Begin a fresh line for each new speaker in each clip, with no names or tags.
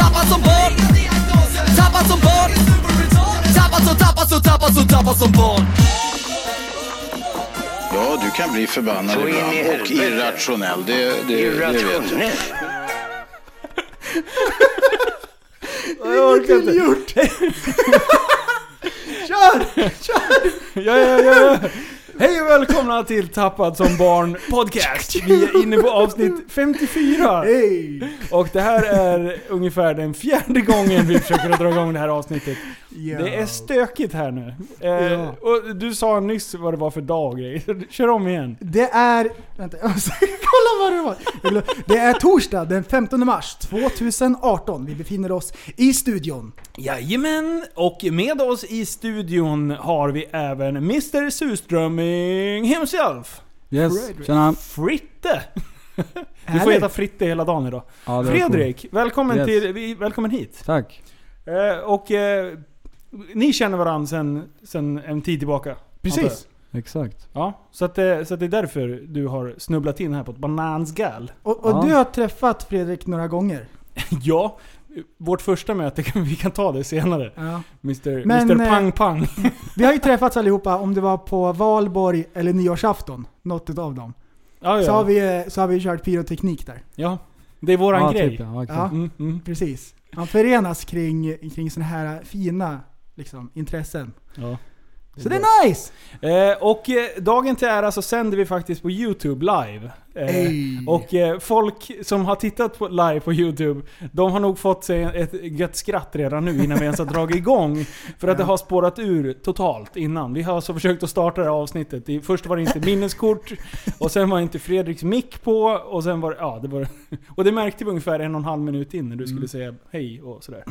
Tappad som barn Tappad som barn Tappad som, tappad som, tappad som, tappad som barn
Ja, du kan bli förbannad
Så in i
ibland och
helvete.
irrationell. Det, det, det vet jag.
Irrationell.
Jag orkar inte.
gjort.
Kör!
Ja, ja, ja. Hej och välkomna till Tappad som barn podcast. Vi är inne på avsnitt 54.
Hej!
Och det här är ungefär den fjärde gången vi försöker att dra igång det här avsnittet.
Ja.
Det är stökigt här nu. Eh,
Ja.
och du sa nyss vad det var för dag och grejer. Kör om igen.
Det är... Vänta, jag måste kolla vad det var. Jag glöm- Det är torsdag den 15 mars 2018. Vi befinner oss i studion.
Jajamän, och med oss i studion har vi även Mr Surströmming himself.
Yes, tjena.
Fritte! Du får
Härligt.
heta Fritte hela dagen idag.
Ja, det var
Fredrik, välkommen,
Yes.
till, vi- välkommen hit.
coolt. Tack.
Eh, och eh, ni känner varandra sen, sen en tid tillbaka? antar jag.
Precis.
Exakt.
Ja, så, att, eh, så att det är därför du har snubblat in här på ett bananskal.
Och, och
Ja.
du har träffat Fredrik några gånger.
ja, vårt första möte, kan, vi kan ta det senare.
Ja.
Mr,
Men,
Mr
eh,
Pang Pang.
Vi har ju träffats allihopa om det var på valborg eller nyårsafton. Något utav dem.
Ja,
Så
ja.
har vi, så har vi kört pyroteknik där.
ja, det är våran
ja,
grej.
Typ, ja, exakt.
Ja,
Mm, mm.
precis. Man förenas kring, kring sådana här fina liksom, intressen.
Ja.
Så det är nice!
Eh, och eh, dagen till ära så sänder vi faktiskt på Youtube live. Eh,
Ey.
Och eh, folk som har tittat på, live på Youtube, de har nog fått sig ett gött skratt redan nu innan vi ens har dragit igång. För att det har spårat ur totalt innan. Vi har alltså försökt att starta det här avsnittet. I, först var det inte minneskort, och sen var inte Fredriks mick på, och sen var det... Ja, det var, och det märkte vi ungefär en och en halv minut in när du skulle säga hej och sådär.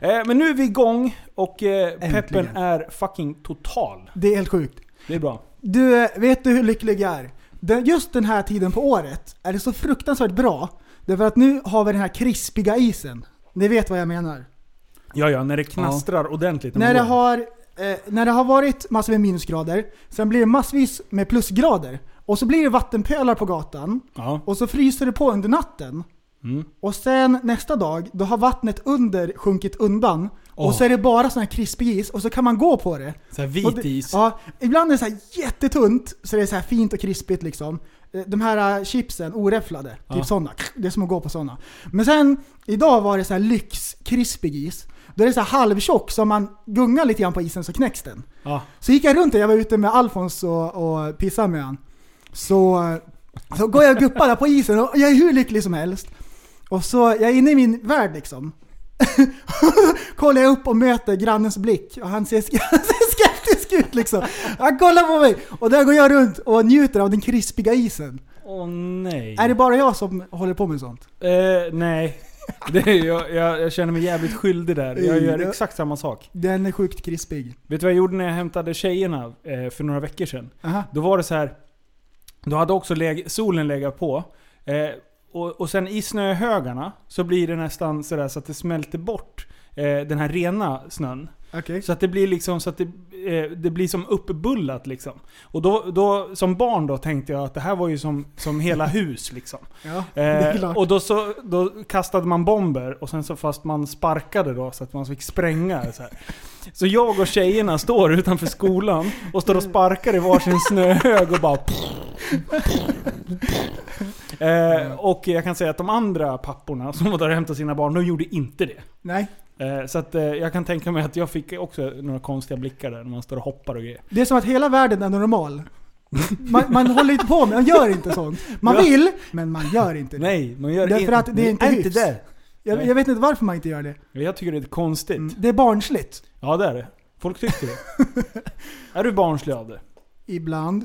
Eh, men nu är vi igång, och eh, peppen
Äntligen.
är fucking total.
Det är helt sjukt.
Det är bra.
Du, eh, vet du hur lycklig jag är? Den, just den här tiden på året är det så fruktansvärt bra. Därför att nu har vi den här krispiga isen. Ni vet vad jag menar.
Ja, ja, när det knastrar ordentligt.
När det,
man går.
har, eh, när det har varit massor med minusgrader, sen blir det massvis med plusgrader. Och så blir det vattenpölar på gatan.
Ja.
Och så fryser det på under natten.
Mm.
Och sen nästa dag, då har vattnet under sjunkit undan.
Åh.
Och så är det bara sån här krispig is och så kan man gå på det.
Så här
Och
vit
det-
is.
Ja, ibland är det så här jättetunt, så det är så här fint och krispigt liksom. Eh, De här eh, chipsen, oräfflade,
Ja.
typ sådana. Det är som att gå på sådana. Men sen, idag var det så här lyxkrispig is. Då är det så här halvtjock, så om man gungar lite grann på isen så knäcks den.
Ja.
Så gick jag runt där, jag var ute med Alfons och, och pissade med han. Så, så går jag och guppar där på isen och jag är hur lycklig som helst. Och så, jag är inne i min värld liksom. kollar jag upp och möter grannens blick och han ser, sk- han ser skeptisk ut liksom. Han kollar på mig och där går jag runt och njuter av den krispiga isen.
Åh nej.
Är det bara jag som håller på med sånt?
Eh, nej. Det är, jag, jag, jag känner mig jävligt skyldig där. Jag gör
Ja.
exakt samma sak.
Den är sjukt krispig.
Vet du vad jag gjorde när jag hämtade tjejerna eh, för några veckor sedan?
Aha.
Då var det så här. Då hade också läg, solen legat på. Eh, och, och sen i snöhögarna så blir det nästan sådär så att det smälter bort eh, den här rena snön.
Okej.
Så att det blir liksom så att det, eh, det blir som uppbullat liksom. Och då, då som barn då tänkte jag att det här var ju som, som hela hus liksom.
Ja, det är klart.
Eh, och då, så, då kastade man bomber och sen så fast man sparkade då så att man fick spränga. Så, här. så jag och tjejerna står utanför skolan och står och sparkar i varsin snöhög och bara... Eh, och jag kan säga att de andra papporna som var där och hämtade sina barn, de gjorde inte det.
Nej.
Eh, så att, eh, jag kan tänka mig att jag fick också några konstiga blickar där när man står och hoppar och grejer.
Det är som att hela världen är normal. Man, man håller inte på med, man gör inte sånt. Man
Ja.
vill, men man gör inte det.
Nej, man gör
Därför
in-
att det är inte hyfs. Jag,
Nej.
jag vet inte varför man inte gör det.
Jag tycker det är konstigt.
Det är barnsligt.
Ja, det är det. Folk tycker det. är du barnslig av det?
Ibland.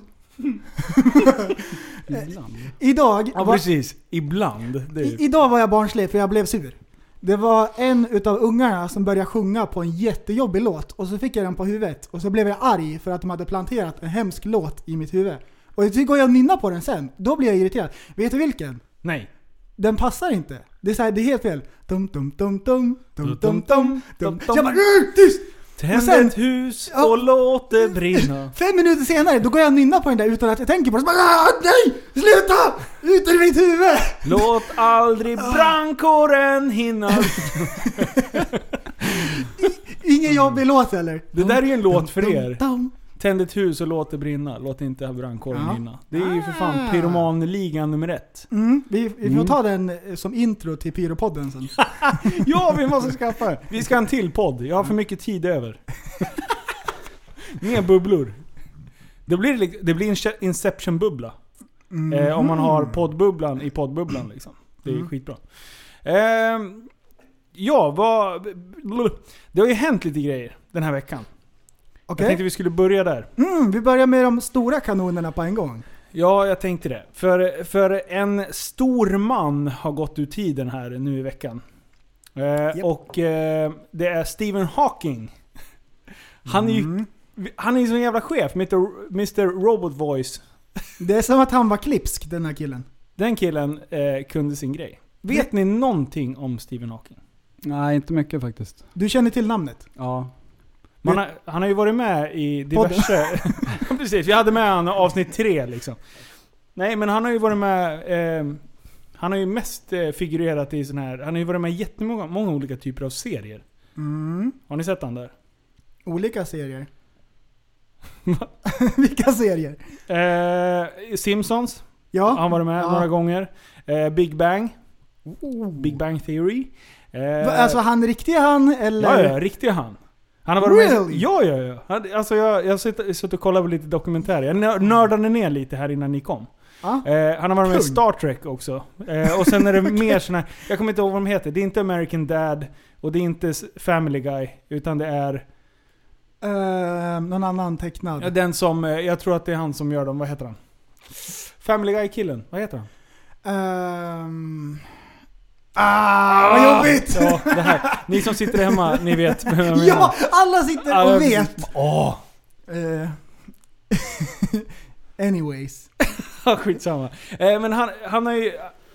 Eh,
Ibland.
Idag,
Ja,
var,
precis. Ibland. Det är
i, idag var jag barnslig för jag blev sur. Det var en utav ungarna som började sjunga på en jättejobbig låt och så fick jag den på huvudet och så blev jag arg för att de hade planterat en hemsk låt i mitt huvud. Och så går jag och nynnar på den sen. Då blir jag irriterad. Vet du vilken?
Nej.
Den passar inte. Det är, så här, det är helt fel. Dum, dum, dum, dum, dum, dum, dum, dum. Så jag bara "Ugh, tyst!
Tänd
sen-
ett hus
Ja.
och låt det brinna.
Fem minuter senare, då går jag och nynnar på den där utan att jag tänker på det. Så bara, "Ah, nej! Sluta! Ut ur mitt huvud!
Låt aldrig
Ah.
brandkåren hinna.
Ingen jobbig låt eller?
Mm. Det där är ju en låt för er.
Dum,
Tänd ett hus och låt det brinna. Låt inte brandkåren
Ja.
hinna. Det är ju för fan
Ah.
pyromanligan nummer ett.
dum. Mm, vi, vi får
Mm.
ta den eh, som intro till Pyropodden sen.
Ja, vi måste skaffa det. Vi ska ha en till podd. Jag har för mycket tid över. Mer bubblor. Det blir, lik- det blir en Inception-bubbla. Eh, om man har poddbubblan i poddbubblan liksom. Det är ju
Mm.
skitbra. Ehm, ja, vad... Det har ju hänt lite grejer den här veckan. Jag
Okej?
tänkte vi skulle börja där.
Mm, vi börjar med de stora kanonerna på en gång.
Ja, jag tänkte det. För, för en stor man har gått ur tiden här nu i veckan. Eh, Och eh, det är Stephen Hawking. Han är
Mm.
ju han är ju sån jävla chef, Mr. Mr. Robot Voice.
Det är som att han var klipsk den här killen.
Den killen eh, kunde sin grej. Vet ni någonting om Stephen Hawking?
Nej, inte mycket faktiskt.
Du känner till namnet?
Ja.
Man har, han har ju varit med i diverse... Ja, Precis, vi hade med han i avsnitt tre liksom. Nej men han har ju varit med... Eh, han har ju mest eh, figurerat i sån här... Han har ju varit med i jättemånga många olika typer av serier.
Mm.
Har ni sett han där?
Olika serier. Vilka serier?
Eh, Simpsons
Ja.
har han varit med
Ja.
några gånger. Eh, Big Bang. Big Bang Theory. Eh,
Va, Alltså han riktiga han eller?
Ja, ja, riktig han. Han har varit med
Really?
Ja, ja, ja. Han- Alltså jag har suttit och kollat på lite dokumentärer. Jag nör- nördade ner lite här innan ni kom.
Ja.
Eh, han har varit med i
Kung.
Star Trek också. Eh, och sen är det mer såna här, jag kommer inte ihåg vad de heter. Det är inte American Dad och det är inte s- Family Guy. Utan det är
Eh, någon annan tecknad?
ja, den som, eh, jag tror att det är han som gör dem, vad heter han? Family Guy-killen, vad heter han?
Ehm... Ah, vad jobbigt!
Ja, det här. Ni som sitter hemma, ni vet vem jag menar.
Ja, alla sitter
Ja,
och vet.
Åh!
Eh, anyways.
Ja, skitsamma. Eh, men han, han har ju...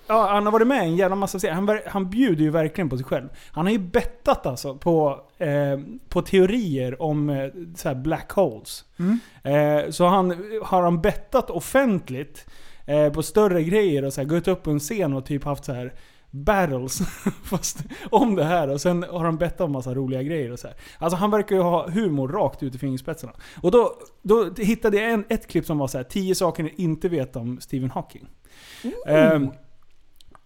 Ja, han har varit med i en jävla massa serier. Han, ver- han bjuder ju verkligen på sig själv. Han har ju bettat alltså på, eh, på teorier om eh, så här black holes.
Mm.
Eh, så han, har han bettat offentligt eh, på större grejer och så här, gått upp på en scen och typ haft så här battles fast om det här och sen har han bett om massa roliga grejer och så här. Alltså han verkar ju ha humor rakt ut i fingerspetsarna. Och då, då hittade jag en, ett klipp som var så här: 10 saker ni inte vet om Stephen Hawking. Ehm,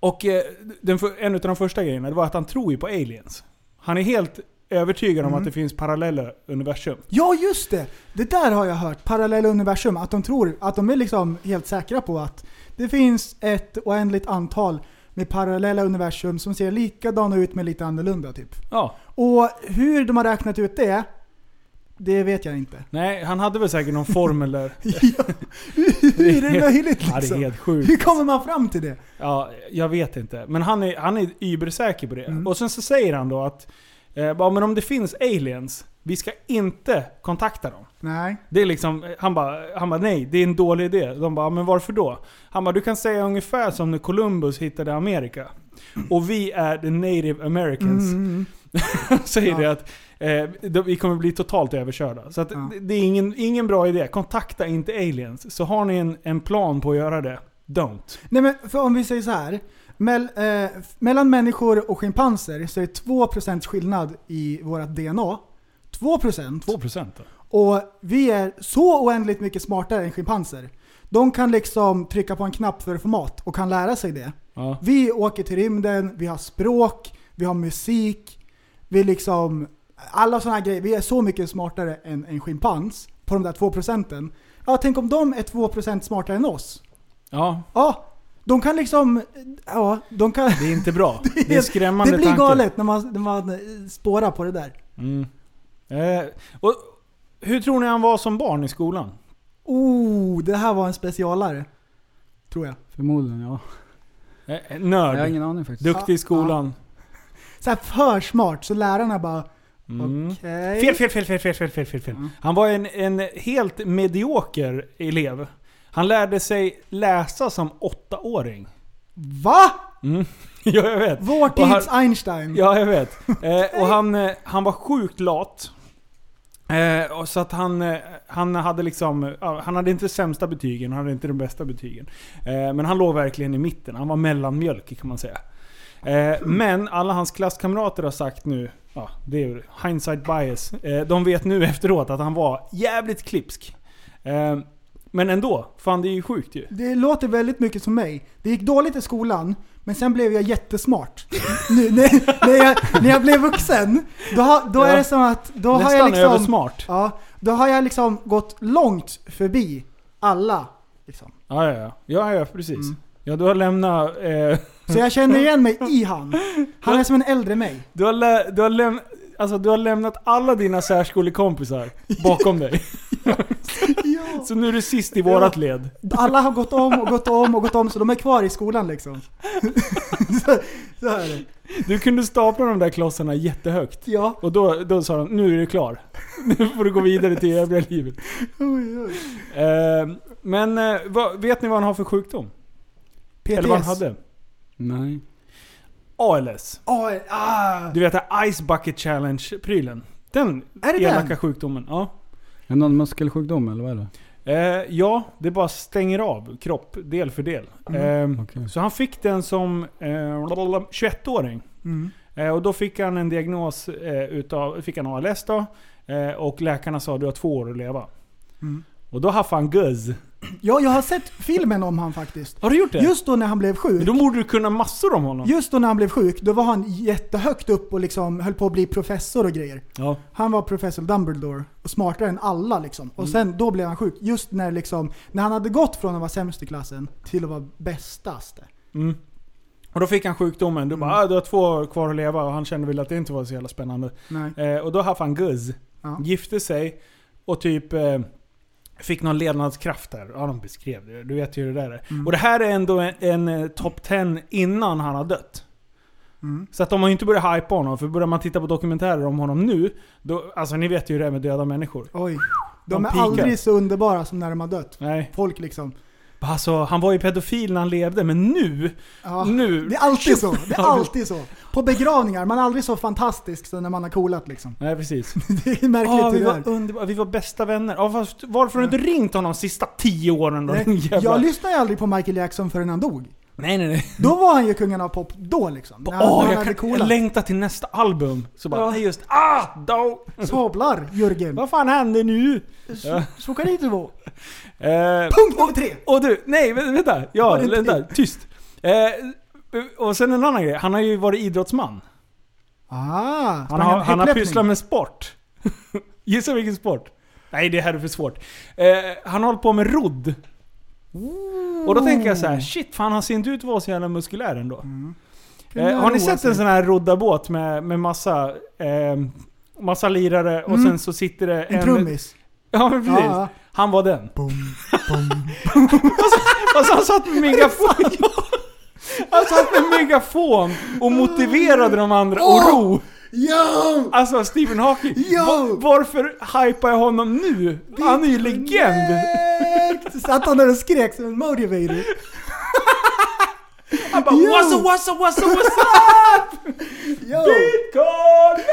och eh, den, för- en av de första grejerna det var att han tror ju på aliens. Han är helt övertygad om
Mm.
att det finns parallella universum.
Ja, just det! Det där har jag hört. Parallella universum. Att de tror, att de är liksom helt säkra på att det finns ett oändligt antal med parallella universum som ser likadana ut men lite annorlunda typ.
Ja,
Och hur de har räknat ut det, det vet jag inte.
nej han hade väl säkert någon formel där.
Ja, hur är det möjligt
Ja, det är
liksom?
helt sjukt.
Hur kommer man fram till det?
Ja, jag vet inte. Men han är, han är übersäker på det.
Mm.
Och sen så säger han då att eh, ja, men om det finns aliens, vi ska inte kontakta dem.
Nej.
Det är liksom, eh, han bara han bara nej, det är en dålig idé. De bara, men varför då? Han bara, du kan säga ungefär som när Columbus hittade Amerika. Och vi är the native americans.
Mm.
säger
Ja.
det att eh, de- vi kommer bli totalt överkörda. Så att,
Ja.
det- det är ingen, ingen bra idé. Kontakta inte aliens. Så har ni en, en plan på att göra det, don't.
Nej men för om vi säger så här. Mell, eh, f- mellan människor och schimpanser så är det 2% skillnad i vårt DNA. 2%.
2% då?
Och vi är så oändligt mycket smartare än schimpanser. De kan liksom trycka på en knapp för att få mat och kan lära sig det.
Ja.
Vi åker till rymden, vi har språk, vi har musik, vi liksom... Alla sådana här grejer. Vi är så mycket smartare än en schimpans på de där 2 procenten. Ja, tänk om de är 2 procent smartare än oss.
ja,
Ja, de kan liksom... Ja, de kan...
Det är inte bra. Det är, en skrämmande
Det blir
tanke.
galet när man, när man spårar på det där.
Mm. Eh, och hur tror ni han var som barn i skolan?
Oh, det här var en specialare. Tror jag.
Förmodligen ja.
Eh,
Jag har
nörd.
ingen aning faktiskt.
Duktig i skolan.
så här för smart så lärarna bara
Mm.
okej.
Fel, fel, fel, fel, fel, fel, fel, fel, fel. Han var en, en helt medioker elev. Han lärde sig läsa som åttaåring.
Va?
ja, jag vet.
Vår
Och han-
tids Einstein.
Ja, jag vet. Eh, och han, eh, han var sjukt lat. Eh, och så att han, eh, han hade liksom, ja, han hade inte de sämsta betygen, han hade inte de bästa betygen. Eh, men han låg verkligen i mitten, han var mellanmjölk kan man säga. Eh, men alla hans klasskamrater har sagt nu, ja, det är ju hindsight bias, eh, de vet nu efteråt att han var jävligt klipsk. Eh, men ändå, fan det är ju sjukt ju.
Det låter väldigt mycket som mig. Det gick dåligt i skolan, men sen blev jag jättesmart. Nu, när, när, jag, när jag blev vuxen, då, har- då är
Ja.
det som att... Då har
Nästan
jag liksom,
översmart.
ja, Då har jag liksom gått långt förbi alla. Liksom.
Ja, ja, ja. ja, ja precis.
Mm.
Ja, du har lämnat... Eh,
Så jag känner igen mig i han. Han är som en äldre mig.
Du har, lä- du, har läm- alltså, du har lämnat alla dina särskolekompisar bakom dig.
Ja.
Så nu är du sist i vårat led.
Alla har gått om och gått om och gått om, så de är kvar i skolan liksom. så, så är det.
Du kunde stapla de där klossarna jättehögt.
Ja.
Och då, då sa de, nu är du klar. Nu får du gå vidare till övriga livet.
Oj, oj.
Eh, men eh, vad, vet ni vad han har för sjukdom? Eller vad han
PTS.
hade?
Nej.
ALS.
Ah, ah.
Du vet det här Ice Bucket Challenge-prylen. Den
Är det
elaka
den?
sjukdomen. Ja.
Är det någon muskelsjukdom eller vad är det?
Eh, ja, det bara stänger av kropp del för del.
Mm.
Eh,
Okej.
Så han fick den som eh, 21-åring.
Mm.
Eh, och då fick han en diagnos eh, utav, fick han ALS då. Eh, och läkarna sa du har två år att leva.
Mm.
Och då haffade han guzz.
Ja, jag har sett filmen om han faktiskt.
Har du gjort det?
Just då när han blev
Men
sjuk,
då borde du kunna massor om honom.
just då när han blev sjuk, då var han jättehögt upp och liksom höll på att bli professor och grejer.
Ja.
Han var professor Dumbledore och smartare än alla liksom. Och
Mm.
sen då blev han sjuk. Just när liksom, när han hade gått från att vara sämst i klassen till att vara bästaste.
Mm. Och då fick han sjukdomen. Du bara ah, du har två år kvar att leva. Och han kände väl att det inte var så jävla spännande.
Nej.
Eh, och då haffade han guzz.
Ja.
Gifte sig och typ eh, fick någon levnadskraft där. Ja, de beskrev det. Du vet ju hur det där är.
Mm.
Och det här är ändå en, en eh, topp 10 innan han har dött.
Mm.
Så att de har ju inte börjat hypa honom. För börjar man titta på dokumentärer om honom nu, då, alltså ni vet ju hur det är med döda människor.
Oj.
De
De är
pikar.
aldrig så underbara som när de har dött.
Nej.
Folk liksom.
Alltså, han var ju pedofil när han levde, men nu...
Ja.
Nu!
Ah, Det är alltid så. Det
Ja,
är alltid så. På begravningar, man är aldrig så fantastisk som när man har coolat liksom.
Nej, precis.
Det är märkligt
Ah, vi,
hur det är.
var underbara, vi var bästa vänner. Ah, fast, varför har du inte ringt honom de sista tio åren då? din
Nej,
jävla-
Jag lyssnade ju aldrig på Michael Jackson förrän han dog.
nej, nej, nej.
Då var han ju kungen av pop då liksom. När han,
Åh,
när han
Ah, jag,
hade
kan,
coolat.
jag längtar till nästa album. Så bara, nej just, ah! Då.
Sablar Jörgen.
Vad fan händer nu? Ja.
Så kan det inte vara.
Eh,
Punkt nummer tre.
och du, nej vä- vänta. Ja,
Var det inte-
vänta. Tyst. Eh, och sen en annan grej. Han har ju varit idrottsman.
Ah,
Han har, han har pysslat med sport. Gissa vilken sport? Nej, det här är för svårt. Eh, han har hållit på med rodd. Och då tänker jag så här: shit fan han ser inte ut att vara så jävla muskulär ändå. Eh, har ni sett en sån här roddarbåt med, med massa, eh, massa lirare och
Mm.
sen så sitter det en...
En trummis.
Ja men precis.
Ja.
Han var den.
Bom, bom.
Alltså han satt med megafon. Han satt med megafon och motiverade de andra och ro.
Yo!
Alltså Stephen Hawking.
Jo!
va- varför hypar jag honom nu? Han är ju legend.
Korrekt! Så Satt han där och skrek som en motivator.
Han bara
Jo!
what's up, what's up, what's up, what's up?
Yo!
Bitcoin!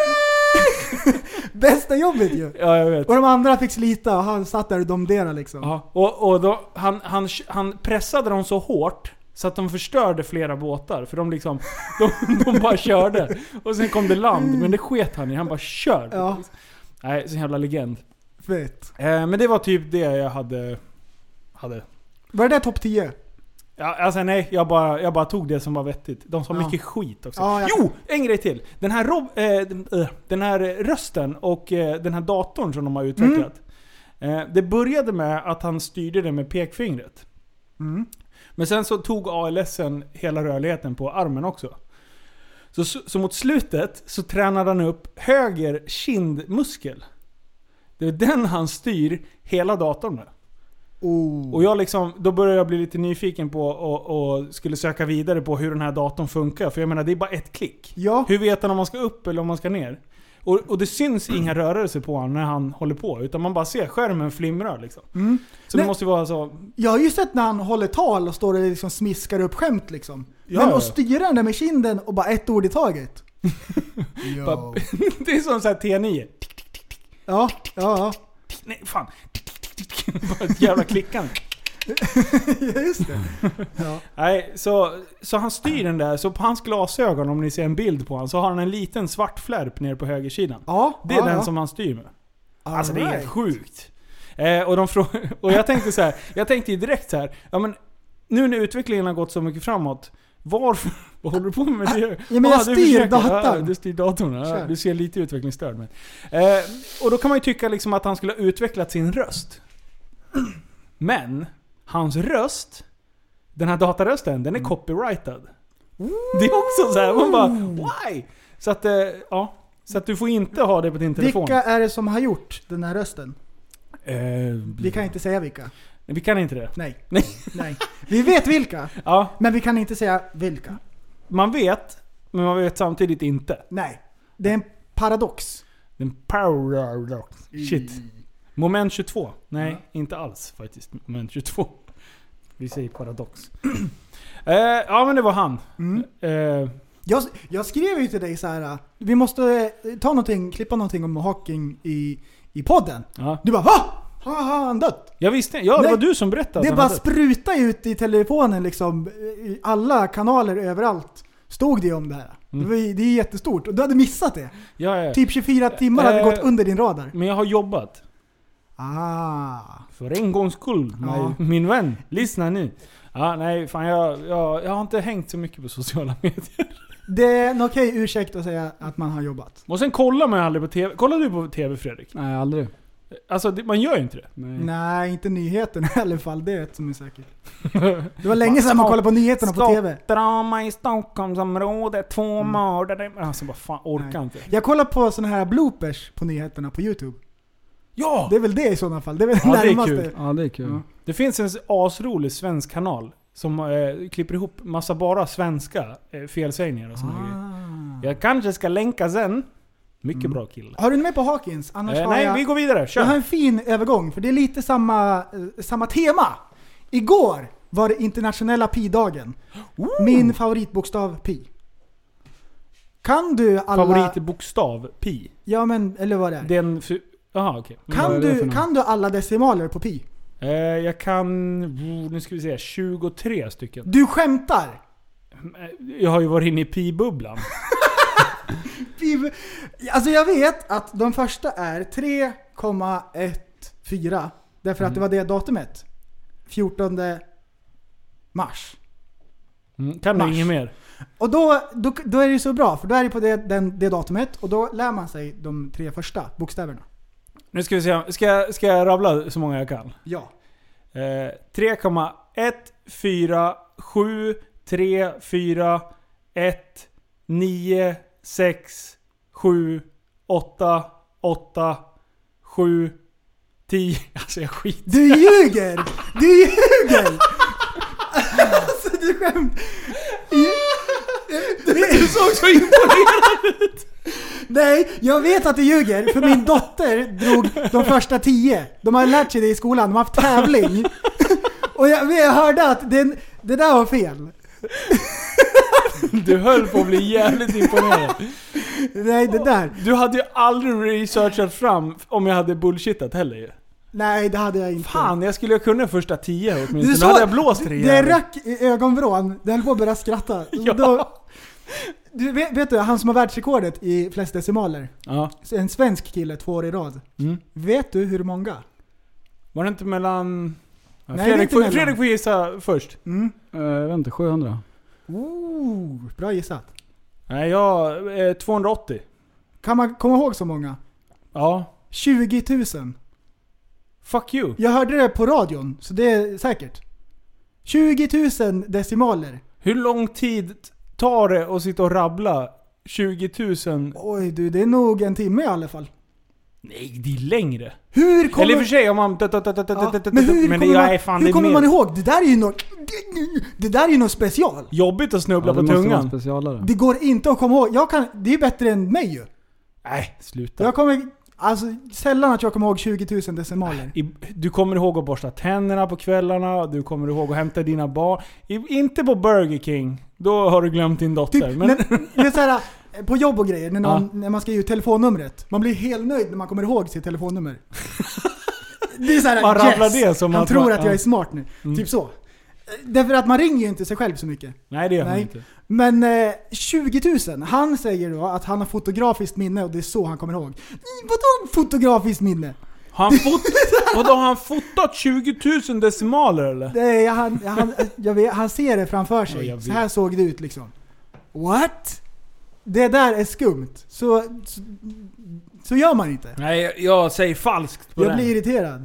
Bästa jobbet ju.
Ja jag vet.
Och de andra fick slita och han satt där och domderade liksom.
Ja, och, och då, han, han, han pressade dem så hårt så att de förstörde flera båtar. För de liksom, de, de bara körde. Och sen kom det land, men det sket han i. Han bara kör.
Ja,
Nej, så jävla legend.
fett.
Eh, men det var typ det jag hade... hade.
Var det där topp 10?
Ja, alltså nej, jag bara, jag bara tog det som var vettigt. De sa
Ja.
mycket skit också.
Ja, jag-
Jo! En grej till. Den här, rob, eh, den- eh, den här eh, rösten och eh, den här datorn som de har utvecklat. Eh, det började med att han styrde det med pekfingret.
Mm.
Men sen så tog ALSen hela rörligheten på armen också. Så, så, så mot slutet så tränade han upp höger kindmuskel. Det är den han styr hela datorn med.
Oh.
Och jag liksom, då började jag bli lite nyfiken på och, och skulle söka vidare på hur den här datorn funkar. För jag menar, det är bara ett klick.
Ja.
Hur vet han om man ska upp eller om man ska ner? Och, och det syns inga rörelser på honom när han håller på. Utan man bara ser skärmen flimrar liksom.
Mm.
Så
Nej.
det måste ju vara så...
Jag har ju sett när han håller tal och står och liksom smiskar upp skämt liksom.
Ja,
Men
ja.
att styra den där med kinden och bara ett ord i taget. Jo.
Bara- det är som så här T9. Tick, tick, tick, tick,
ja, ja, ja.
tick. Nej, fan. Tick, tick, tick, tick, tick. Bara ett jävla klickande.
Ja, Just det. Ja.
Nej, så, så han styr den där. Så på hans glasögon, om ni ser en bild på honom, så har han en liten svart flärp ner på högersidan.
Ja,
Det är
ja,
den
ja.
som han styr med. Alltså det är helt
Alright.
sjukt. Eh, och, de frå- och jag tänkte så här, jag tänkte ju direkt så här, ja men nu när utvecklingen har gått så mycket framåt, varför, vad håller du på med? Det?
Ah,
Ah,
men jag styr
Ja,
datorn.
du styr datorn, ja,
Kör.
du ser lite utvecklingsstörd men. Eh, och då kan man ju tycka liksom att han skulle ha utvecklat sin röst. Men, hans röst, den här datarösten, den är
Mm.
copyrightad. Det är också så här, man bara why? Så att, eh, ja. Så att du får inte ha det på din telefon.
Vilka är det som har gjort den här rösten?
Eh,
Vi kan inte säga vilka.
Nej, Vi kan inte det.
Nej.
Nej.
Nej. Vi vet vilka,
Ja,
men vi kan inte säga vilka.
man vet, men man vet samtidigt inte.
Nej. Det är en paradox.
Den paradox. Shit. Moment 22. Nej, inte alls faktiskt. Moment 22. Vi säger paradox. eh, ja, men det var han.
Mm.
Eh,
Jag, jag skrev ju till dig så här. vi måste eh, ta någonting, klippa någonting om Hawking i, i podden.
ja.
Du bara VA? Har har han dött?
Jag visste Ja, det
Nej.
var du som berättade.
Det
att
bara
han hade-
spruta ut i telefonen liksom. I alla kanaler överallt stod det om det här.
Mm.
Det, var, ju- det är jättestort. Och du hade missat det.
ja, ja.
Typ 24 timmar hade
Eh.
gått under din radar.
Men jag har jobbat.
Ah.
För en gångs skull.
Ja.
Nej, min vän. Lyssna nu. Ja, nej, fan jag, jag, jag har inte hängt så mycket på sociala medier.
Det är en okej ursäkt att säga att man har jobbat.
Och sen kollar man ju aldrig på TV. Kollar du på TV Fredrik?
Nej, aldrig.
Alltså det, man gör ju inte det.
Nej.
Nej, inte nyheterna i alla fall. Det är ett som är säkert. Det var länge sedan man kollade på nyheterna på TV.
Drama i Stockholmsområdet, två mördare. Alltså bara fan, orkar
Nej.
inte.
Jag kollar på såna här bloopers på nyheterna på YouTube.
Ja!
Det är väl det i sådana fall. Det är väl
Ja, det är
närmaste.
kul.
Ja, det är kul.
Ja. Det finns en asrolig svensk kanal som eh, klipper ihop massa bara svenska eh, felsägningar och såna grejer.
Ah.
Jag kanske ska länka sen. Mycket bra kille.
Har du med på Hawkins? Annars
Eh,
har
nej,
jag...
vi går vidare.
Jag har
Kör!
en fin övergång, för det är lite samma, eh, samma tema. Igår var det internationella pi-dagen. Min favoritbokstav pi. Kan du alla...
Favoritbokstav, pi.
Ja men, eller vad det är.
Den... fy- Jaha, okej. Mm.
vad
kan,
är det för
du,
något?
kan du alla decimaler på pi?
Eh, jag kan... oh, Nu ska vi se. 23 stycken. Eh,
Du skämtar!
Jag har ju varit inne i pi-bubblan.
Pi, alltså jag vet att de första är 3,14 därför att det
Mm.
var det datumet. 14 mars.
Mm. Kan du
Mars.
inget mer?
Och då, då, då är det ju så bra, för då är det på det, den, det datumet och då lär man sig de tre första bokstäverna.
Nu ska vi se. Ska, jag- ska jag rabbla så många jag kan?
Ja.
Eh, 3,147341967888710 Alltså jag skit.
Du ljuger! Du ljuger! alltså du skämt... Du såg så imponerad ut! Nej, jag vet att du ljuger, för min dotter drog de första tio. De har lärt sig det i skolan, de har haft tävling. Och jag, jag hörde att det, det där var fel.
Du höll på att bli jävligt imponerad.
Nej, det där.
Du hade ju aldrig researchat fram om jag hade bullshittat heller ju.
Nej, det hade jag inte.
Fan, jag skulle ju kunna första tio åtminstone.
Du
Du
såg-
hade jag blåst det
Det
jävligt.
rök i ögonvrån, den höll på att börja skratta.
Ja.
Då, du, vet, vet du, han som har världsrekordet i flest decimaler.
Ja.
En svensk kille två år i rad.
Mm.
Vet du hur många?
Var det inte mellan...
Nej, det är
Fredrik,
inte
får,
mellan.
Fredrik får gissa först.
Mm.
Eh, jag vet inte, 700?
Ooh, bra gissat.
Nej, jag... Eh, 280.
Kan man komma ihåg så många?
Ja.
20 000.
Fuck you.
Jag hörde det på radion, så det är säkert. 20 000 decimaler.
Hur lång tid tar det att sitta och rabbla 20 000?
Oj du, det är nog en timme i alla fall.
Nej, det är längre.
Hur
Eller i och
kommer...
för sig om man...
Ja, men hur
det-
kommer, man,
nej, fan, det
hur
är
kommer
mer
man ihåg? Det där är ju något... Det där är ju något special.
Jobbigt att
Ja,
snubbla
det
på
måste vara en
tungan.
specialare.
Det går inte att komma ihåg. Jag kan, det är ju bättre än mig ju.
Nej, sluta.
Jag kommer... Alltså sällan att jag kommer ihåg 20 000 decimaler.
I, du kommer ihåg att borsta tänderna på kvällarna, du kommer ihåg att hämta dina barn. I, inte på Burger King, då har du glömt din dotter.
Typ,
men,
när, det är så här, eh, på jobb och grejer, när, någon,
Ja.
när man ska ge ut telefonnumret. Man blir helt nöjd när man kommer ihåg sitt telefonnummer. Det är så här,
Man rabblar
yes,
det som
han
att
tror
man- Mm.
att jag är smart nu. Typ så. Därför att man ringer ju inte sig själv så mycket.
nej det gör man
Nej.
inte.
Men eh, 20 000, han säger då att han har fotografiskt minne och det är så han kommer ihåg. Vadå fotografiskt minne?
Har han, fot, vadå, har han fotat 20 000 decimaler eller?
Det är, han, han, jag vet, han ser det framför sig.
Ja, jag vet.
så här såg det ut liksom. What? Det där är skumt. Så, så, så gör man inte.
Nej, jag, jag säger falskt på
Jag
den.
blir irriterad.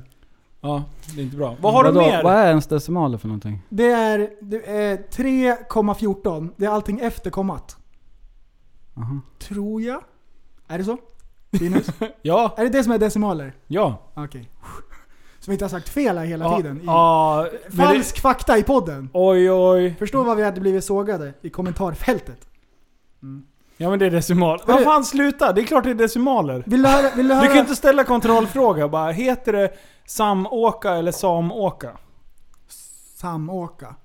Ja, det är inte bra. Vad har du
Vadå?
mer?
Vad är ens decimaler för någonting?
Det är, det är 3,14. Det är allting efter kommat.
Aha.
Tror jag. Är det så? Linus?
Ja,
är det det som är decimaler?
ja.
Okej. Som vi inte har sagt fel här hela
Ja,
tiden. I,
ja, men det-
Falsk fakta i podden.
Oj oj.
Förstå vad vi hade blivit sågade i kommentarfältet.
Ja men det är decimaler. Vad fan sluta? Det är klart det är decimaler.
Vill du höra? Vill du höra?
Du kan inte ställa kontrollfråga bara. Heter det samåka eller samåka?
Samåka.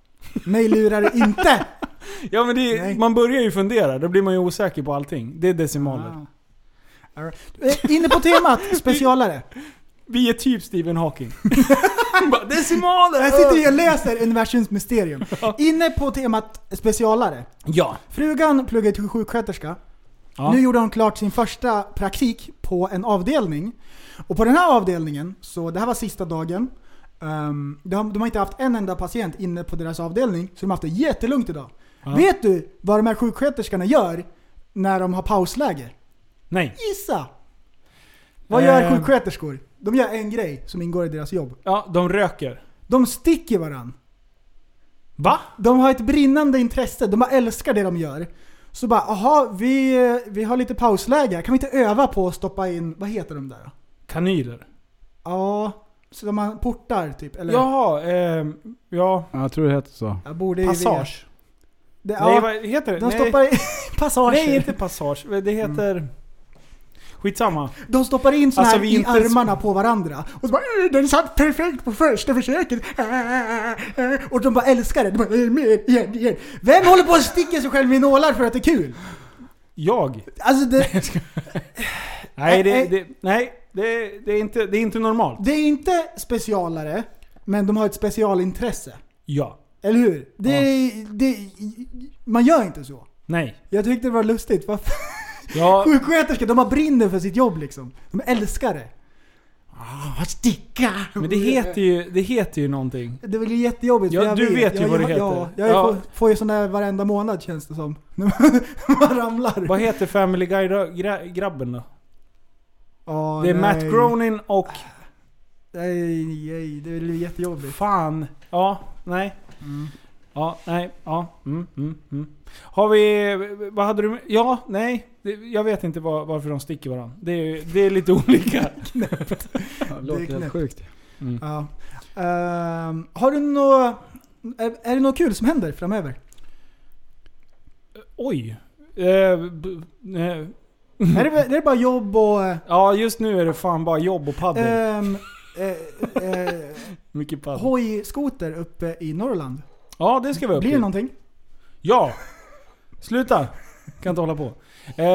Mig lurar det inte!
Ja men det är,
Nej.
man börjar ju fundera. Då blir man ju osäker på allting. Det är decimaler.
Ah. All right. Eh, Inne på temat specialare.
Vi är typ Stephen Hawking. bara, decimaler!
Jag sitter ju och läser universums mysterium. Inne på temat specialare.
Ja.
Frugan pluggade till sjuksköterska.
Ja.
Nu gjorde hon klart sin första praktik på en avdelning. Och på den här avdelningen, så det här var sista dagen. ehm, de, har- de har inte haft en enda patient inne på deras avdelning, så de har haft det jättelugnt idag.
Ja.
Vet du vad de här sjuksköterskorna gör när de har pausläge?
Nej.
Gissa! Vad gör
Ehm.
sjuksköterskor? De gör en grej som ingår i deras jobb.
Ja, de röker.
De sticker varann.
Va?
De har ett brinnande intresse, de bara älskar det de gör. Så bara, aha, vi, vi har lite pausläge här. kan vi inte öva på att stoppa in, vad heter de där då?
Kanyler.
Ja, så de har portar typ, eller?
Jaha, ehm, ja.
Ja, jag tror det heter så.
Jag borde ju veta.
Passage.
Det, ja,
Nej vad heter det?
de
Nej.
stoppar Mm. in passager.
Nej, inte passage. Det heter... Skitsamma.
De stoppar in såna
Alltså,
här
vi
i
inte-
armarna på varandra. Och så bara "Eh, den satt perfekt på första försöket. Eh, eh, Och de bara älskar det. De bara, "Eh, mer, igen, igen. Vem håller på att sticka sig själv i nålar för att det är kul?
Jag?
Alltså det,
Nej, det,
Nej.
det, nej det, det, är inte, det är inte normalt.
det är inte specialare, men de har ett specialintresse.
Ja.
Eller hur? Det, det, man gör inte så.
Nej.
Jag tyckte det var lustigt. Varför?
Ja,
Sjuksköterskor, de har brinner för sitt jobb liksom. De älskar det. Ah, sticka!
men det heter ju, det heter ju någonting.
Det blir jättejobbigt.
Ja,
för jag
du vet ju
jag,
vad det
jag,
heter.
Ja, jag
Ja.
Får, får ju sån där varenda månad känns det som. När man ramlar.
Vad heter Family Guy-grabben då?
Ja,
Det är
nej.
Matt Groening och...
Nej, nej, det blir jättejobbigt.
Fan. Mm. Ja, nej. Ja, nej. Ja. Mm, mm, mm. Har vi... Vad hade du... Ja, nej. Det- Jag vet inte var, varför de sticker varandra. Det är, det är lite olika.
Det låter helt
knäppt.
sjukt.
Ja. Ehm, har du något... Är, är det något kul som händer framöver?
Oj. Eh, b- nej.
är, det, är det bara jobb och... eh,
Mm. Ja, just nu är det fan bara jobb och paddel.
ehm, eh, eh,
Mycket paddel.
Hojskoter uppe i Norrland.
Ja, det ska vi upp
Blir det
till.
någonting?
Ja! Sluta! Kan inte hålla på. Eh,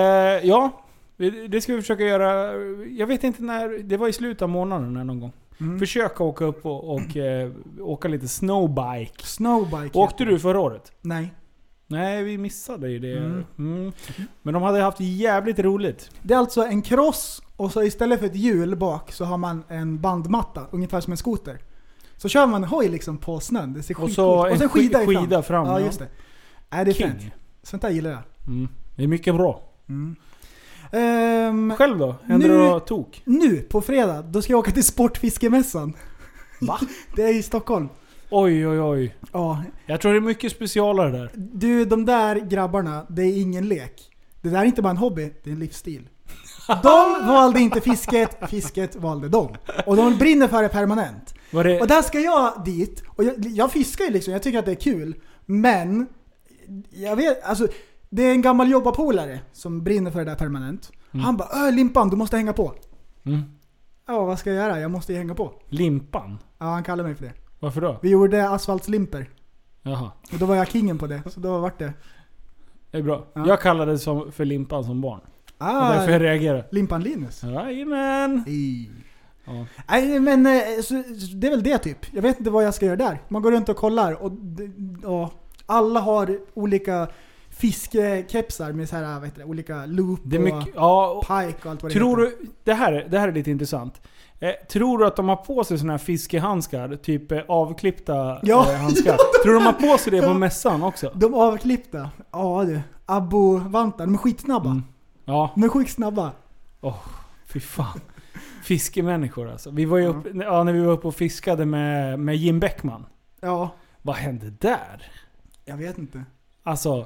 ja, det det ska vi försöka göra. Jag vet inte när. Det var i slutet av månaden här någon gång.
Mm.
Försöka åka upp och, och eh, åka lite snowbike.
Snowbike.
Åkte
heter
du förra året?
det. Nej.
Nej, vi missade ju det. Mm.
Mm.
Men de hade haft jävligt roligt.
Det är alltså en cross och så istället för ett hjul bak så har man en bandmatta, ungefär som en skoter. Så kör man en hoj liksom på snön, det ser
Och
skitcoolt
så
ut. Och
en
sen skida,
sk-
i fram.
skida fram,
Ja,
ja.
just det. Nej, det är fint.
King.
Sånt där gillar jag.
Mm. Det är mycket bra.
Ehm,
Själv då? Händer
Nu-
det något tok?
nu på fredag, då ska jag åka till Sportfiskemässan.
Va?
Det är i Stockholm.
Oj, oj, oj.
Ja,
Jag tror det är mycket specialare där.
du de där grabbarna, det är ingen lek. Det där är inte bara en hobby, det är en livsstil. De valde inte fisket, fisket valde dem. Och de brinner för det permanent.
Var det...
Och där ska jag dit, och jag, jag fiskar ju liksom, jag tycker att det är kul. Men, jag vet, alltså det är en gammal jobbarpolare som brinner för det där permanent. Han bara "Öh, Limpan, du måste hänga på.
Mm.
Ja, vad ska jag göra? Jag måste ju hänga på.
Limpan?
Ja, han kallade mig för det.
Varför då?
Vi gjorde asfaltslimper.
Jaha.
Och då var jag kingen på det, så då vart det.
Det är bra.
Ja.
Jag kallades som, för Limpan som barn. Det är
Ah,
därför jag reagerar.
Limpan Linus.
Jajamän!
Ej.
Ja.
Nej men eh, så, så det är väl det typ. Jag vet inte vad jag ska göra där. Man går runt och kollar och, d- och alla har olika fiskekepsar med så här, vad heter det, olika loop
Det är mycket... Ja,
och
och,
pike och allt vad det
tror
heter.
du... Det här, är- det här är lite intressant. Eh, tror du att de har på sig såna här fiskehandskar? Typ eh, avklippta
Ja.
eh, handskar? tror du de har på sig det på mässan också?
De avklippta. Ja du. Abbo-vantar. De är skitsnabba.
Mm. Ja,
De är sjukt snabba.
fy fan. Fiskemänniskor alltså. Vi var ju upp, ja, när vi var uppe och fiskade med, med Jim Beckman.
Ja,
Vad hände där?
jag vet inte.
Alltså,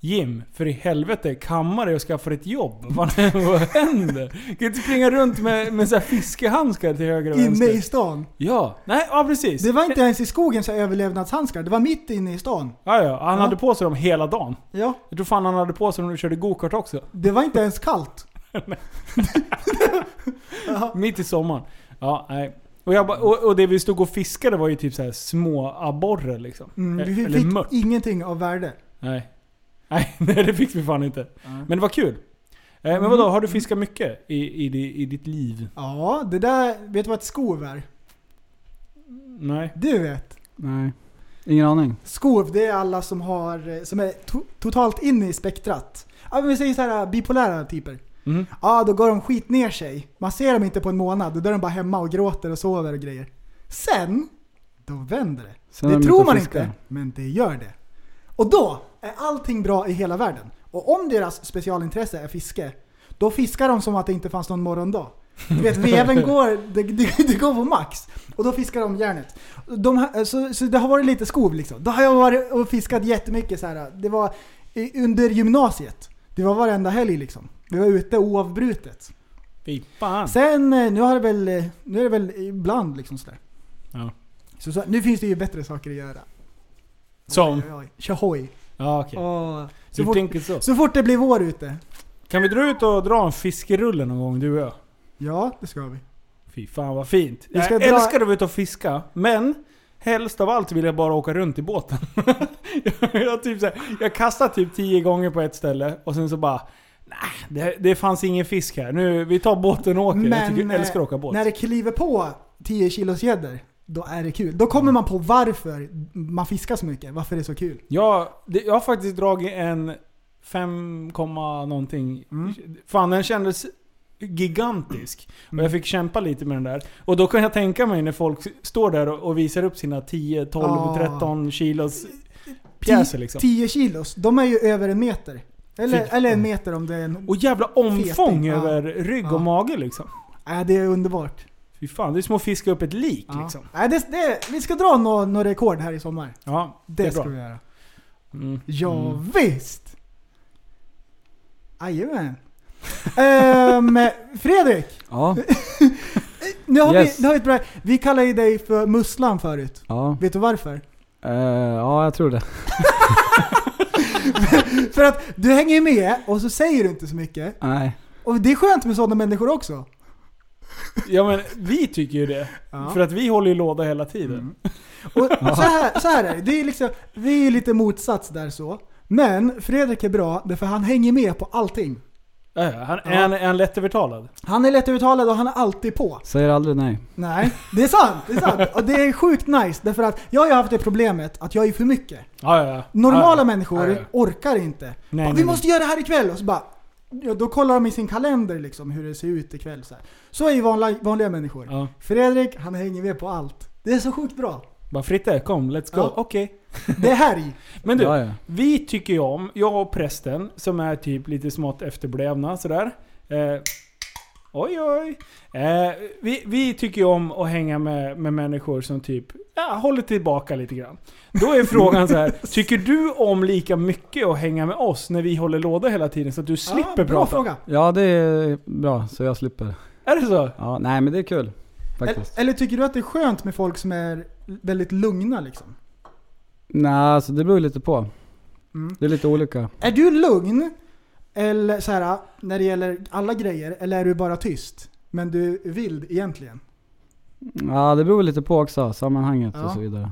Jim, för i helvete, kamma dig och skaffa dig ett jobb. Vad vad händer? Du kan inte springa runt med, med så här fiskehandskar till höger och
Inne i
vänster.
stan.
Ja, nej, ja precis.
Det var inte ens i skogen så här överlevnadshandskar. Det var mitt inne i stan.
Ja, ja, han
Ja.
hade på sig dem hela dagen.
Ja,
Jag tror fan han hade på sig dem när du körde gokart också.
det var inte ens kallt.
Mitt i sommaren. Ja, nej. Och, jag bara, och, och det vi stod och fiskade var ju typ så här små abborre liksom.
Mm, vi
Eh,
fick
Eller mört.
ingenting av värde.
Nej. nej. Nej, det fick vi fan inte. Men det var kul. Eh, Men vadå, har du fiskat mycket i, i, di- i ditt liv?
Ja, det där... Vet du vad ett skov är?
Nej.
Du vet.
Nej. Ingen aning.
Skov, det är alla som, har, eh, som är to- totalt inne i spektrat. Ja, men vi säger så här bipolära typer.
Mm.
Ja, då går de skit ner sig. Man ser dem inte på en månad, då är de bara hemma och gråter och sover och grejer. Sen, då vänder det.
Sen är
det
de
tror
ute och
man
fiskar.
inte, men det gör det. Och då är allting bra i hela världen. Och om deras specialintresse är fiske, då fiskar de som att det inte fanns någon morgondag. Du vet, veven går, det, det, det går på max. Och då fiskar de järnet. De, här- så, så det har varit lite skov liksom. Då har jag varit och fiskat jättemycket så här. Det var i- under gymnasiet. Det var varenda helg liksom. Vi var ute oavbrutet.
Fy fan.
Sen, eh, nu, har det väl, eh, nu är det väl ibland liksom sådär.
Ja.
Så, så, nu finns det ju bättre saker att göra.
Som?
Oj, oj. Tjohoj.
Ja, okej.
Åh.
Du
Så, fort,
tänker så.
så fort det blir vår ute.
Kan vi dra ut och dra en fiskerulle någon gång du och jag?
Ja, det ska vi.
Fy fan vad fint.
Vi ska
jag
dra-
älskar att vara ute och fiska, men helst av allt vill jag bara åka runt i båten. jag, jag, typ så här, jag kastar typ tio gånger på ett ställe och sen så bara Nej, det, det fanns ingen fisk här. Nu, vi tar båten och åker. jag, tycker, jag
eh,
älskar att åka båt.
när det kliver på 10 kilos gäddor, då är det kul. Då
Mm.
kommer man på varför man fiskar så mycket. Varför det är så kul.
Jag, det, jag har faktiskt dragit en 5, komma någonting.
Mm.
Fan den kändes gigantisk. Och
Mm.
jag fick kämpa lite med den där. Och då kan jag tänka mig när folk s- står där och, och visar upp sina 10, 12,
Ah.
13 kilos
Ti-
pjäser liksom.
10 kilos, de är ju över en meter. Eller,
Fy-
eller en meter om det är en...
Och jävla omfång
Feting, ah.
över rygg
Ah.
och mage liksom.
Nej, Äh, det är underbart.
Fy fan, det är som att fiska upp ett lik
Ja.
liksom.
Nej, det, det, vi ska dra några nå rekord här i sommar.
Ja,
Det,
är
ska
bra.
vi göra.
Mm.
Ja,
Mm.
visst! Jajamän. Ehm, Fredrik!
Ja.
Nu har,
Yes.
vi, nu har vi ett bra... Vi kallade ju dig för Musslan förut.
Ja.
Vet du varför?
Eh, ja, jag tror det.
För att du hänger ju med och så säger du inte så mycket.
Nej.
Och det är skönt med sådana människor också.
Ja men vi tycker ju det.
Ja.
För att vi håller ju låda hela tiden.
Mm. Och så, här, så här är det. det är liksom, vi är ju lite motsats där så. Men Fredrik är bra därför han hänger med på allting.
Ja, ja, han,
Ja.
Är, han, är han lättövertalad?
Han är lättövertalad och han är alltid på.
Säger aldrig nej.
Nej, det är sant. Det är sant. Och det är sjukt nice därför att jag har ju haft det problemet att jag är för mycket.
Ja, ja, ja.
Normala
Ja, ja.
människor
Ja, ja.
orkar inte.
Nej,
bara,
nej,
vi
nej.
måste göra det här ikväll! Och så bara, ja, då kollar de i sin kalender liksom hur det ser ut ikväll. Så, här. så är ju vanliga, vanliga människor.
Ja.
Fredrik, han hänger med på allt. Det är så sjukt bra.
Bara Fritte, kom, let's go.
Ja.
Okej.
Det är härj.
Men du,
Ja, ja.
vi tycker ju om, jag och prästen, som är typ lite smått efterblivna sådär. Eh, Oj oj. Eh, vi, vi tycker ju om att hänga med, med människor som typ ja, håller tillbaka lite grann. Då är frågan så här. tycker du om lika mycket att hänga med oss när vi håller låda hela tiden så att du slipper
bra
prata?
fråga.
Ja, det är bra så jag slipper.
Är det så?
Ja, nej men det är kul.
Eller,
Faktiskt.
eller tycker du att det är skönt med folk som är väldigt lugna liksom?
Nej, alltså det beror lite på.
Mm.
Det är lite olika.
Är du lugn eller så här, när det gäller alla grejer eller är du bara tyst? Men du är vild egentligen?
Ja, det beror lite på också. Sammanhanget
Ja.
och så vidare.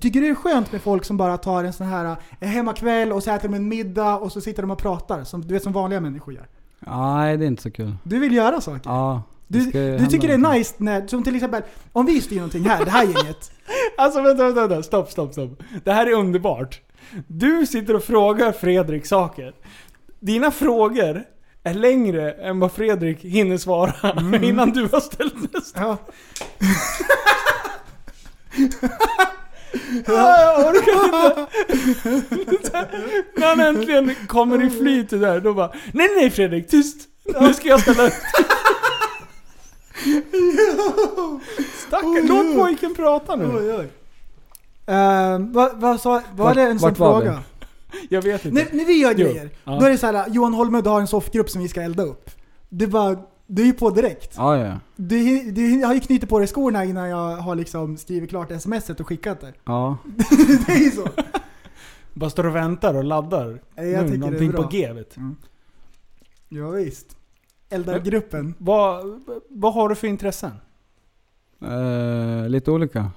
Tycker du det är skönt med folk som bara tar en sån här eh, hemmakväll och så äter de en middag och så sitter de och pratar? Som, du vet som vanliga människor gör.
Nej, det är inte så kul.
Du vill göra saker.
Ja. det
Du,
ska ju
du
hända
tycker det
någonting.
är nice när, som till exempel, om vi styr någonting här, det här gänget.
Alltså vänta, vänta, vänta. Stopp, stopp, stopp. Det här är underbart. Du sitter och frågar Fredrik saker. Dina frågor är längre än vad Fredrik hinner svara
Mm.
innan du har ställt nästa.
Ja.
Jag orkar inte. Så här, När han äntligen kommer i flyt det där, då bara Nej nej Fredrik, tyst! Nu ska jag ställa ut. Stackare, låt pojken prata nu.
oj. Eh, vad, vad sa, var
Vart-
det en sån
vart var
fråga?
Jag vet inte.
När, när vi gör
Jo.
grejer,
Ja.
då är det så här, Johan Holmud har en soffgrupp som vi ska elda upp. Det är bara, du är ju på direkt.
Ja, ja, ja.
Du, hin- du hin- jag har ju knutit på dig skorna innan jag har liksom skrivit klart smset och skickat det.
ja.
Det är ju så.
Bara står och väntar och laddar.
Nej, jag
nu,
tycker det är
någonting
bra.
på G vet du.
Ja, visst. Elda upp gruppen.
Vad, vad har du för intressen?
Eh, lite olika.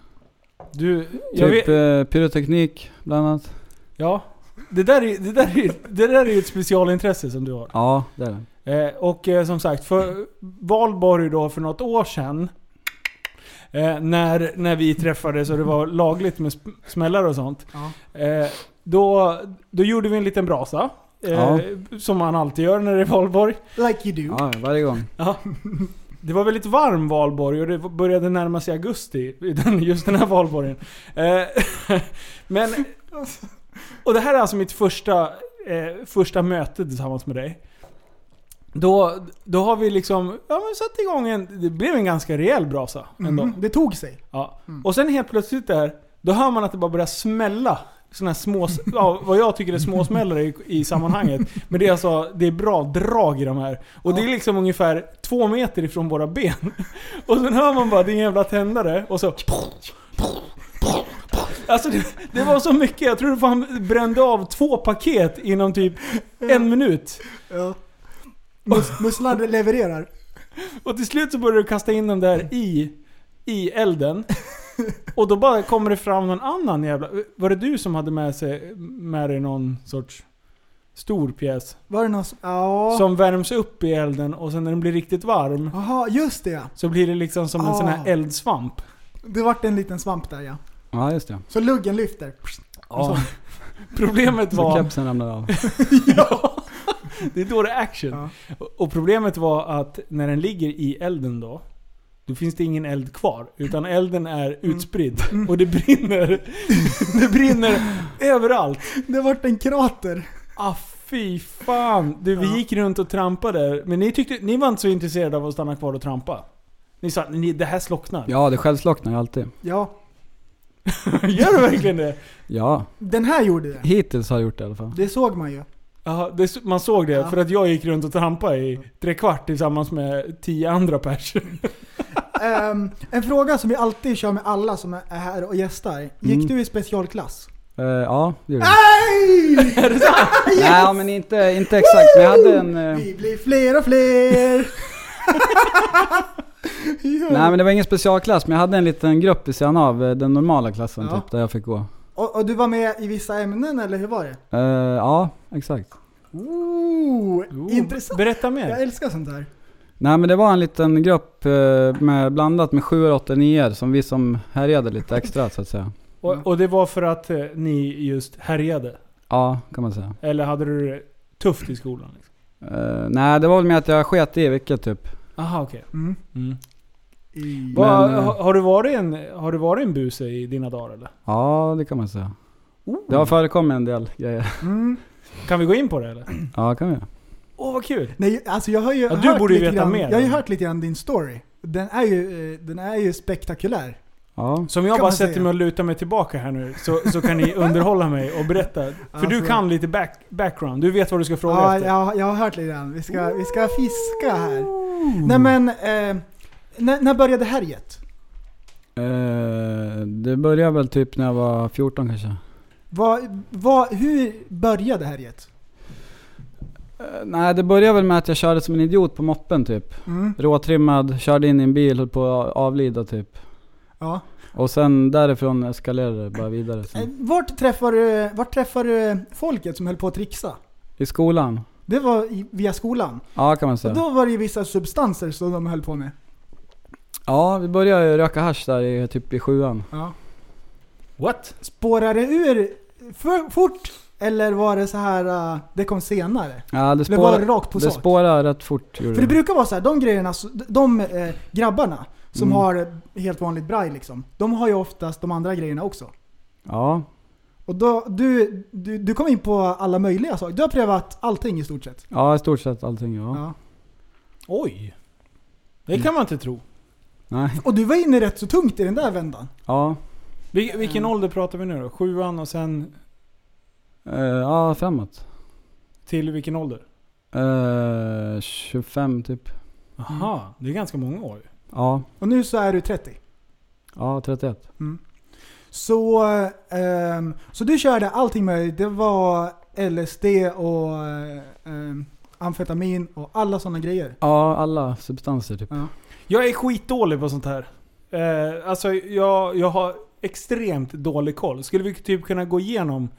Du, jag vet,
Typ eh, pyroteknik bland annat.
ja. Det där, är, det, där är, det där är ju ett specialintresse som du har.
Ja, det är det.
Eh, och eh, som sagt, för Valborg då för något år sedan. Eh, när, när vi träffades och det var lagligt med sp- smällar och sånt.
Ja.
Eh, då, då gjorde vi en liten brasa. Eh,
Ja.
Som man alltid gör när det är Valborg.
Like you do.
Ja, ja, varje gång.
Ja. Det var väldigt varm valborg och det började närma sig augusti, i den- just den här valborgen. Eh, Men, och det här är alltså mitt första, eh, första möte tillsammans med dig. Då, då har vi liksom ja, men satt igång en, det blev en ganska rejäl brasa ändå.
Mm, det tog sig.
Ja. Och sen helt plötsligt där, då hör man att det bara börjar smälla. Sådana här små, ja, vad jag tycker är småsmällare i, i sammanhanget. Men det är alltså, det är bra drag i de här. Och det är liksom ungefär två meter ifrån våra ben. Och sen hör man bara din jävla tändare och så... Alltså det, det var så mycket, jag tror fan brände av två paket inom typ en minut.
Ja. Mus- musslan levererar.
Och till slut så börjar du kasta in dem
Mm.
där i, i elden. Och då bara kommer det fram någon annan jävla... Var det du som hade med, sig, med dig någon sorts stor pjäs?
Var det någon som... Ja.
Som värms upp i elden och sen när den blir riktigt varm
Jaha, just det ja.
så blir det liksom som en sån här
Ah.
eldsvamp.
Det vart en liten svamp där ja.
Ja, just det.
Så luggen lyfter.
Ja. Problemet
Så
var...
kepsen ramlar av.
ja. Det är då det är action.
Ja.
Och- Och problemet var att när den ligger i elden då, då finns det ingen eld kvar. Utan elden
Mm.
är utspridd. Och det brinner. Det brinner överallt.
Det vart en krater.
Ah fy fan. Du, vi gick runt och trampade. Men ni, tyckte, ni var inte så intresserade av att stanna kvar och trampa. Ni sa ni, det här slocknar.
Ja, det självslocknar ju alltid.
Ja.
Gör du verkligen det?
Ja,
Den här gjorde det.
hittills har jag gjort det i alla fall.
Det såg man ju.
Ja, det, s- man såg det.
Ja. Mm.
För att jag gick runt och trampade i tre kvart tillsammans med tio andra pers.
Ehm, en fråga som vi alltid kör med alla som är här och gästar. Gick
Mm.
du i specialklass?
Eh, ja, det gjorde jag.
Nej!
Mm. Är det sant?
Nej, men inte, inte exakt. Men jag hade en... eh,
Vi blir fler och fler! Ja.
Nej men det var ingen specialklass, men jag hade en liten grupp vid sidan av eh, den normala klassen
Ja.
typ, där jag fick gå.
och, och du var med i vissa ämnen eller hur var det?
Eh, ja, exakt.
Ooh, intressant!
Berätta
Jag
mer.
älskar sånt där.
Nej men det var en liten grupp eh, med, blandat med 7 8 9 som vi som härjade lite extra så att säga.
Och, och det var för att eh, ni just härjade?
Ja, kan man säga.
Eller hade du det tufft i skolan? Liksom?
Eh, nej, det var väl med att jag sket i vilket typ.
Aha, okej.
Mm.
Mm.
I,
Va?
Vad-
eh,
ha- har, du varit en, har du varit en buse i dina dagar eller?
Ja, det kan man säga. Det har förekommit en del grejer.
mm.
Kan vi gå in på det eller?
Ja, kan vi göra.
Åh vad kul!
Nej, alltså jag har ju
Ja,
hört
du borde ju
lite
veta
grann,
mer.
Jag har ju hört lite grann din story. Den är ju, eh, den är ju spektakulär.
Ja.
Så om jag
Kan
bara
man
sätter
säga.
mig och lutar mig tillbaka här nu så, så kan ni underhålla mig och berätta. För du
Alltså-
kan lite back, background, du vet vad du ska fråga
Ja,
efter.
jag, jag har hört lite grann. Vi ska, vi ska fiska här. Nej men, eh, när, när började härjet?
Eh, det började väl typ när jag var 14 kanske.
Vad, vad, hur började härjet?
Eh, nej, det började väl med att jag körde som en idiot på moppen typ.
Mm,
Råtrimmad, körde in i en bil, höll på att avlida typ.
ja.
Och sen därifrån eskalerade det bara vidare.
Eh,
Sen.
Vart träffade du, vart träffade du folket som höll på att trixa?
I skolan?
Det var i, via skolan.
Ja kan man
Och
säga.
då var det ju vissa substanser som de höll på med.
Ja, vi började ju röka hasch där i, typ i sjuan.
Ja.
What?
Spårade det ur för, fort? Eller var det så här, eh, det kom senare?
Ja, det
Eller var det
spårade,
rakt på
det
sak?
spårade rätt fort gjorde
För det
det.
brukar vara så här, de grejerna, så- de eh, grabbarna som
Mm.
har helt vanligt braj liksom. De har ju oftast de andra grejerna också.
Ja,
Och då, du, du, du kom in på alla möjliga saker. Du har prövat allting i stort sett.
ja i stort sett allting ja.
Ja.
Oj! Det kan man inte tro.
Nej,
Och du var inne rätt så tungt i den där vändan.
ja.
Vil, vilken ålder pratar vi nu då? Sjuan och sen
Eh, ja, framåt.
till vilken ålder?
Eh, 25 typ.
Aha, det är ganska många år.
Ja,
Och nu så är du 30.
ja 31.
Så, ehm, så du körde allting möjligt. Det var LSD och ehm, amfetamin och alla sådana grejer.
Ja, alla substanser typ.
Jag är skitdålig på sånt här. Eh, alltså jag, jag har extremt dålig koll. Skulle vi typ kunna gå igenom...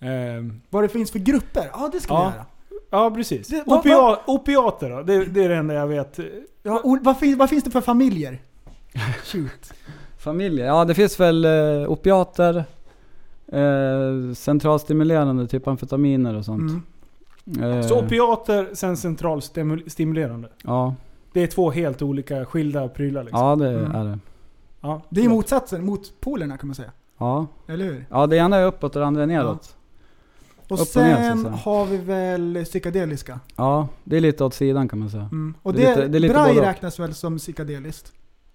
ehm,
Vad det finns för grupper? Ja, det ska
Ja.
vi göra.
ja precis.
Det- vad-
Opia, opiater då, det, det är det enda jag vet.
Ja, och vad, finns, vad finns det för familjer? Shoot.
Familjer? Ja, det finns väl eh, opiater, eh, centralstimulerande, typ amfetaminer och sånt.
Mm.
Eh,
Så opiater, sen centralstimulerande.
Ja,
Det är två helt olika skilda prylar liksom.
ja det
Mm.
är det.
Ja.
Det är motsatsen, motpolerna kan man säga.
Ja.
Eller hur?
ja, det ena är uppåt och det andra är neråt.
Och
Upp och
sen
ner, så att säga.
har vi väl psykedeliska.
Ja. det är lite åt sidan kan man säga.
Mm. Och
Det är
det,
lite- det är lite
Brai
både och.
räknas väl som psykedeliskt?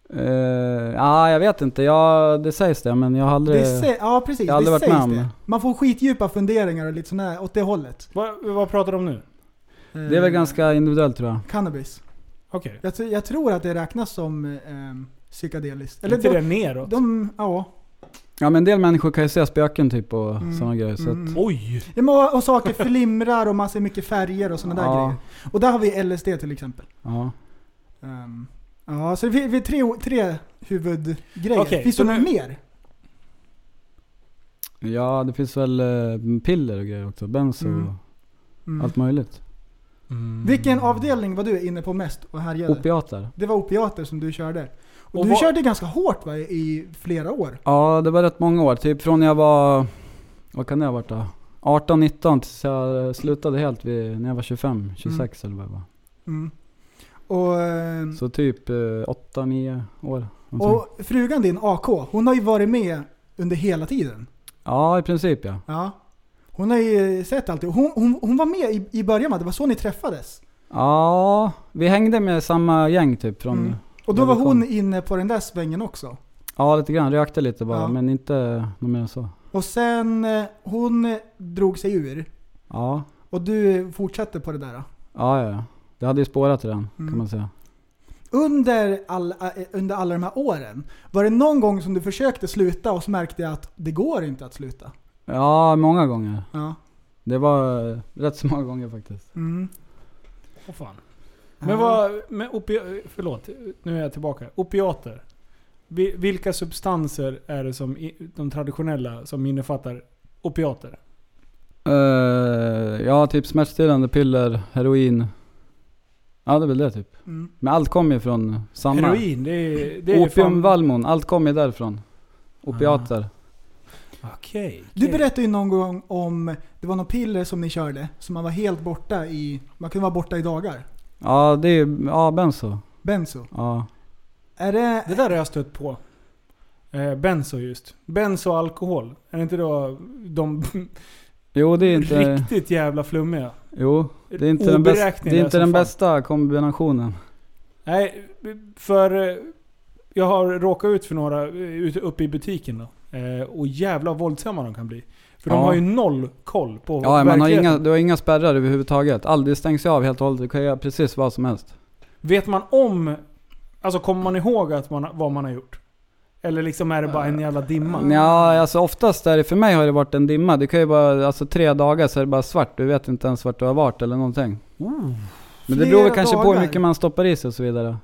Eh, ja, jag vet inte. Jag, det sägs det, men jag har aldrig...
Det sä- ja precis,
jag har aldrig
det
varit
sägs
med om
det.
det.
Man får skitdjupa funderingar och lite sådär åt det hållet. Eh,
Vad, vad pratar de om nu?
det är väl ganska individuellt tror jag.
Cannabis.
Okej.
Jag, tr- jag tror att det räknas som ehm, psykedeliskt.
Eller
Eller
inte
de,
det neråt?
de, ja.
Ja men en del människor kan ju se spöken typ och sådana grejer. Så
Mm.
att,
Oj!
Ja, men Och, och saker flimrar och man ser mycket färger och sådana där
Ja.
grejer. Och där har vi LSD till exempel.
ja.
Ehm, ja, så vi, vi är tre, tre huvudgrejer.
Okej,
Finns
så
det något
nu-
mer?
ja det finns väl eh, piller och grejer också. Benzo och
Mm. Mm.
allt möjligt.
Vilken
Mm.
avdelning var du inne på mest och härjade?
Opiater.
det var opiater som du körde. Och,
Och
du
vad-
körde ganska hårt va, i flera år?
Ja det var rätt många år. Typ från när jag var, vad kan det ha varit då? 18-19 tills jag eh, slutade helt vid, när jag var 25, 26 eller vad jag var.
Mm. Och, ehm,
Så typ eh, 8-9 år. någonting.
och frugan din, AK, hon har ju varit med under hela tiden.
Ja i princip ja.
Ja. Hon har ju sett allt. Hon, hon, hon var med i, i början va? Det var så ni träffades.
Ja, vi hängde med samma gäng typ från,
Mm. Och då
Ja,
var
det
hon
kom.
inne på den där svängen också.
ja lite grann, rökte lite bara
Ja.
men inte något mer än så.
Och sen, eh, hon eh, drog sig ur.
Ja,
Och du fortsatte på det där. Då.
ja ja. ja. Det hade ju spårat redan
Mm.
kan man säga.
Under, all, eh, under alla de här åren, var det någon gång som du försökte sluta och så märkte jag att det går inte att sluta?
Ja, många gånger.
Ja.
Det var eh, rätt så många gånger faktiskt.
Mm.
Åh, fan. Men vad... Men opi- förlåt, nu är jag tillbaka. Opiater. Vi- Vilka substanser är det som i- de traditionella som innefattar opiater?
Eh, ja, typ smärtstillande piller, heroin. Ja, det är väl det typ.
Mm.
Men allt kommer ju från samma.
Heroin, det är... Det är
Opium,
fan- Ah.
Valmon, allt kommer ju därifrån. Opiater.
Okej. okej.
Du berättade ju någon gång om, det var något piller som ni körde, som man var helt borta i, man kunde vara borta i dagar.
Ja, det är ju, ja benzo.
Benzo.
Ja.
Är det,
Det där har jag stött på. Eh, benzo just. Benzo och alkohol. Är det inte då de
Jo, det är inte...
riktigt jävla flummiga?
Jo, Det är inte den, bäst, det
Oberäkneliga
är inte
som
den
fan.
bästa kombinationen.
Nej, för eh, jag har råkat ut för några eh, ute- uppe i butiken då. Eh, Och jävla våldsamma de kan bli. För de
Ja.
har ju noll koll på
Ja, man har
verkligheten.
inga, du har inga spärrar överhuvudtaget. Allt, det stängs ju av helt och hållet. Du kan göra precis vad som helst.
Vet man om... Alltså kommer man ihåg att man, vad man har gjort? Eller liksom är det bara en jävla dimma?
Ja, alltså oftast är det, för mig har det varit en dimma. Det kan ju bara, alltså tre dagar så är det bara svart. Du vet inte ens vart du har varit eller någonting. Men det beror väl
Flera
kanske på hur
dagar.
mycket man stoppar i sig och så vidare.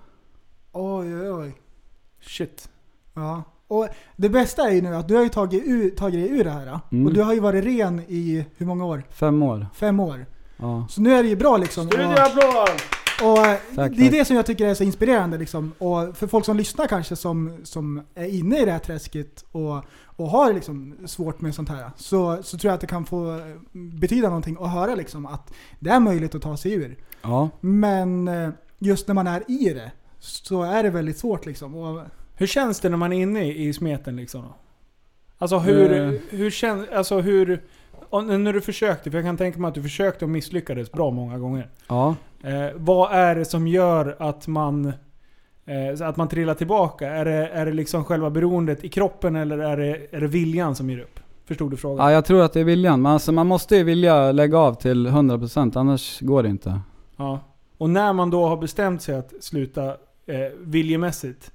Oj, oj, oj.
Shit.
Ja. Och det bästa är ju nu att du har ju tagit, ur, tagit dig ur det här.
Mm.
Och du har ju varit ren i hur många år?
Fem år.
Fem år.
Ja.
Så nu är det ju bra liksom. Och,
Studioapplåd!
och eh,
Tack,
det är
tack.
det som jag tycker är så inspirerande liksom. Och för folk som lyssnar kanske som, som är inne i det här träsket och, och har liksom svårt med sånt här. Så, så tror jag att det kan få eh, betyda någonting att höra liksom att det är möjligt att ta sig ur.
ja.
Men eh, just när man är i det så är det väldigt svårt liksom. Och,
Hur känns det när man är inne i smeten liksom? då? Alltså hur,
Eh.
hur känns, alltså hur... om- När du försökte, för jag kan tänka mig att du försökte och misslyckades bra många gånger.
Ja.
Eh, vad är det som gör att man, eh, så att man trillar tillbaka? Är det, är det liksom själva beroendet i kroppen eller är det, är det viljan som ger upp? Förstod du frågan?
ja, jag tror att det är viljan. Men alltså, man måste ju vilja lägga av till 100% annars går det inte.
Ja. Och när man då har bestämt sig att sluta eh, viljemässigt,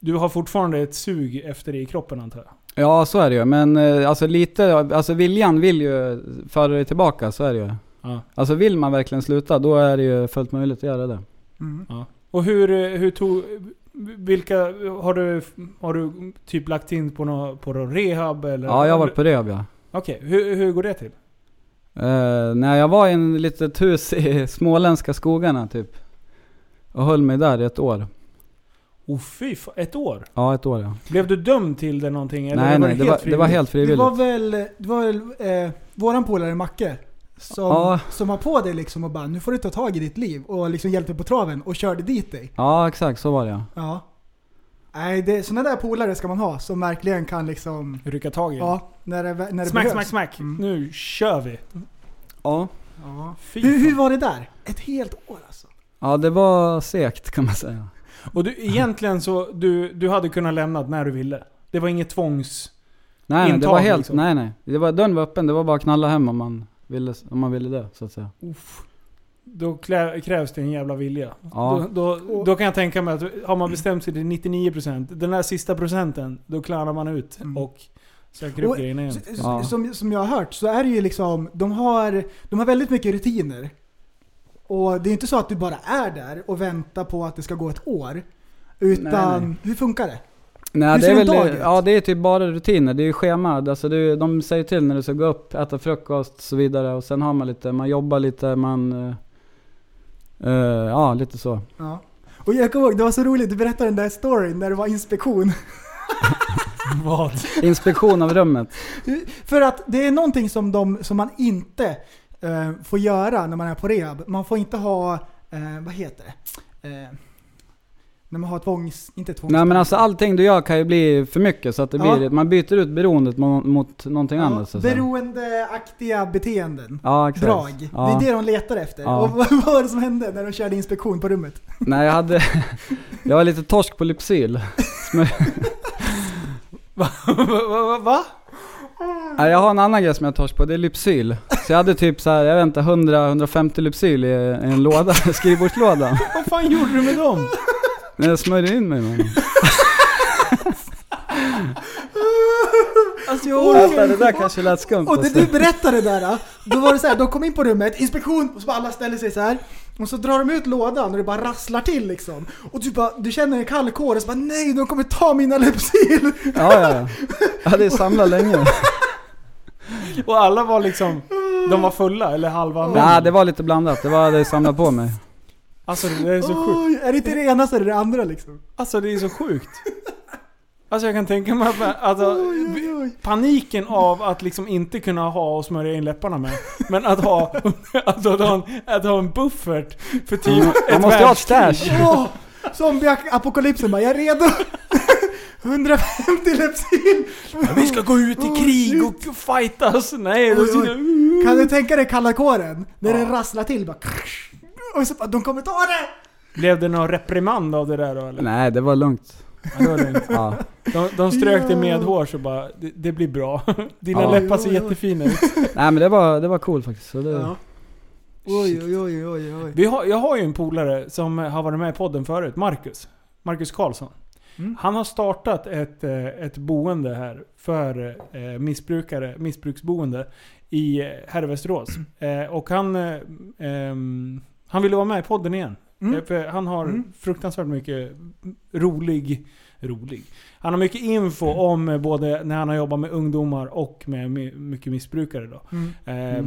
du har fortfarande ett sug efter det i kroppen antar jag?
Ja, så är det ju. Men eh, alltså lite, alltså viljan vill ju föra dig tillbaka, så är det ju.
Ja.
Alltså vill man verkligen sluta, då är det ju fullt möjligt att göra det.
mm.
Och hur, eh, hur tog... Vilka, har du, har du typ lagt in på någon, på någon rehab eller?
Ja, jag har varit på rehab ja.
Okej, hur, hur går det till?
Eh, när jag var i en litet hus i småländska skogarna typ. Och höll mig där i ett år.
Oh fy fan, ett år?
Ja, ett år ja.
Blev du dömd till det någonting? Eller
nej, nej, det var, det var
frivilligt?
helt
Det
frivilligt.
var väl, det var väl eh, våran polare Macke som,
Ja.
som var på dig liksom och bara nu får du ta tag i ditt liv och liksom hjälpte på traven och körde dit dig.
Ja, exakt så var det ja.
Ja. Nej, det, sådana där polare ska man ha som verkligen kan liksom,
Rycka tag i?
ja, när det, när det
smack,
behövs.
smack, smack.
Mm.
Nu kör vi.
Ja.
Ja.
Fy
Hur, hur
fan.
var det där? Ett helt år alltså?
ja, det var segt kan man säga.
Och du, egentligen så, du, du hade kunnat lämna när du ville. Det var inget tvångs...
Nej, nej, det
Intag,
var helt,
liksom.
nej, nej. Det var, dörren var öppen, det var bara att knalla hem om man ville, om man ville det så att säga.
Då klä, krävs det en jävla vilja.
Ja,
Då, då, då kan jag tänka mig att har man bestämt sig till 99%, den där sista procenten, då klarar man ut
Mm.
och söker upp
Och-
grejerna igen.
S- s-
Ja.
Som, som jag har hört så är det ju liksom, de har, de har väldigt mycket rutiner. Och det är inte så att du bara är där och väntar på att det ska gå ett år. Utan,
Nej, nej.
hur funkar det?
nej,
hur
det
ser
är
en dag
väl,
ut?
ja det är typ bara rutiner. Det är ju schema. Alltså det är, de säger till när du ska gå upp, äta frukost och så vidare. Och sen har man lite, man jobbar lite, man... eh, eh, ja, lite så.
Ja. Och jag kommer ihåg, det var så roligt, du berättade den där storyn när det var inspektion.
Vad?
Inspektion av rummet.
För att det är någonting som, de, som man inte eh, får göra när man är på rehab. Man får inte ha, eh, vad heter det? Eh, när man har tvångs... Inte tvångs...
Nej men alltså allting du gör kan ju bli för mycket så att det
Ja.
blir, man byter ut beroendet mot, mot någonting annat så att säga.
beroendeaktiga beteenden.
Ja exakt.
Drag.
Ja.
Det är det de letar efter.
Ja.
Och vad var det som hände när de körde inspektion på rummet?
Nej jag hade, jag var lite torsk på Lypsyl.
va, va, va?
Nej, jag har en annan grej som jag är torsk på, det är Lypsyl. Så jag hade typ så här, jag vet inte, 100-150 Lypsyl i en låda, skrivbordslådan.
Vad fan gjorde du med dem?
Men jag smörjde in mig med den.
Alltså jag
Oh, Vänta, det där kanske lät skumt
Och det
alltså.
du berättade där, ah, då var det så här, de kom in på rummet, inspektion, och så bara alla ställer sig så här. Och så drar de ut lådan och det bara rasslar till liksom. Och du, bara, du känner en kall kår och så bara nej, de kommer ta mina Lypsyl!
Ja, ja, ja. Jag hade samlat länge.
Och alla var liksom... De var fulla eller halva
Nej, det var lite blandat. Det var det jag samlade på mig.
Alltså det där är så sjukt.
Oj, är det inte det ena så är det det andra liksom.
Alltså det är så sjukt. Alltså jag kan tänka mig att man, alltså,
Oj, oj.
paniken av att liksom inte kunna ha och smörja in läpparna med. Men att ha, att ha, en, att ha en buffert för typ
Man
ett
måste ha ett
världskrig.
stash.
Åh! Zombieapokalypsen bara, jag är redo! 150 Lypsyl!
Vi ska gå ut i krig och fightas. Nej, då
Oj, oj.
sitter
Kan du tänka dig kalla kåren? När den rasslar till bara... Och så bara, de kommer ta det!
Blev det någon reprimand av det där då eller?
Nej, det var lugnt.
Ja, det var lugnt.
Ja.
de, de strök det med hår så bara, det, det blir bra. Dina
Ja.
läppar ser jättefina ut.
Nej men det var, det var cool faktiskt. Så det,
Ja. Oj, oj, oj, oj, oj.
Vi har, jag har ju en polare som har varit med i podden förut, Marcus. Marcus Karlsson.
Mm.
Han har startat ett, eh, ett boende här för eh, missbrukare, missbruksboende i eh, här i Västerås.
Mm.
Eh, Och han, eh, ehm, han ville vara med i podden igen.
Mm.
Eh, För han har
Mm.
fruktansvärt mycket rolig, rolig. Han har mycket info
Mm.
om eh, både när han har jobbat med ungdomar och med mi- mycket missbrukare då.
Mm.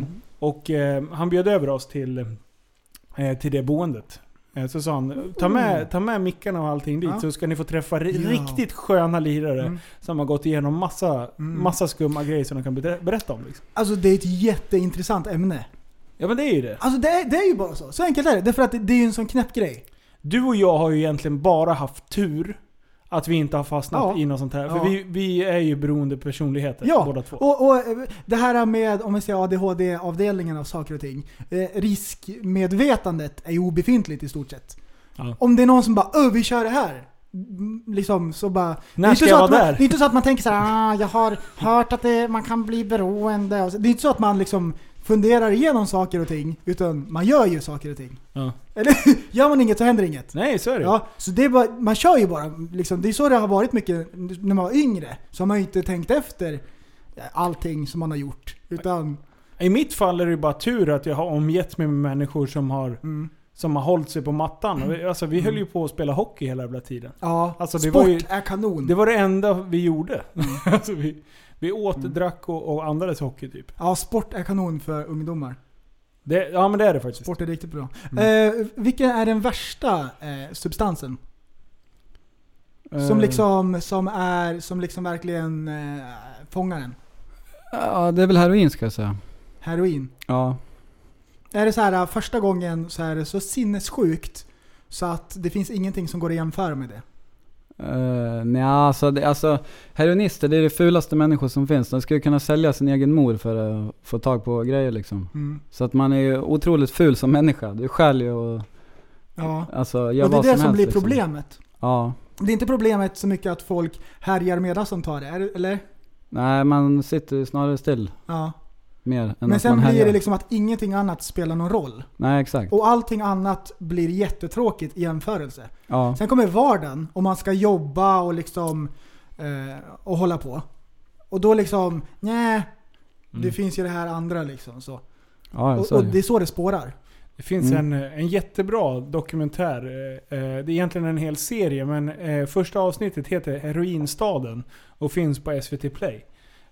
Eh, Och eh, han bjöd över oss till, eh, till det boendet. Eh, så sa han, ta med, ta med mickarna och allting dit
Mm. Ja.
så ska ni få träffa ri-
Ja.
riktigt sköna lirare
Mm.
som har gått igenom massa,
Mm.
massa skumma grejer som de kan ber- berätta om. Liksom.
Alltså det är ett jätteintressant ämne.
Ja men det är ju det.
Alltså det är, det är ju bara så. Så enkelt är det. Därför att det, det är ju en sån knäpp grej.
Du och jag har ju egentligen bara haft tur att vi inte har fastnat
Ja.
i något sånt här. För
Ja.
vi, vi är ju beroende personligheter
Ja,
båda två.
Och, och eh, det här med, om vi säger ADHD-avdelningen av saker och ting. Eh, riskmedvetandet är ju obefintligt i stort sett.
Ja.
Om det är någon som bara "Ö, vi kör det här. Mm, Liksom så bara... det är
När
inte
ska
så
jag
att
vara
man,
där?
Det är inte så att man tänker så här, ah, jag har hört att det, man kan bli beroende. Och så- Det är inte så att man liksom funderar igenom saker och ting. Utan man gör ju saker och ting.
Ja.
Eller gör man inget så händer inget.
Nej, så är det ju.
Ja, så det är bara, man kör ju bara. Liksom, det är så det har varit mycket när man var yngre. Så har man ju inte tänkt efter allting som man har gjort. Utan,
I mitt fall är det ju bara tur att jag har omgett mig med människor som har,
Mm.
som har hållit sig på mattan. Och vi- Alltså, vi höll ju på att spela hockey hela jävla tiden.
ja,
Alltså, det
sport
var ju-
är kanon.
Det var det enda vi gjorde.
Mm.
alltså, vi, vi åt, drack och, och andades hockey typ.
Ja, sport är kanon för ungdomar.
Det, ja men det är det faktiskt.
Sport är riktigt bra.
Mm.
Eh, vilken är den värsta eh, substansen? Som
eh,
liksom, som är, som liksom verkligen eh, fångar en?
Ja, det är väl heroin ska jag säga.
Heroin.
Ja.
Är det så här eh, första gången så är det så sinnessjukt så att det finns ingenting som går att jämföra med det.
Uh, nej, alltså, det, alltså heroinister det är det fulaste människor som finns. De skulle kunna sälja sin egen mor för att få tag på grejer liksom.
Mm.
Så att man är ju otroligt ful som människa. Du skäl ju och
Ja.
alltså, gör
och det är
vad
det som,
helst,
blir
liksom.
problemet.
Ja.
Det är inte problemet så mycket att folk härjar medan som tar det, är det- eller?
Nej, man sitter ju snarare still
Ja.
mer än
Men
att
sen
man
blir
härjar.
det liksom att ingenting annat spelar någon roll.
Nej, exakt.
Och allting annat blir jättetråkigt i jämförelse.
Ja.
Sen kommer vardagen och man ska jobba och liksom eh, och hålla på. Och då liksom, nej, det finns ju det här andra liksom. Så.
Mm. Ja,
Och,
så är
och
det ju.
det är så det spårar.
Det finns
Mm.
en, en jättebra dokumentär. eh, eh, Det är egentligen en hel serie men eh, första avsnittet heter Heroinstaden och finns på SVT Play.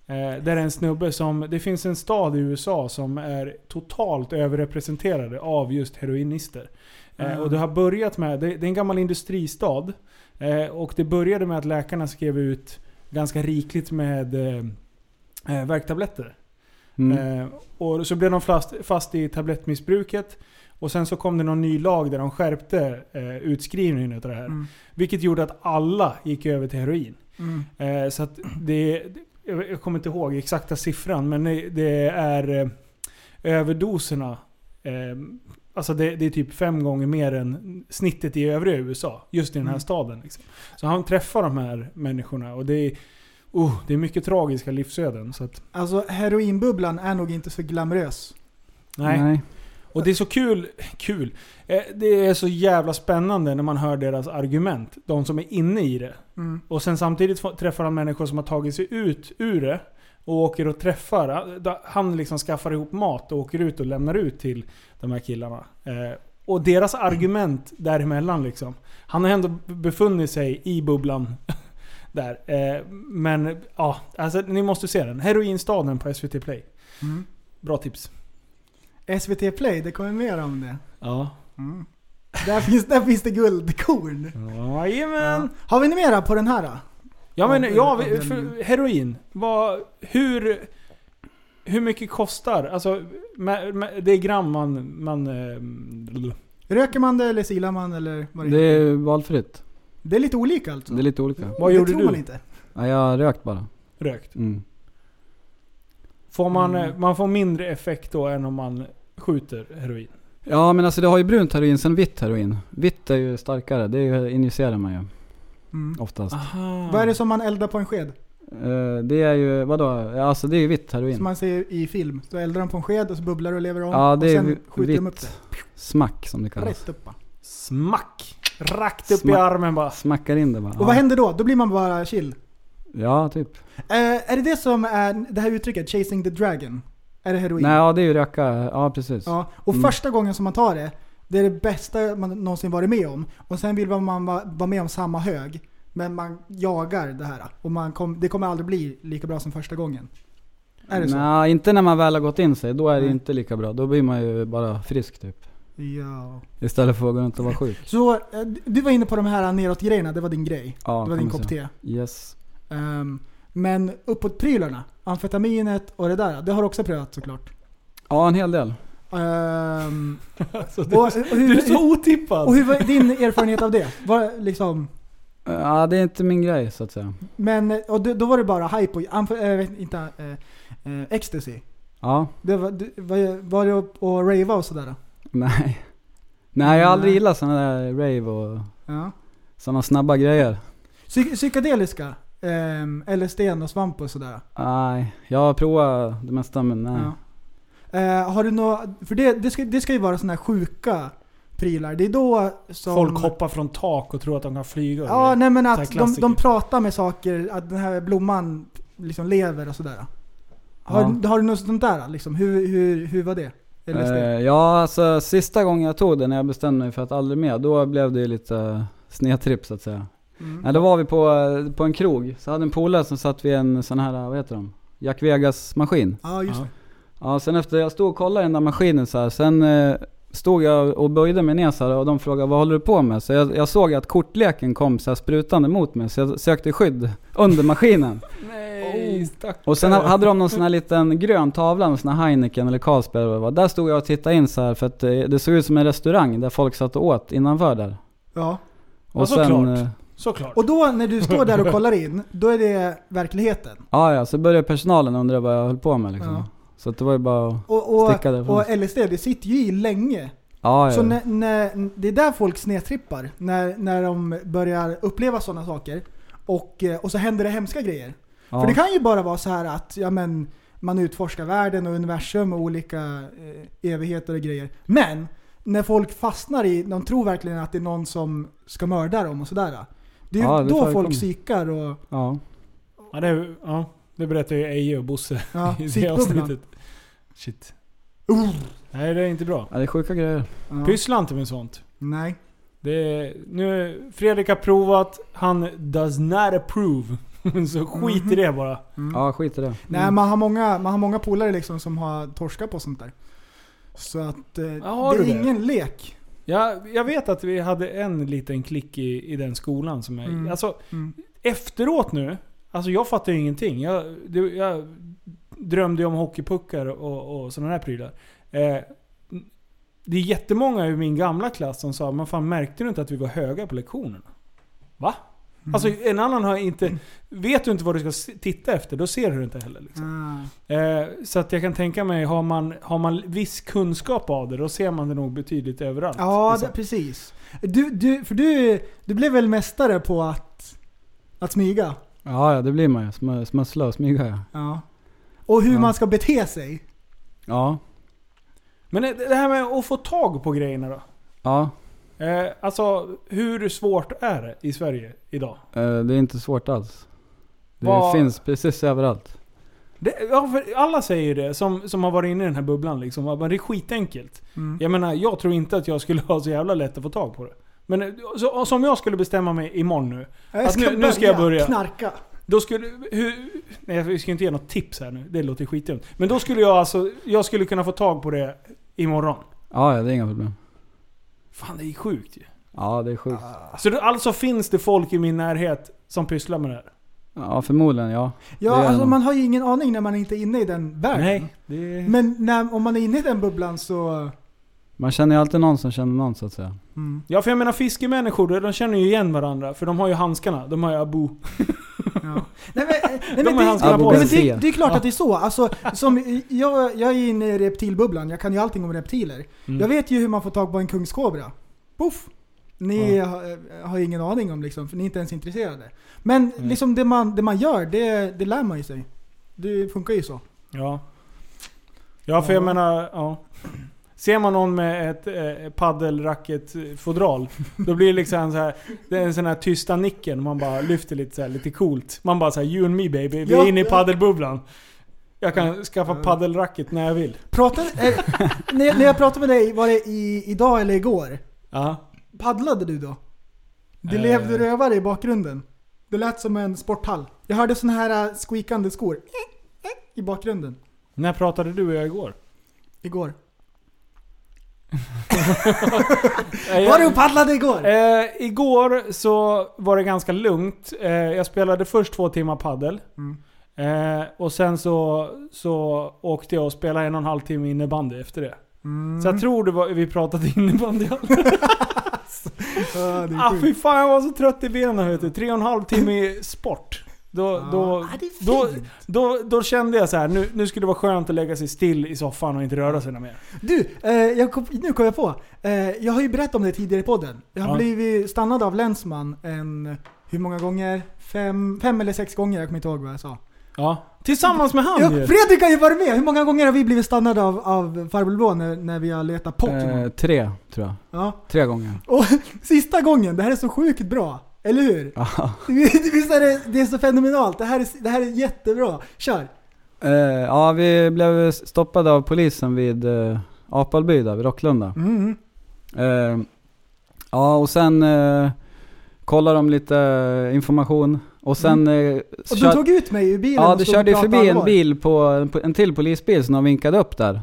Eh, Där är en snubbe som, det finns en stad i USA som är totalt överrepresenterade av just heroinister. Eh,
Mm.
Och det har börjat med, det, det är en gammal industristad. eh, Och det började med att läkarna skrev ut ganska rikligt med eh, eh, värktabletter.
Mm.
Eh, och så blev de fast, fast i tablettmissbruket. Och sen så kom det någon ny lag där de skärpte eh, utskrivningen av det här.
Mm.
Vilket gjorde att alla gick över till heroin. Eh, så att det, jag jag kommer inte ihåg exakta siffran men det- det är eh, överdoserna. Eh, alltså det, det är typ fem gånger mer än snittet i övriga USA. Just i den här
Mm.
staden. Liksom. Så han träffar de här människorna och det är, oh, det är mycket tragiska livsöden. Så att,
Alltså heroinbubblan är nog inte så glamorös.
nej.
Nej.
Och det är så kul, kul. Eh, Det är så jävla spännande när man hör deras argument. De som är inne i det.
Mm.
Och sen samtidigt får- träffar han människor som har tagit sig ut ur det. Och åker och träffar. Han liksom skaffar ihop mat och åker ut och lämnar ut till de här killarna. Eh, Och deras argument däremellan liksom. Han har ändå befunnit sig i bubblan. Där. Eh, Men ja, alltså ni måste se den. Heroinstaden på SVT Play.
Mm.
Bra tips.
SVT Play, det kommer mer om det.
Ja.
Där finns, där finns det guldkorn.
Jajamän.
Har vi något mera på den här då?
Ja men
Av-
ja,
av
vi-
den-
för heroin. Vad, hur, hur mycket kostar? Alltså, med, med, det är gram man... man eh,
Röker man det eller silar man eller vad det,
Det är valfritt.
det är lite olika alltså.
Det är lite olika.
vad
det
gjorde
tror
du?
man inte.
Mm. Ja, jag har rökt bara.
Rökt.
Mm.
Får man, eh, man får mindre effekt då än om man skjuter heroin.
Ja men alltså det har ju brunt heroin sen vitt heroin. Vitt är ju starkare, det är ju- injicerar man ju
Mm.
oftast.
Vad är det som man eldar på en sked?
Eh, det är ju, vadå? Alltså det är ju vitt heroin.
Som man ser i film. Då eldar de på en sked och så bubblar det och lever om.
Ja det
och
är
sen skjuter de upp det.
vitt. Smack som det kallas.
Rätt upp va?
Smack! Rakt upp i
Smack.
armen bara.
Smackar in det bara.
Och vad händer då? Då blir man bara chill.
Ja typ.
Eh, är det det som är det här uttrycket, 'chasing the dragon'? Är det heroin?
Nej ja det är ju röka, ja precis.
Ja, och
Mm.
första gången som man tar det, det är det bästa man någonsin varit med om. Och sen vill man va- vara med om samma hög. Men man jagar det här. Och man kom, det kommer aldrig bli lika bra som första gången. Är det så?
Nej, inte när man väl har gått in sig. Då är det
Nej.
inte lika bra. Då blir man ju bara frisk typ.
Ja.
Istället för att gå runt och vara sjuk.
Så eh, du var inne på de här neråt-grejerna, det var din grej.
Ja,
det var
kan
din
man
kopp
säga.
te.
Yes.
Ehm, men uppåt-prylarna, amfetaminet och det där, det har du också prövat såklart.
Ja, en hel del.
Ehm,
Alltså,
och,
du,
och
du är
hur,
så otippad!
och hur var din erfarenhet av det? Var, liksom,
Eh, Ja, det är inte min grej så att säga.
Men eh, och då, då var det bara hype och amf- eh, vet inte, eh, eh, ecstasy.
Ja,
Det var, det, var, var det att att rava och sådär?
nej. Nej, jag har aldrig
Nej.
gillat såna där rave och
Ja.
såna snabba grejer.
Psy- psykedeliska? Eh, LSD och svamp och sådär?
Nej, jag har provat det mesta men nej.
Ja. Eh, har du nå För det, det, ska, det ska ju vara sådana här sjuka prylar. Det är då som...
Folk hoppar från tak och tror att de kan flyga.
Ja, nej men
Så här
att de,
klassiker.
de pratar med saker, att den här blomman liksom lever och sådär. Har,
Ja.
har du något sånt där liksom? Hur, hur, hur var det? LSD?
Eh, ja, alltså sista gången jag tog det när jag bestämde mig för att aldrig mer, då blev det ju lite snedtripp så att säga.
Mm.
Nej, då var vi på, eh, på en krog, så hade en polare som satt vid en sån här, vad heter de? Jack Vegas maskin.
Ja, just det.
Ja, sen efter jag stod och kollade den där maskinen så här, sen eh, stod jag och böjde mig ner så här, och de frågade vad håller du på med? Så jag, jag såg att kortleken kom så här sprutande mot mig så jag sökte skydd under maskinen.
Nej, stackare.
Och sen hade de någon sån här liten grön tavla med sån här Heineken eller Carlsberg eller vad det var. Där stod jag och tittade in så här för att eh, det såg ut som en restaurang där folk satt och åt innanför där.
Ja.
Och
Ja, såklart.
eh,
Såklart.
Och då när du står där och kollar in, då är det verkligheten.
ja, ja, så började personalen undra vad jag höll på med liksom.
Ja.
Så att det var ju bara att-
Och, och,
Sticka därifrån.
och LSD, det sitter ju i länge.
ja,
Så
ja.
när, när, det är där folk snedtrippar. När, när de börjar uppleva sådana saker. Och, eh, och så händer det hemska grejer.
ja.
För det kan ju bara vara så här att ja, men, man utforskar världen och universum och olika eh, evigheter och grejer. Men när folk fastnar i, de tror verkligen att det är någon som ska mörda dem och sådär. Det är ju
Ja, det
då
förekommer.
folk psykar och
ja.
Ja, det, ja, det berättade ju Eje och Bosse
ja,
i det
psykbubblan.
avsnittet. Shit. Nej, det är inte bra.
ja, det är sjuka grejer.
Ja.
Pyssla inte med sånt.
Nej.
Det är, nu, Fredrik har provat, han does not approve. Så skit i det bara.
Ja, skit i det.
Mm.
Nej, man har många, man har många polare liksom som har torskat på sånt där. Så att eh,
har
det är
du det?
ingen lek.
Ja, jag vet att vi hade en liten klick i, i den skolan som är...
Mm.
Alltså,
Mm.
efteråt nu. Alltså jag fattar ju ingenting. Jag, det, jag drömde ju om hockeypuckar och, och sådana här prylar. Eh, det är jättemånga i min gamla klass som sa man fan märkte du inte att vi var höga på lektionerna?” Va?
Mm.
Alltså en annan har inte... Vet du inte vad du ska se- titta efter, då ser du det inte heller. Liksom.
Ah.
Eh, så att jag kan tänka mig, har man, har man viss kunskap av det, då ser man det nog betydligt överallt.
Ja,
Liksom.
det, precis. Du, du, för du, du blev väl mästare på att, att smyga?
Ja, ja det blir man ju. Sm- Smussla och smyga ja.
Ja. Och hur
Ja.
man ska bete sig?
Ja.
Men det det här med att få tag på grejerna då?
ja.
Eh, alltså, hur svårt är det i Sverige idag?
Eh, Det är inte svårt alls. Det
Vad-
finns precis överallt.
Det, ja, för alla säger ju det, som, som har varit inne i den här bubblan liksom. att bara, Det är skitenkelt. Jag menar, jag tror inte att jag skulle ha så jävla lätt att få tag på det. Men eh, så, som jag skulle bestämma mig imorgon nu.
Jag
Att nu- nu ska jag börja.
knarka.
Då skulle... Hur, nej, jag ska inte ge något tips här nu. Det låter skitdumt. Men då skulle jag alltså... Jag skulle kunna få tag på det imorgon.
Ja, ja det är inga problem.
Fan, det är sjukt ju.
Ja, det är sjukt.
Så det, alltså finns det folk i min närhet som pysslar med det här?
Ja, förmodligen ja.
Ja,
Det är
alltså
nog-
man har ju ingen aning när man inte är inne i den världen.
Nej. Det...
Men när, om man är inne i den bubblan så...
Man känner ju alltid någon som känner någon så att säga.
Mm.
Ja för jag menar fiskemänniskor, de känner ju igen varandra. För de har ju handskarna. De har ju abo.
Ja. Nej, men, eh, nej, men,
De är
det,
hans
nej,
grabbar.
men det,
Bensén.
det är klart att det är så. Alltså, som, jag, jag är inne i reptilbubblan, jag kan ju allting om reptiler.
Mm.
Jag vet ju hur man får tag på en kungskobra. Poff! Ni har, eh, har ingen aning om liksom, för ni är inte ens intresserade. Men liksom det man, det man gör, det, det lär man ju sig. Det funkar ju så.
Ja. Ja, för jag
Ja.
menar, ja. Ser man någon med ett eh, paddelracketfodral, då blir det liksom så här, det är en sån här tysta nicken. Man bara lyfter lite så här, lite coolt. Man bara så här, you and me baby, vi
Ja,
är inne i
ja.
paddelbubblan. Jag kan skaffa
Ja.
paddelracket när jag vill.
Pratade, eh, när, när jag pratade med dig, var det i, idag eller igår?
Ja.
Paddlade du då? Det
Eh.
levde rövare i bakgrunden. Det lät som en sporthall. Jag hörde sådana här eh, squeakande skor i bakgrunden
När pratade du och jag igår?
igår.
Eh, jag-
Var du och paddlade igår?
Eh, igår så var det ganska lugnt. Eh, jag spelade först två timmar paddel.
Mm.
Eh, och sen så, så åkte jag och spelade en och en halv timme innebandy efter det.
Mm.
Så jag tror det var, vi pratade innebandy.
Ja, det är
ah
sjukt.
fy fan jag var så trött i benen vet du. Tre och en halv timme sport. Då,
Ja.
då,
Ah, det är
då,
fint.
då, då kände jag så här, nu, nu skulle det vara skönt att lägga sig still i soffan och inte röra sig något mer.
Du, eh, jag kom, nu kom jag på. Eh, jag har ju berättat om det tidigare i podden. Jag har
Ja.
blivit stannad av länsman en, hur många gånger? Fem, fem eller sex gånger, jag kommer inte ihåg vad jag sa.
Ja. Tillsammans med han
Ja,
ju.
Fredrik har ju varit med! Hur många gånger har vi blivit stannade av, av farbror Blå när, när vi har letat Pokémon?
Eh, tre, tror jag.
Ja.
Tre gånger.
Och sista gången, det här är så sjukt bra. Eller hur?
Aha.
Visst är det, det är så fenomenalt? Det här är, det här är jättebra. Kör!
Eh, ja, vi blev stoppade av polisen vid eh, Apalby där, vid Rocklunda.
Mm.
Eh, ja, och sen eh, kollade de lite information. Och sen... Eh,
Och
kör-
du tog ut mig ur bilen
ja,
och
det
stod och
körde ju
pratade
förbi en
allvar.
bil på, en till polisbil som de vinkade upp där.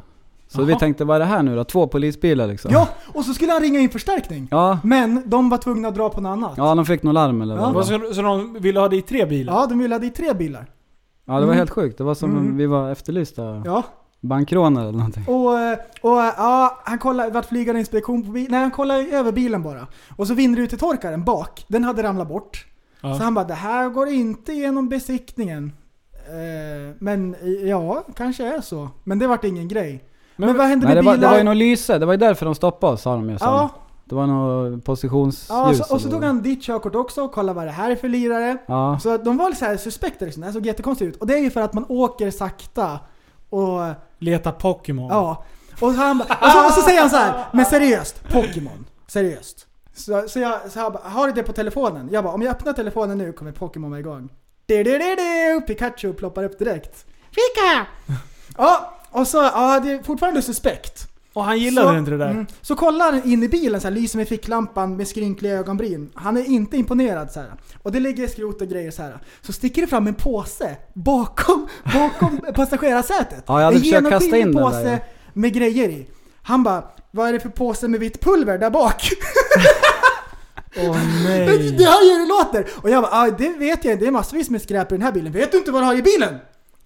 Så
Jaha.
vi tänkte, vad är det här nu då? Två polisbilar liksom.
Ja, och så skulle han ringa in förstärkning.
Ja,
Men de var tvungna att dra på något annat.
ja de fick nog larm eller
Ja.
vad det
Vad
var.
ska- Så de ville ha dig i tre bilar?
Ja, de ville ha dit tre bilar.
Ja, det var
Mm.
helt sjukt. Det var som
Mm.
vi var efterlysta
Ja.
bankrånare eller någonting.
Och, eh, och ja, han kollade, vart flygande inspektion på bilen. Nej, han kollade över bilen bara. Och så vindrutetorkaren bak, den hade ramlat bort.
Ja.
Så han bara, det här går inte igenom besiktningen. Eh, men ja, kanske är så. Men det vart ingen grej. Men, vad hände
Nej,
med
det var,
bilar?
det var ju något lyse. Det var ju därför de stoppade oss sa de ju sen.
ja,
Det var något positionsljus.
ja och så, och så
eller-
tog han ditt körkort också och kollade vad det här är för lirare.
Ja.
Så de var så här suspekta liksom. Det här såg jättekonstigt ut. Och det är ju för att man åker sakta och
Leta Pokémon.
Ja. Och, han, ba- och, så, och så säger han så här, men seriöst, Pokémon. Seriöst. Så, så jag, så jag bara, har du det på telefonen? Jag bara, om jag öppnar telefonen nu kommer Pokémon vara igång. Du, du, du, du, Pikachu ploppar upp direkt. Fika! Ja, och så, ja det är fortfarande suspekt.
Och han gillade
så,
inte det där.
mm, så kollar han in i bilen så här, lyser med ficklampan med skrynkliga ögonbryn. Han är inte imponerad så här. Och det ligger skrot och grejer så här. Så sticker det fram en påse bakom, bakom passagerarsätet.
Ja, jag hade
en
försökt kasta
genomskinlig
in den där,
påse
ja.
med grejer i. Han bara, vad är det för påse med vitt pulver där bak?
Åh
Det det här gör det låter! Och jag bara, ah, det vet jag det är massvis med skräp i den här bilen. Vet du inte vad du har i bilen?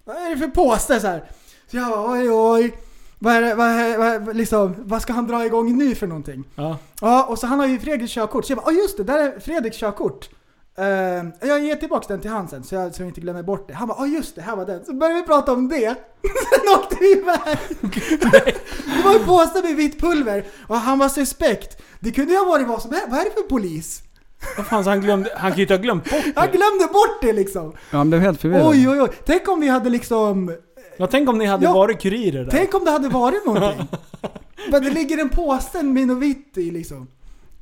Vad är det för påse så här? Så jag bara, oj oj. Vad, är det, vad, är, vad, är- liksom, vad ska han dra igång nu för någonting?
Ja.
Ja, och så han har ju Fredriks körkort. Så jag bara, ah, just det, där är Fredriks körkort. Eh, jag ger tillbaks den till han sen så jag, så jag inte glömmer bort det. Han bara, ah, just det, här var den. Så började vi prata om det. sen åkte vi iväg. det var en påse med vitt pulver och han var suspekt. Det kunde ju ha varit vad som helst. Vad är det för polis?
Vad fan, så han, glömde, han kan ju inte ha glömt bort
Han
det.
glömde bort det liksom.
Ja, han blev helt förvirrad.
Oj, oj, oj. Tänk om vi hade liksom...
Ja, tänk om ni hade
Ja.
varit kurirer där.
Tänk om det hade varit någonting. Men det ligger en påse med något vitt i liksom.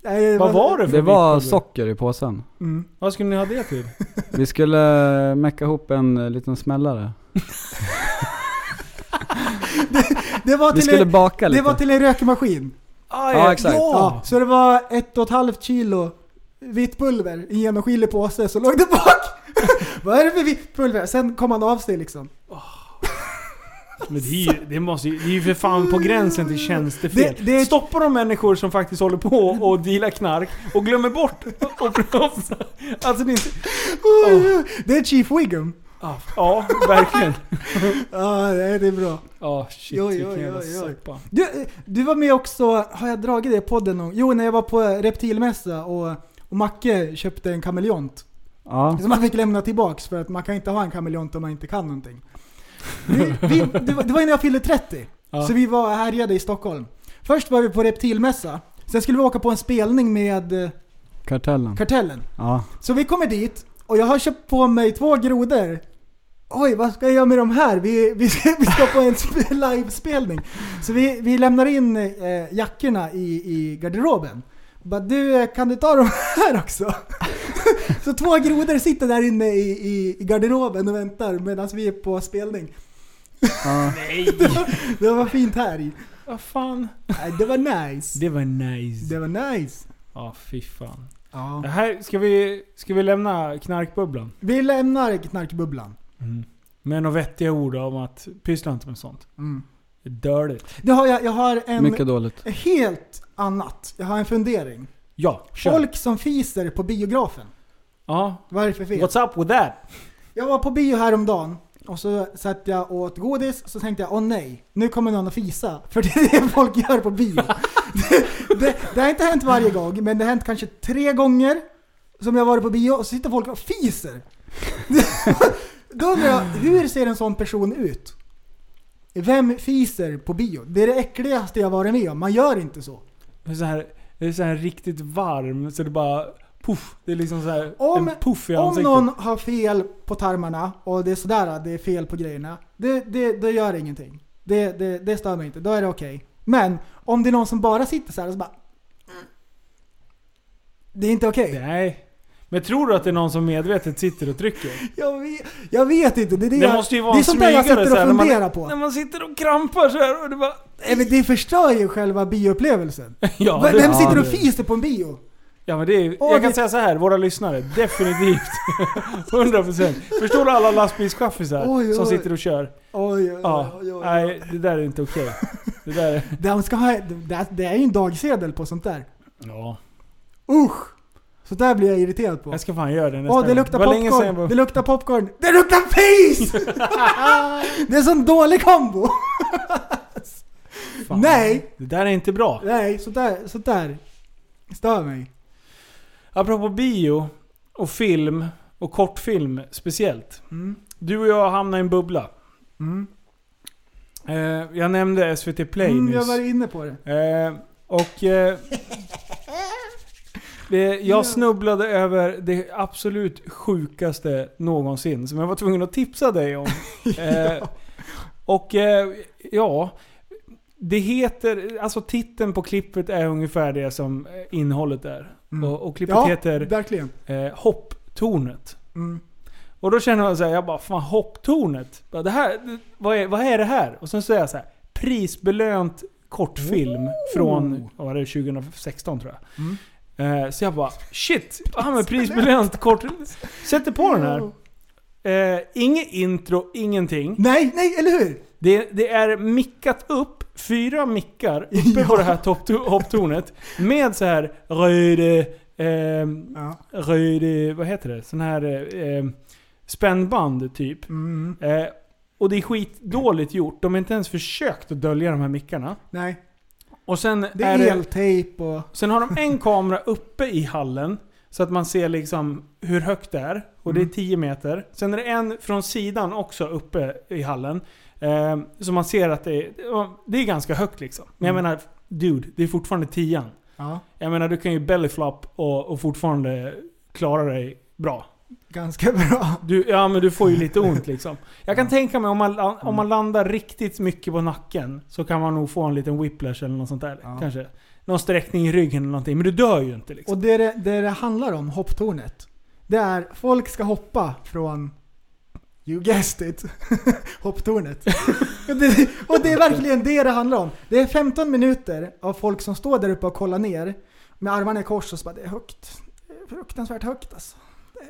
Nej,
Vad var det för
Det var
vitt pulver?
socker i påsen.
Mm.
Vad skulle ni ha det till?
Vi skulle mecka ihop en eh, liten smällare.
Det var
Vi
till
skulle
en,
baka
det var
lite.
till en rökmaskin.
Ja, exakt.
Ah, Ja, så det var ett och ett halvt kilo vitt pulver i en genomskinlig påse, så låg det bak. Vad är det för vitt pulver? Sen kom han av sig liksom.
Men det, är ju, det, måste ju, det är ju för fan på gränsen till tjänstefel.
Det- det-
Stoppar de människor som faktiskt håller på och dealar knark och glömmer bort och prata? Alltså det är inte...
Oj, oj. Oh. Det är Chief Wiggum.
Ah, ja, verkligen.
Ja, nej, det är bra.
Ja, shit
Oj,
vilken
oj,
jävla
oj, oj.
soppa.
Du, du var med också, har jag dragit det i podden någon Jo, när jag var på reptilmässa och, och Macke köpte en kameleont.
Ja.
Som man fick lämna tillbaks för att man kan inte ha en kameleont om man inte kan någonting. Vi, vi, det, var, det var innan jag fyllde 30,
Ja.
så vi var härjade i Stockholm. Först var vi på reptilmässa, sen skulle vi åka på en spelning med eh,
Kartellen.
Kartellen.
Ja.
Så vi kommer dit och jag har köpt på mig två grodor. Oj, vad ska jag göra med de här? Vi, vi, ska, vi ska på en sp- livespelning. Så vi, vi lämnar in eh, jackorna i, i garderoben. Bara, du, eh, kan du ta de här också? Så två grodor sitter där inne i, i, i garderoben och väntar medan vi är på spelning.
ja.
Det var fint här i.
Vad fan.
Nej, Det var nice.
Det var nice.
Det var nice.
Ja, Ah, fy fan.
Ja.
Det här, ska vi, ska vi lämna knarkbubblan?
Vi lämnar knarkbubblan.
Med några vettiga ord om att pyssla inte med sånt.
Mm.
Det är dåligt.
Det har jag, jag har en
Mycket dåligt.
Helt annat. Jag har en fundering.
Ja, kör.
Folk som fiser på biografen.
Ja.
Vad är det för fel?
What's up with that?
Jag var på bio häromdagen och så satt jag och åt godis så tänkte jag åh nej, nu kommer någon att fisa. För det är det folk gör på bio. det, det, det har inte hänt varje gång, men det har hänt kanske tre gånger som jag varit på bio och så sitter folk och fiser. Då undrar jag, hur ser en sån person ut? Vem fiser på bio? Det är det äckligaste jag varit med om. Man gör inte så.
Det är så här, det är så här riktigt varm så det bara... Puff. Det är liksom så här
Om-
en puff i
Om
ansiktet.
någon har fel på tarmarna och det är sådär, det är fel på grejerna. Det, det, det gör ingenting. Det, det, det stör mig inte. Då är det okej. Men om det är någon som bara sitter så här och så bara... "Mm." Det är inte okej.
Nej. Men tror du att det är någon som medvetet sitter och trycker?
Jag, vet- jag vet inte. Det, är det,
Det
jag-
måste ju vara
det är
en
sånt där jag
smygare
sitter
så här,
och
när man-
funderar
När
på.
man sitter och krampar så här och det bara...
Nej, men det förstör ju själva bioupplevelsen.
Ja, det-
Vem sitter
ja,
och
det-
fiser på en bio?
Ja men det är,
Åh,
jag kan
det-
säga så här, våra lyssnare, definitivt. 100%. Förstår du alla lastbilschaffisar
Oj,
som
oj.
sitter och kör?
Oj, oj,
Ja.
oj, oj.
Nej, det där är inte okej. Det där är...
De ska ha, det, det är ju en dagsedel på sånt där.
Ja.
Usch! Så där blir jag irriterad på.
Jag ska fan göra det nästa
Åh, det
gång.
luktar
var länge sedan jag
popcorn!
var-
Det luktar popcorn! Det luktar fis! det är en sån dålig kombo!
fan.
Nej!
Det där är inte bra.
Nej, sånt där, sånt där stör mig.
Apropå bio och film och kortfilm speciellt.
Mm.
Du och jag hamnade i en bubbla.
Mm.
Eh, jag nämnde SVT Play
Mm,
nyss.
jag var inne på det.
Eh, och... Eh, det, jag snubblade över det absolut sjukaste någonsin som jag var tvungen att tipsa dig om. Eh, och eh, ja... Det heter... Alltså titeln på klippet är ungefär det som eh, innehållet är.
Mm.
Och, och klippet
Ja,
heter
verkligen.
eh, Hopptornet.
Mm.
Och då känner jag så här, jag bara fan hopptornet. Bara, Det här, det- vad, är, vad är det här? Och sen så är jag så här, prisbelönt kortfilm från vad var det, 2016 tror jag.
Mm.
Eh, så jag bara shit, han med prisbelönt kort. Sätter på den här. Eh, inget intro, ingenting.
Nej, nej, eller hur?
Det, det är mickat upp, fyra mickar uppe på det här toppto- hopptornet. Med så här röde, ehm,
Ja.
röjde, vad heter det? Sån här eh, spännband typ.
Mm.
Eh, och det är skitdåligt gjort. De har inte ens försökt att dölja de här mickarna.
Nej,
Och sen,
det
är
är,
det,
eltejp och...
sen har de en kamera uppe i hallen. Så att man ser liksom hur högt det är. Och det är 10 meter. Sen är det en från sidan också uppe i hallen. Eh, så man ser att det är, det är ganska högt liksom. Men jag menar, dude, det är fortfarande 10
Ja,
Jag menar, du kan ju bellyflop och, och fortfarande klara dig bra.
ganska bra.
Du, ja men du får ju lite ont liksom. Jag kan tänka mig om man, la- om
Mm.
man landar riktigt mycket på nacken så kan man nog få en liten whiplash eller något sånt där.
Ja.
Kanske. Någon sträckning i ryggen eller någonting. Men du dör ju inte liksom.
Och det det, det det handlar om, hopptornet, det är folk ska hoppa från You guessed it. Hopptornet. och, det, och det är verkligen det det handlar om. Det är 15 minuter av folk som står där uppe och kollar ner med armarna i kors och så bara det är högt. Det är fruktansvärt högt alltså.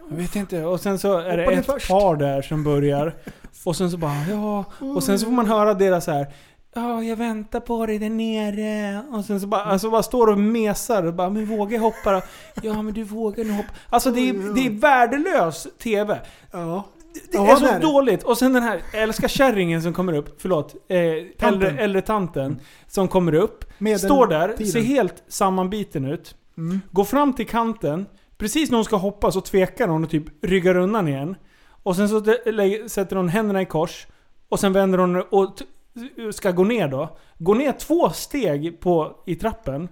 Jag vet inte. Och sen så är det
Hoppa ner
ett
först.
par där som börjar. Och sen så bara ja. Och sen så får man
Mm.
höra deras så här. Ja, jag väntar på dig där nere. Och sen så bara, alltså bara står och mesar och bara, men vågar jag hoppa då? Ja, men du vågar nu hoppa. Alltså det är, det är värdelös TV.
Ja.
Det
Ja,
är så
det är det.
dåligt. Och sen den här, jag älskar kärringen som kommer upp, förlåt, eh, äldre, äldre tanten som kommer upp,
Med den
står där,
tiden.
ser helt sammanbiten ut,
Mm.
går fram till kanten, Precis när hon ska hoppa så tvekar hon och typ ryggar undan igen. Och sen så de- lä- sätter hon händerna i kors. Och sen vänder hon och t- ska gå ner då. Går ner två steg på, i trappen.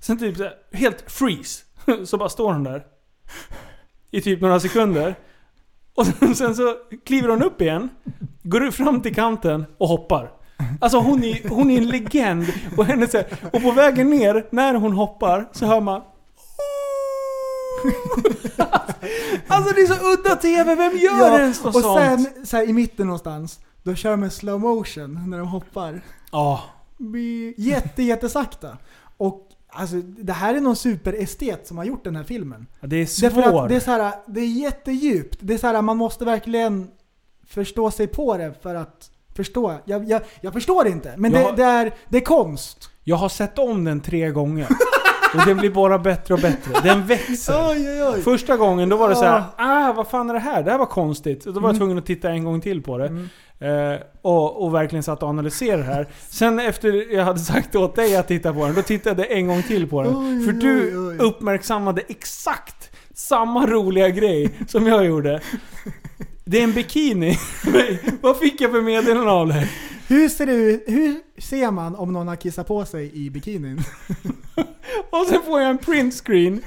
Sen typ så här, helt freeze. Så bara står hon där. I typ några sekunder. Och sen, sen så kliver hon upp igen. Går ut fram till kanten och hoppar. Alltså hon är, hon är en legend. Och, henne, så här- och på vägen ner, när hon hoppar, så hör man Alltså det är så udda TV, vem gör
Ja,
ens något
och
sånt?
sen så här, i mitten någonstans, då kör de med slow motion när de hoppar.
Ja.
Bi- Jätte, jättesakta. Och alltså, det här är någon superestet som har gjort den här filmen.
Det är
Därför
svår.
att det är så här, det är jättedjupt. Det är så här, man måste verkligen förstå sig på det för att förstå. Jag, jag, jag förstår det inte, men
Jag
det,
har-
det, är, det är konst.
Jag har sett om den tre gånger. Och den blir bara bättre och bättre. Den växer.
oj, oj.
Första gången då var det så här, ah vad fan är det här? Det här var konstigt. Och då
Mm.
var jag tvungen att titta en gång till på det. Eh, och, och verkligen satt och analyserade det här. Sen efter jag hade sagt åt dig att titta på den, då tittade jag en gång till på den.
Oj,
För du
oj, oj.
uppmärksammade exakt samma roliga grej som jag gjorde. Det är en bikini. Vad fick jag för meddelande av dig?
Hur ser, det ut, hur ser man om någon har kissat på sig i bikinin?
Och sen får jag en printscreen.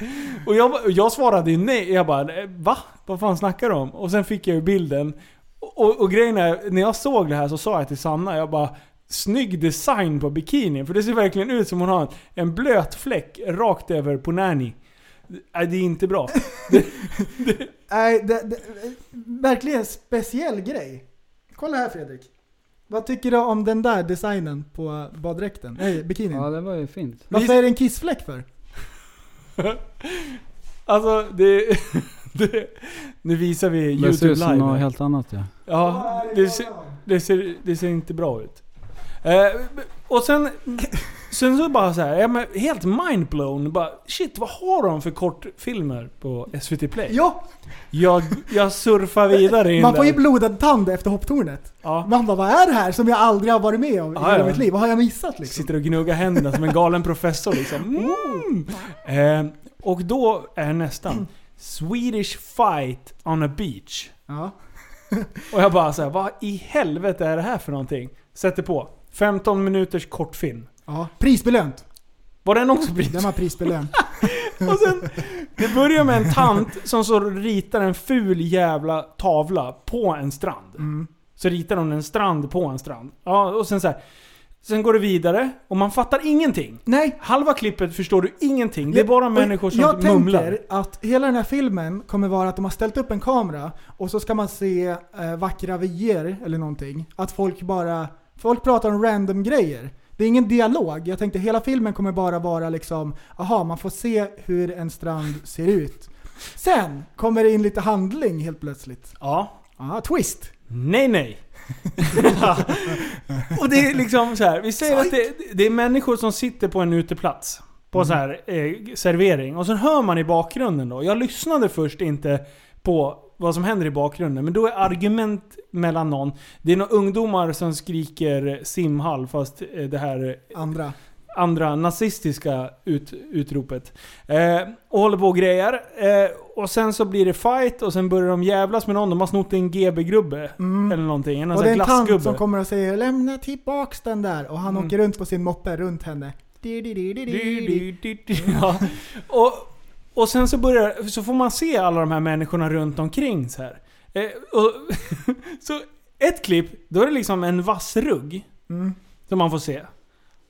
Och jag, jag svarade ju nej. Jag bara "Eh, va? Vad fan snackar du om? Och sen fick jag ju bilden. Och, och grejen är, när jag såg det här så sa jag till Sanna, jag bara Snygg design på bikinin. För det ser verkligen ut som hon har en, en blöt fläck rakt över på Nanny. Nej, det är inte bra.
Nej, det, det, verkligen en speciell grej. Kolla här Fredrik. Vad tycker du om den där designen på baddräkten? Nej, bikinin.
Ja, det var ju fint.
Varför är det en kissfläck för?
Alltså, det... det nu visar vi
Det ser
YouTube
ut som
live.
något
här.
helt annat ja.
Ja, det ser, det ser, det ser inte bra ut. Eh, och sen, sen så bara så här, ja, men helt mindblown. Bara, shit, vad har de för kortfilmer på SVT Play?
Ja,
Jag, jag surfar vidare in
man får
där.
ju blodad tand efter hopptornet.
ja.
Man bara, vad är det här som jag aldrig har varit med om i
Ja,
hela
ja.
mitt liv? Vad har jag missat liksom?
Sitter och gnuggar händerna som en galen professor liksom. Mm. Eh, och då är nästan Swedish fight on a beach.
Ja.
Och jag bara så här, vad i helvete är det här för någonting? Sätter på. 15 minuters kortfilm.
ja. Prisbelönt.
Var den också brittisk?
Den var prisbelönt.
Och sen, det börjar med en tant som så ritar en ful jävla tavla på en strand.
Mm.
Så ritar hon en strand på en strand. Ja, och sen så här. Sen går det vidare och man fattar ingenting.
Nej.
Halva klippet förstår du ingenting. Det är bara
Och
människor som
Jag tänker
mumlar.
att hela den här filmen kommer vara att de har ställt upp en kamera och så ska man se eh, vackra vyer eller någonting. Att folk bara... Folk pratar om random grejer. Det är ingen dialog. Jag tänkte hela filmen kommer bara vara liksom, aha, man får se hur en strand ser ut. Sen kommer det in lite handling helt plötsligt.
Ja.
Ah, twist!
Nej, nej. och det är liksom så här. Vi säger att det, det är människor som sitter på en uteplats. På så här eh, servering. Och sen hör man i bakgrunden då. Jag lyssnade först inte på vad som händer i bakgrunden. Men då är argument mellan någon. Det är några ungdomar som skriker simhall fast eh, det här eh,
Andra.
andra nazistiska ut, utropet. Eh, och håller på och grejer. Eh, och sen så blir det fight och sen börjar de jävlas med någon. De har snott en GB-grubbe.
Mm.
Eller någonting. En
Och det är en tant som
glassgubbe.
kommer och säger lämna tillbaks den där och han
Mm.
åker runt på sin moppe runt henne. Di, di, di, di, di, di.
Ja. Och, och sen så börjar så får man se alla de här människorna runt omkring så här. Eh, och, så ett klipp, då är det liksom en vass rugg
Mm.
som man får se.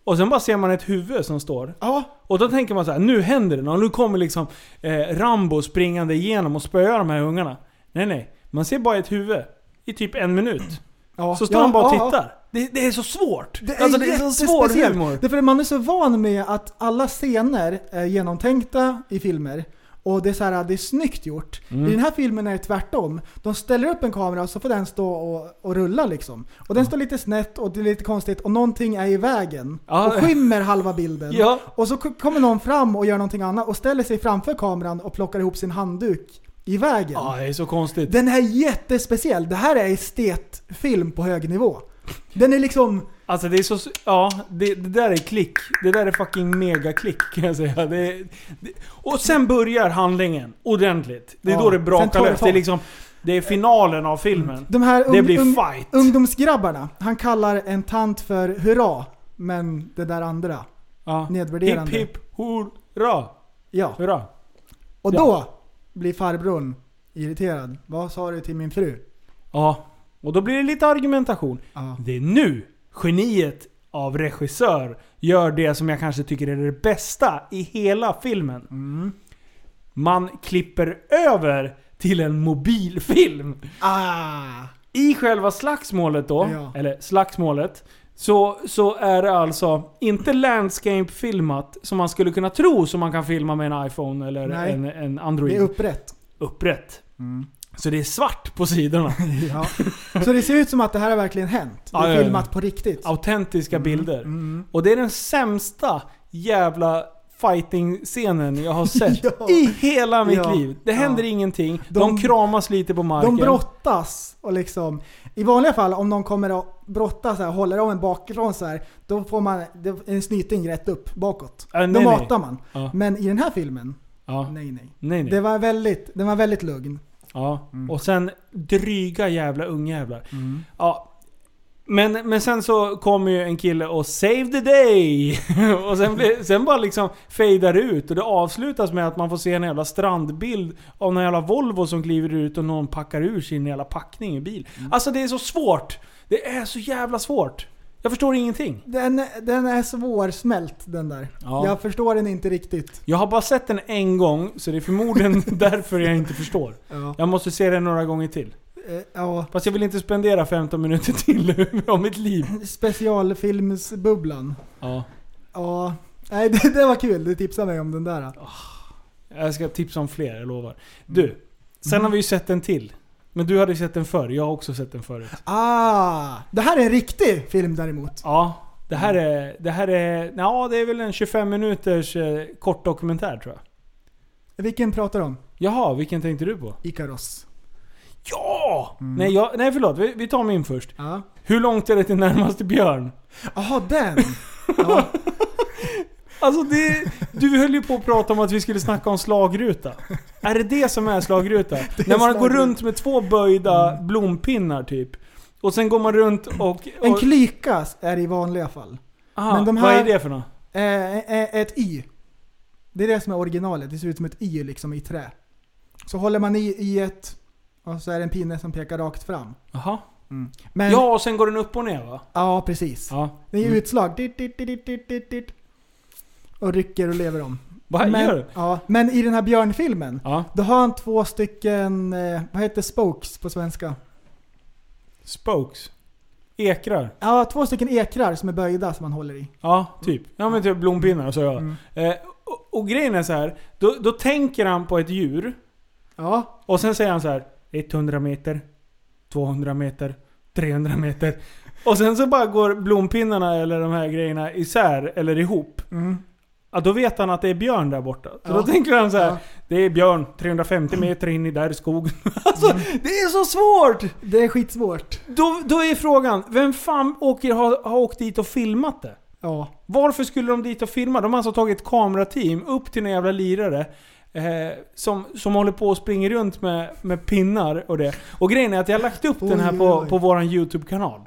Och sen bara ser man ett huvud som står.
Ja,
Och då tänker man så här: nu händer det något. Nu kommer liksom eh, Rambo springande igenom och spöar de här ungarna. Nej, nej. Man ser bara ett huvud. I typ en minut.
ja,
Så står
ja,
de bara och
ja, ja.
tittar. Det, det är så svårt.
Det är,
alltså det är så svår
jättespeciellt.
humor.
Det är för att man är så van med att alla scener är genomtänkta i filmer. Och det är, så här, det är snyggt gjort.
Mm.
I den här filmen är det tvärtom. De ställer upp en kamera och så får den stå och, och rulla liksom. Och den står lite snett och det är lite konstigt och någonting är i vägen.
Ja.
Och skymmer halva bilden.
Ja.
Och så k- kommer någon fram och gör någonting annat och ställer sig framför kameran och plockar ihop sin handduk i vägen.
Ja, det är så konstigt.
Den här är jättespeciell. Det här är estetfilm på hög nivå. Den är liksom...
Alltså det är så... Ja, det, det där är klick. Det där är fucking megaklick kan jag säga. Det, det, och sen börjar handlingen ordentligt. Det är
Ja,
då det
sen tar
brakar
det
lös. Det är
fart. Mm. Um,
liksom... Det är finalen av filmen.
De här
Det
ung-
blir
ung-
fight.
ungdomsgrabbarna, han kallar en tant för hurra, men det där andra,
Ja. Hipp
nedvärderande.
hipp hurra!
Ja.
Hurra!
Och
Ja.
då blir farbrorn irriterad. Vad sa du till min fru?
Ja. Och då blir det lite argumentation.
Ja.
Det är nu geniet av regissör gör det som jag kanske tycker är det bästa i hela filmen.
Mm.
Man klipper över till en mobilfilm.
Ah!
I själva slagsmålet då,
Ja.
eller slagsmålet, så, så är det alltså inte landscape-filmat som man skulle kunna tro som man kan filma med en iPhone eller
Nej.
en, en
Det
Android.
är upprätt. Mm.
Upprätt. Så det är svart på sidorna.
Ja. Så det ser ut som att det här har verkligen hänt. Det
Ja, ja,
är
ja.
filmat på riktigt.
Autentiska
Mm.
bilder. Och det är den sämsta jävla fighting-scenen jag har sett
Ja.
i hela mitt
Ja.
liv. Det händer
Ja.
ingenting. De,
De-
kramas lite på marken.
De brottas och liksom... I vanliga fall om någon kommer och brottas så här, håller om en bakifrån så här, då får man det- en snyting rätt upp bakåt.
Ja, nej,
då
nej.
matar man.
Ja.
Men i den här filmen,
ja. nej,
nej nej.
nej.
Det Mm. var väldigt, den var väldigt lugn.
Ja. Och sen dryga jävla ungjävlar. Ja. Men, men sen så kommer ju en kille och save the day! och sen, blir, sen bara liksom fejdar det ut och det avslutas med att man får se en jävla strandbild av någon jävla Volvo som kliver ut och någon packar ur sin jävla packning i bil. Alltså det är så svårt! Det är så jävla svårt! Jag förstår ingenting.
Den, den är svårsmält den där.
Ja.
Jag förstår den inte riktigt.
Jag har bara sett den en gång, så det är förmodligen därför jag inte förstår.
Ja.
Jag måste se den några gånger till.
Eh, ja.
Fast jag vill inte spendera 15 minuter till av mitt liv.
Specialfilmsbubblan.
Ja.
Ja. Nej, det, det var kul. Du tipsade mig om den där.
Jag ska tipsa om fler, jag lovar. Du, sen har vi ju sett en till. Men du hade ju sett den förr, jag har också sett den förut.
Ah! Det här är en riktig film däremot.
Ja, Mm. det här är... Det här är... Ja, det är väl en 25 minuters eh, kort dokumentär tror jag.
Vilken pratar du om?
Jaha, vilken tänkte du på?
Ikaros.
Ja! Nej, jag, nej förlåt, vi, vi tar min först.
Ja.
Hur långt är det till närmaste björn?
Jaha, den! Ja.
Alltså det, du höll ju på att prata om att vi skulle snacka om slagruta. Är det det som är slagruta? Mm. När man går
slagruta.
runt med två böjda blompinnar typ. Och sen går man runt och... och
En klyka är i vanliga fall.
aha,
men de
Vad
här-
är det för något?
Eh, eh, ett Y. Det är det som är originalet. Det ser ut som ett Y liksom i trä. Så håller man i Y-et och så är det en pinne som pekar rakt fram.
Jaha.
Men,
Ja, och sen går den upp och ner va?
ja, precis.
Ja. Mm.
Det är ju utslag. Dit, dit, dit, dit, dit, dit, dit. Och rycker och lever om.
Vad gör
Men,
du?
ja, men i den här björnfilmen,
Ja.
då har han två stycken, eh, vad heter spokes på svenska?
Spokes. Ekrar.
Ja, två stycken ekrar som är böjda som man håller i.
Ja, typ. Ja men typ blompinnar så jag.
Mm.
Eh, och, och grejen är så här. Då, då tänker han på ett djur.
Ja,
Och sen säger han så här 100 meter, 200 meter, 300 meter. Och sen så bara går blompinnarna eller de här grejerna isär eller ihop. Ja, då vet han att det är björn där borta. Så
Mm. Ja.
då tänker han så här,
Ja.
det är björn 350 meter in i där skogen. Alltså, det är så svårt!
det är skitsvårt.
Då, då är frågan, vem fan åker, har, har åkt dit och filmat det?
Ja.
Varför skulle de dit och filma? De har alltså tagit ett kamerateam upp till en jävla lirare. Eh, som, som håller på och springer runt med, med pinnar och det. Och grejen är att jag har lagt upp den här
Oj,
på,
oj.
på våran YouTube-kanal.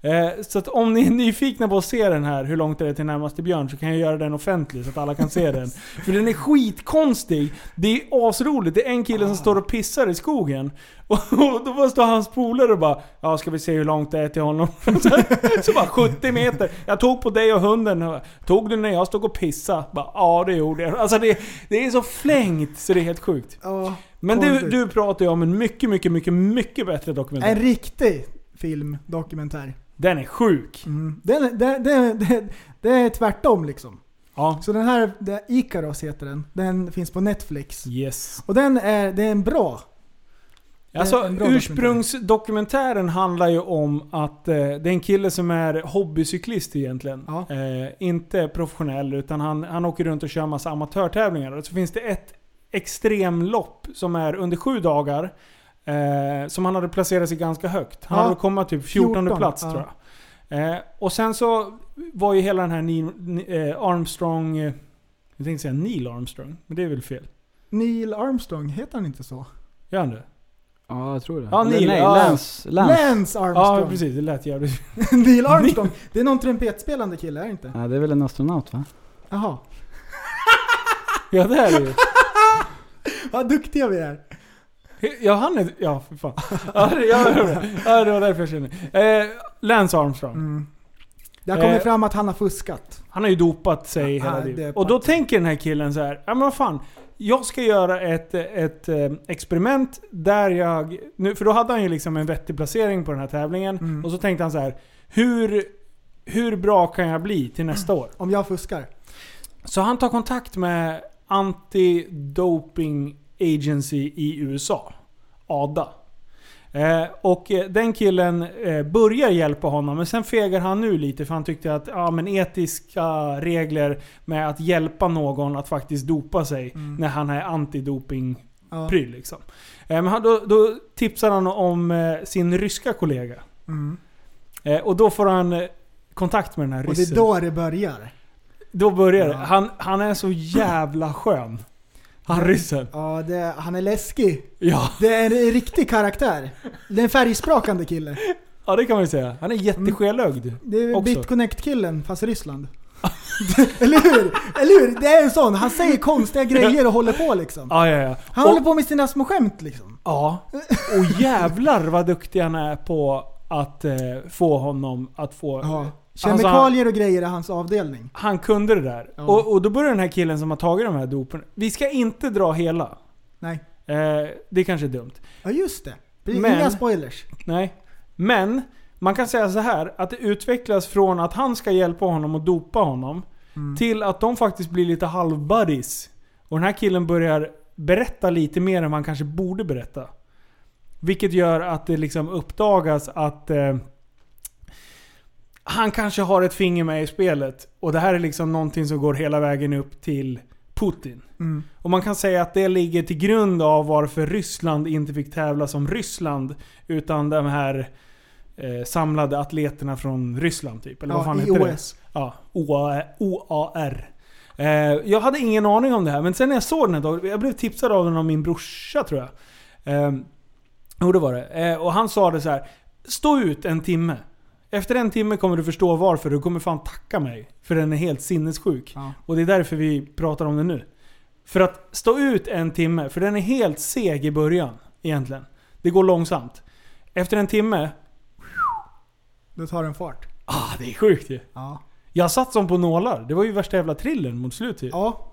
Eh, så att om ni är nyfikna på att se den här, hur långt är det till närmaste björn, så kan jag göra den offentlig så att alla kan se den. För den är skitkonstig. Det är asroligt. Det är en kille som
Ah.
står och pissar i skogen. Och, och då bara står hans polare och bara Ja, ska vi se hur långt det är till honom? Så, så bara 70 meter. Jag tog på dig och hunden. Jag bara, Tog du när jag stod och pissade? Bara, ja, det gjorde jag. Alltså det, det är så flängt så det är helt sjukt.
ja
Men du,
konstigt.
du pratar ju om en mycket, mycket, mycket, mycket bättre dokumentär.
En riktig film, dokumentär.
Den är sjuk.
Mm. Det, det, det, det, det är tvärtom liksom.
Ja.
Så den här, det- Ikaros heter den. Den finns på Netflix.
Yes.
Och den är, det är en bra.
Alltså,
en bra
ursprungsdokumentären handlar ju om att eh, det är en kille som är hobbycyklist egentligen.
Ja.
Eh, inte professionell, utan han, han åker runt och kör massa amatörtävlingar. Och så finns det ett extremlopp som är under sju dagar. Eh, som han hade placerat sig ganska högt. Han
Ja.
hade kommit typ 14
14,
plats
ja.
tror jag. Eh, och sen så var ju hela den här Neil, Ni- eh, Armstrong... eh, Jag tänkte säga Neil Armstrong, men det är väl fel?
Neil Armstrong, heter han inte så?
Gör han det?
Ja, jag tror det.
Ja,
Eller
Neil,
nej,
ja.
Lance. Lance.
Lance Armstrong!
Ja, precis. Det lät jävligt...
Neil Armstrong! Det är någon trumpetspelande kille, är det inte?
Ja, det är väl en astronaut va?
Jaha.
Ja, det här är ju...
Vad duktiga vi är.
Ja, han är... Ja, för fan. Ja, det, ja, det- ja, det var därför jag kände. Eh, Lance Armstrong.
Mm. Det har kommit
Eh,
fram att han har fuskat.
Han har ju dopat sig hela
ah, det
livet.
är
Och då tänker den här killen så här, ja men vad fan. Jag ska göra ett, ett eh, experiment där jag... Nu, för då hade han ju liksom en vettig placering på den här tävlingen.
Mm.
Och så tänkte han så här, hur, hur bra kan jag bli till nästa år?
Om jag fuskar.
Så han tar kontakt med Anti-Doping Agency i USA. ADA. Eh, och eh, den killen eh, börjar hjälpa honom, men sen fegar han nu lite för han tyckte att ja, men etiska regler med att hjälpa någon att faktiskt dopa sig
Mm.
när han är antidoping
Ja.
pryl liksom. Eh, men han, då, då tipsar han om eh, sin ryska kollega.
Mm.
Eh, och då får han eh, kontakt med den här
Och det är
ryssen.
då det börjar.
Då börjar det.
Ja.
Han, han är så jävla skön. Han ryssen.
Ja, det, han är läskig.
Ja.
Det är en riktig karaktär. Det är en färgsprakande kille.
ja, det kan man ju säga. Han är jätteskelögd.
Det är
Också.
Bitconnect-killen, fast Ryssland. Eller hur? Eller hur? Det är en sån. Han säger konstiga grejer och håller på liksom.
Ja, ja, ja.
Han
och,
håller på med sina små skämt liksom.
Ja. Och jävlar vad duktig han är på att eh, få honom att få...
Ja.
Alltså,
Kemikalier och grejer är hans avdelning.
han kunde det där.
Ja.
Och, och då börjar den här killen som har tagit de här dopen. Vi ska inte dra hela.
Nej.
Eh, det kanske är dumt.
Ja, just det. det är
Men-
Inga spoilers.
Nej. Men man kan säga så här att det utvecklas från att han ska hjälpa honom och dopa honom till att de faktiskt blir lite halvbuddies. Och den här killen börjar berätta lite mer än man kanske borde berätta. Vilket gör att det liksom uppdagas att eh, han kanske har ett finger med i spelet. Och det här är liksom någonting som går hela vägen upp till Putin.
Mm.
Och man kan säga att det ligger till grund av varför Ryssland inte fick tävla som Ryssland. Utan de här eh, samlade atleterna från Ryssland typ. Eller vad fan
ja,
heter
i
det?
OS.
Ja, OA OAR. Eh, jag hade ingen aning om det här, men sen när jag såg den här dagen, jag blev tipsad av den av min brorsa tror jag. Eh, jo det var det. Eh, och han sa det så här. Stå ut en timme. Efter en timme kommer du förstå varför. Du kommer fan tacka mig. För den är helt sinnessjuk.
Ja.
Och det är därför vi pratar om den nu. För att stå ut en timme, för den är helt seg i början egentligen. Det går långsamt. Efter en timme,
Då tar den fart.
ah det är sjukt ju.
Ja.
Jag satt som på nålar. Det var ju värsta jävla thrillern mot slutet ju.
Ja.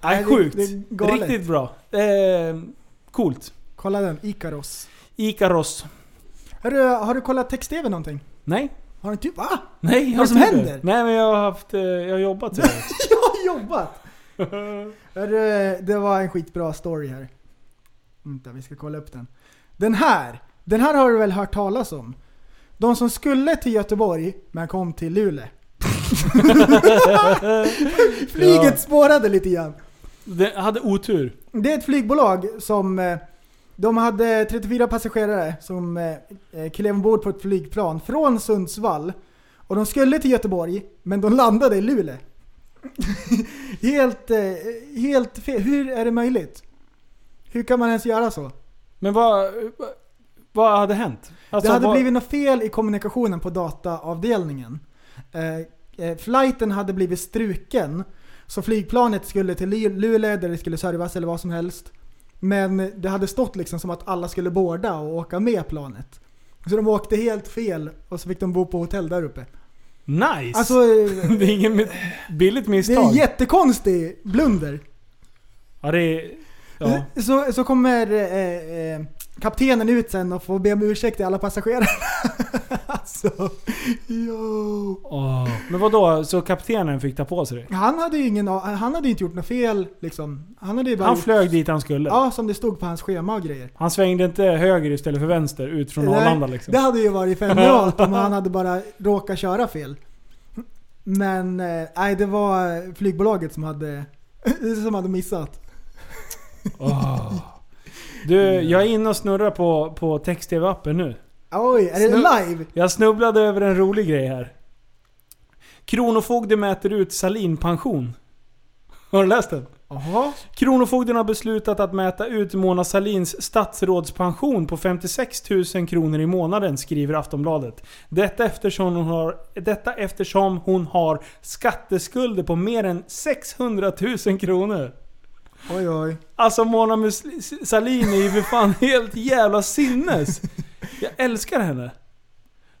Nej,
det-
sjukt.
det är galet.
Riktigt bra. Eh, coolt.
Kolla den. Ikaros.
Ikaros.
Har du, har du kollat text-tv någonting?
Nej.
Har du typ va?
Nej, jag
Vad som
har inte
händer?
det. Nej men jag har haft... eh, Jag har jobbat. så.
Jag har jobbat!
Eh,
Hörru, det var en skitbra story här. Vänta, vi ska kolla upp den. Den här! Den här har du väl hört talas om? De som skulle till Göteborg, men kom till Luleå. Flyget
Ja.
spårade lite grann.
Det hade otur.
Det är ett flygbolag som... eh, De hade 34 passagerare som eh, eh, klev ombord på ett flygplan från Sundsvall. Och de skulle till Göteborg, men de landade i Luleå. helt eh, helt fel. Hur är det möjligt? Hur kan man ens göra så?
Men vad... Vad hade hänt? Alltså,
det hade
vad,
blivit något fel i kommunikationen på dataavdelningen. Eh, eh, flighten hade blivit struken. Så flygplanet skulle till Lu- Luleå där det skulle servas eller vad som helst. Men det hade stått liksom som att alla skulle båda och åka med planet. Så de åkte helt fel och så fick de bo på hotell där uppe.
Nice!
Alltså, eh,
det är inget billigt
det är
misstag.
en jättekonstig blunder.
ja, det är...
Alltså-
Ja.
Så, så kommer eh, eh, kaptenen ut sen och får be om ursäkt till alla passagerare. alltså, jo.
Åh. Men vad då? Så kaptenen fick ta på sig det?
Han hade ju ingen, han hade ju inte gjort något fel liksom. Han hade ju bara
Han
gjort-
flög dit han skulle.
Ja, som det stod på hans schema och grejer.
Han svängde inte höger istället för vänster ut från
Nej,
Arlanda liksom.
Det hade ju varit fenomenalt om han hade bara råkat köra fel. Men eh, nej, det var eh, flygbolaget som hade, som hade missat.
Åh. Du, jag är inne och snurrar på, på text-tv-appen nu.
Oj, är det
Snu-
live?
Jag snubblade över en rolig grej här. Kronofogde mäter ut Salinpension. Har du läst den?
Jaha.
Kronofogden har beslutat att mäta ut Mona Salins statsrådspension på 56 000 kronor i månaden, skriver Aftonbladet. Detta eftersom hon har, detta eftersom hon har skatteskulder på mer än 600 000 kronor.
Oj oj.
Alltså Mona Mus- Sahlin är ju för fan helt jävla sinnes. Jag älskar henne.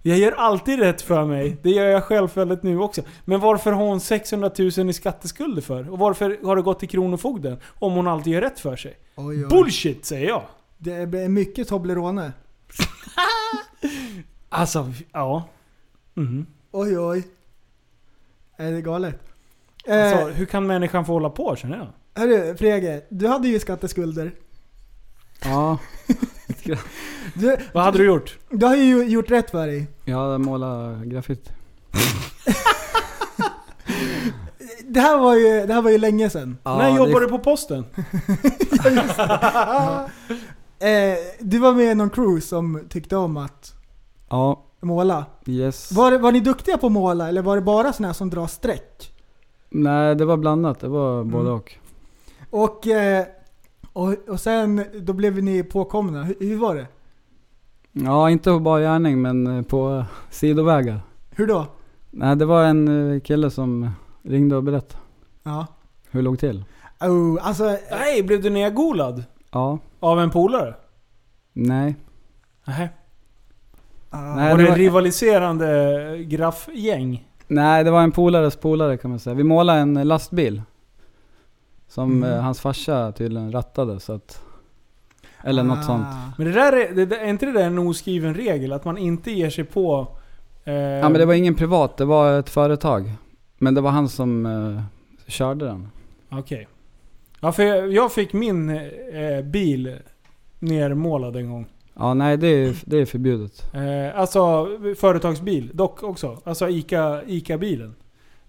Jag gör alltid rätt för mig. Det gör jag självfallet nu också. Men varför har hon 600 000 i skatteskulder för? Och varför har det gått till Kronofogden? Om hon alltid gör rätt för sig.
oj, oj.
Bullshit säger jag.
Det blir mycket Toblerone.
Alltså, ja. Mhm.
Oj oj. Är det galet? Eh,
Alltså, hur kan människan få hålla på känner jag?
hörru Frege, du hade ju skatteskulder.
Ja,
Du,
Vad hade du gjort?
du har ju gjort rätt för dig.
jag målar graffiti.
Det här var ju, det här var ju länge sedan.
När jobbar du på posten?
Eh, du var med i någon crew som tyckte om att
Ja,
måla.
yes.
Var, det- var ni duktiga på att måla eller var det bara såna här som drar streck?
Nej, det var blandat. Det var både och.
Och, eh, och, och sen, då blev ni påkomna. Hur, hur var det?
Ja, inte på bar gärning men eh, på sidovägar.
Hur då?
Nej, det var en eh, kille som ringde och berättade
Ja.
hur det låg till.
Oh, alltså,
Nej, blev du nedgolad?
Ja,
Av en polare?
nej.
Nej.
ah,
Nej,
Var det
var-
rivaliserande graffgäng?
Nej, det var en polares polare kan man säga. Vi målade en eh, lastbil. Som
Mm.
eh, hans farsa tydligen rattade så att... Eller
Ah.
något sånt.
Men det där är, det, det- är inte det där en oskriven regel? Att man inte ger sig på... Eh,
Ja men det var ingen privat, det var ett företag. Men det var han som eh, körde den.
Okej. Ja, för jag, jag fick min eh, bil nermålad en gång.
Ja nej det är, det är förbjudet.
Eh, alltså företagsbil, dock också. Alltså ICA, ICA-bilen.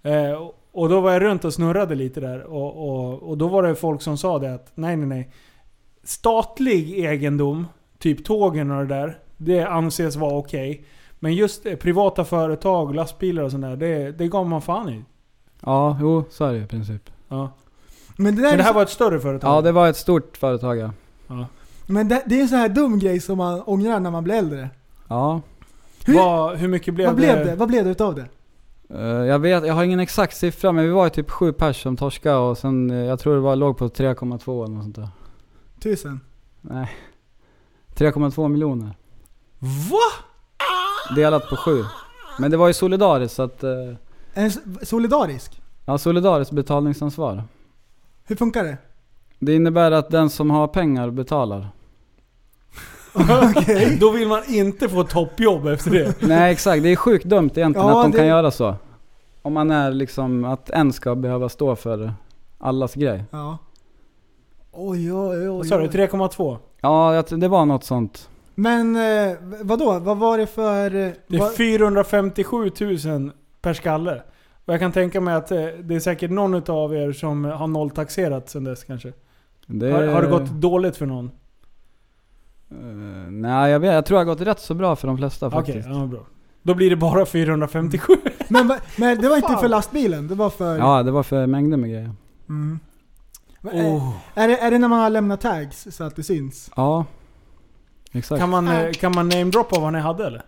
Eh, och- och då var jag runt och snurrade lite där och, och, och då var det folk som sa det att nej nej nej. Statlig egendom, typ tågen och det där, det anses vara okej. Men just eh, privata företag, lastbilar och sånt där, det, det gav man fan i.
Ja, jo så är det i princip.
Ja.
Men det där
Men det här
är, så,
var ett större företag?
Ja det var ett stort företag ja.
men det, det är en sån här dum grej som man ångrar när man blir äldre.
Ja.
Hur-
Vad- hur mycket blev
Vad blev det? Vad blev det utav det?
Eh, jag vet, jag har ingen exakt siffra men vi var ju typ sju pers som torskade och sen eh, jag tror det var, låg på 3,2 eller något sånt där.
Tusen?
Nej. 3,2 miljoner.
Va?
Delat på sju. Men det var ju solidariskt så att... eh,
En s- solidarisk?
Ja solidariskt betalningsansvar.
Hur funkar det?
Det innebär att den som har pengar betalar.
Då vill man inte få toppjobb efter det.
Nej exakt, det är sjukt dumt egentligen
Ja,
att de
det-
kan göra så. Om man är liksom, att en ska behöva stå för allas grej.
Ja. Oj, oj,
Vad
oj.
sa du?
oj.
3,2?
Ja, jag tror- det var något sånt.
Men eh, vadå? Vad var det för... eh,
Det är
vad-
457 000 per skalle. Och jag kan tänka mig att eh, det är säkert någon av er som har nolltaxerat sen dess kanske.
Det,
Har, har det gått dåligt för någon?
Eh, nej, jag, vet, jag tror det har gått rätt så bra för de flesta
Okej,
faktiskt.
ja, bra. Då blir det bara 457.
men, va- men det var inte
Fan.
för lastbilen, det var för...
Ja, det var för mängder med grejer.
Mm. Men, eh,
Oh.
Är, det, är det när man har lämnat tags så att det syns?
Ja, exakt.
Kan man, eh, kan man namedroppa vad ni hade eller?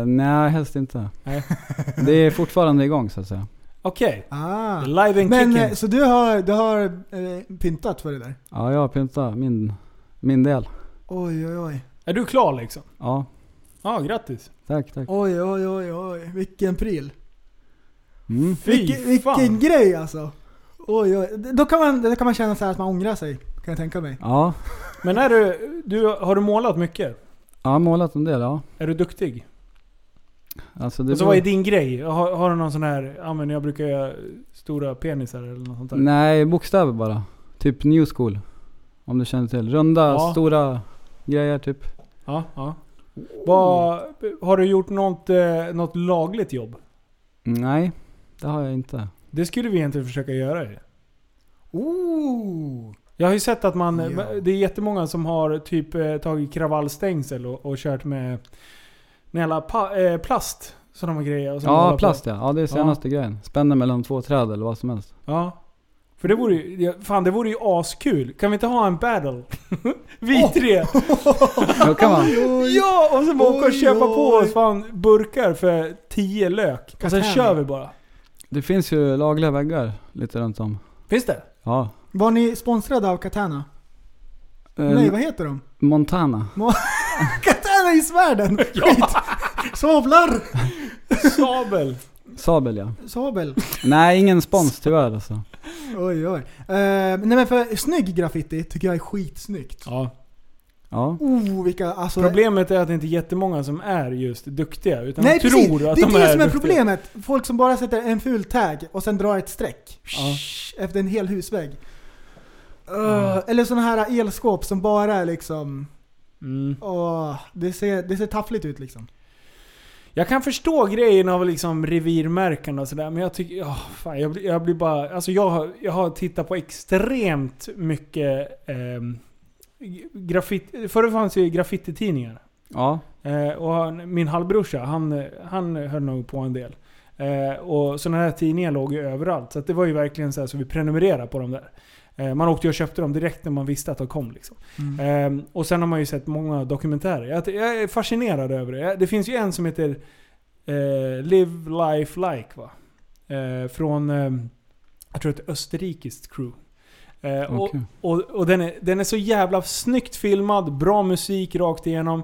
Eh, nej, helst inte.
Nej.
det är fortfarande igång så att säga.
Okej.
Ah.
Live and
Men eh,
kicking.
så du har, du har eh, pyntat för det där?
Ja, jag har pyntat min, min del.
Oj, oj, oj.
Är du klar liksom?
Ja,
Ja, grattis.
tack tack.
Oj, oj, oj, oj. Vilken pryl.
Mm.
Fy
Vilken, vilken
fan.
grej alltså. Oj, oj. Då kan man, då kan man känna så här att man ångrar sig. Kan jag tänka mig.
Ja,
Men är du, du, har du målat mycket?
jag har målat en del ja.
Är du duktig?
Alltså, det
Alltså
beror-
vad är din grej? Har, har du någon sån här, ja men jag brukar göra stora penisar eller något sånt där?
Nej, bokstäver bara. Typ new school. Om du känner till. Runda,
Ja.
stora grejer typ.
Ja, ja. Vad- har du gjort något, eh, något lagligt jobb?
Nej, det har jag inte.
Det skulle vi egentligen försöka göra ju.
Ooh.
Jag har ju sett att man,
Ja.
det är jättemånga som har typ eh, tagit kravallstängsel och, och kört med näla pa, eh, plast. Sådana grejer. Och sen hålla
Ja,
på.
plast ja. Ja, det är senaste grejen. Spänner mellan två träd eller vad som helst.
Ja. För det vore ju, det- fan det vore ju askul. Kan vi inte ha en battle? vi tre!
Då kan man.
Ja! Och så bara åka och
Oj,
köpa på
oj.
oss fan burkar för 10 lök. Och sen
Katam.
kör vi bara.
Det finns ju lagliga väggar lite runt om.
Finns det?
Ja.
Var ni sponsrade av Katana?
Eh,
Nej, vad heter de?
Montana.
Katana i svärden! Skit! Sablar!
Sabel!
Sabel ja.
Sabel.
Nej, ingen spons tyvärr alltså.
Oj, oj. Eh, nej men för snygg graffiti tycker jag är skitsnyggt.
ja.
Ja.
Oh, vilka... Alltså,
Problemet är att det inte är jättemånga som är just duktiga. Utan
Nej
man
precis,
tror att
det är
de
det som är
duktiga.
problemet. Folk som bara sätter en ful tag och sen drar ett streck. Shh, Efter en hel husvägg. Öh, Eller sådana här elskåp som bara är liksom...
Mm.
Åh, det, ser, det ser taffligt ut liksom.
Jag kan förstå grejen av liksom revirmärken och sådär, men jag tycker... ja, fan, jag, blir, jag blir bara... Alltså jag, har- jag har tittat på extremt mycket ehm, g- graffiti... Förr fanns ju graffititidningar.
Ja.
Eh, och han, min halvbrorsa, han, eh, han höll nog på en del. Eh, och sådana här tidningar låg ju överallt. Så att det var ju verkligen så här så vi prenumererade på dem där. Eh, man åkte ju och köpte dem direkt när man visste att de kom. Liksom. Eh, och sen har man ju sett många dokumentärer. Jag, jag är fascinerad över det. Jag- Det finns ju en som heter eh, Live Life Like va? Eh, från, eh, jag tror ett österrikiskt crew. Eh, och,
Okej.
och, och den, är, den är så jävla snyggt filmad, bra musik rakt igenom.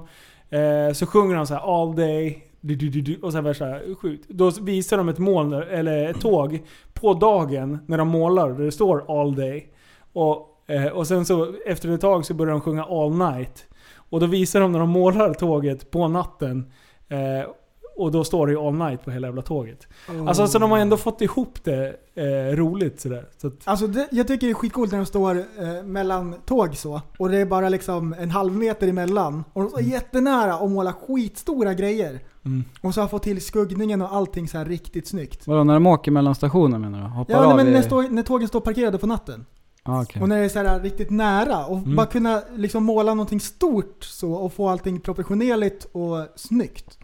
Eh, så sjunger han så här all day. Du, du, du, du, och sen värsta skjut. Då visar de ett moln, eller ett tåg, på dagen när de målar där det står all day. Och, eh, och sen så efter ett tag så börjar de sjunga all night. Och då visar de när de målar tåget på natten. Eh, och då står det ju all night på hela jävla tåget. Alltså så de har ändå fått ihop det eh, roligt sådär. Så att,
Alltså det, jag tycker det är skitcoolt när de står eh, mellan tåg så och det är bara liksom en halv meter emellan. Och de står jättenära och målar skitstora grejer.
Mm.
Och så har fått till skuggningen och allting så här riktigt snyggt.
Vadå, när de åker mellan stationer menar du? Hoppar
Ja, nej,
av
men
i...
när, stå, när tågen står parkerade på natten.
ah, okej.
Och när det är så här riktigt nära och bara kunna liksom måla någonting stort så och få allting proportionerligt och snyggt.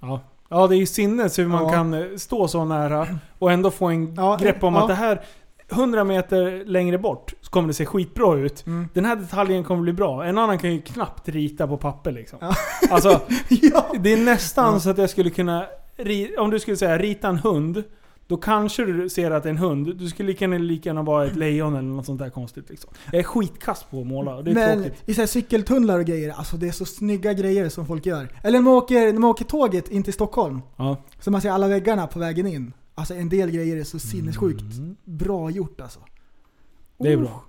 Ja. ja, det är ju sinnes hur man
Ja.
kan eh, stå så nära och ändå få en
Ja,
grepp om
ja.
att det här 100 meter längre bort så kommer det se skitbra ut.
Mm.
Den här detaljen kommer bli bra. En annan kan ju knappt rita på papper liksom.
Ja.
Alltså,
ja.
det är nästan
Ja.
så att jag skulle kunna... ri- Om du skulle säga rita en hund, då kanske du ser att det är en hund. Du skulle lika gärna, lika gärna vara
Mm.
ett lejon eller något sånt där konstigt. Liksom. Jag är skitkast på att måla och det är
Men
tråkigt.
i så här cykeltunnlar och grejer, alltså det är så snygga grejer som folk gör. Eller när man åker, när man åker tåget in till Stockholm,
Ja.
så man ser alla väggarna på vägen in. Alltså en del grejer är så sinnessjukt bra gjort alltså.
Mm. Det är
Oh.
bra.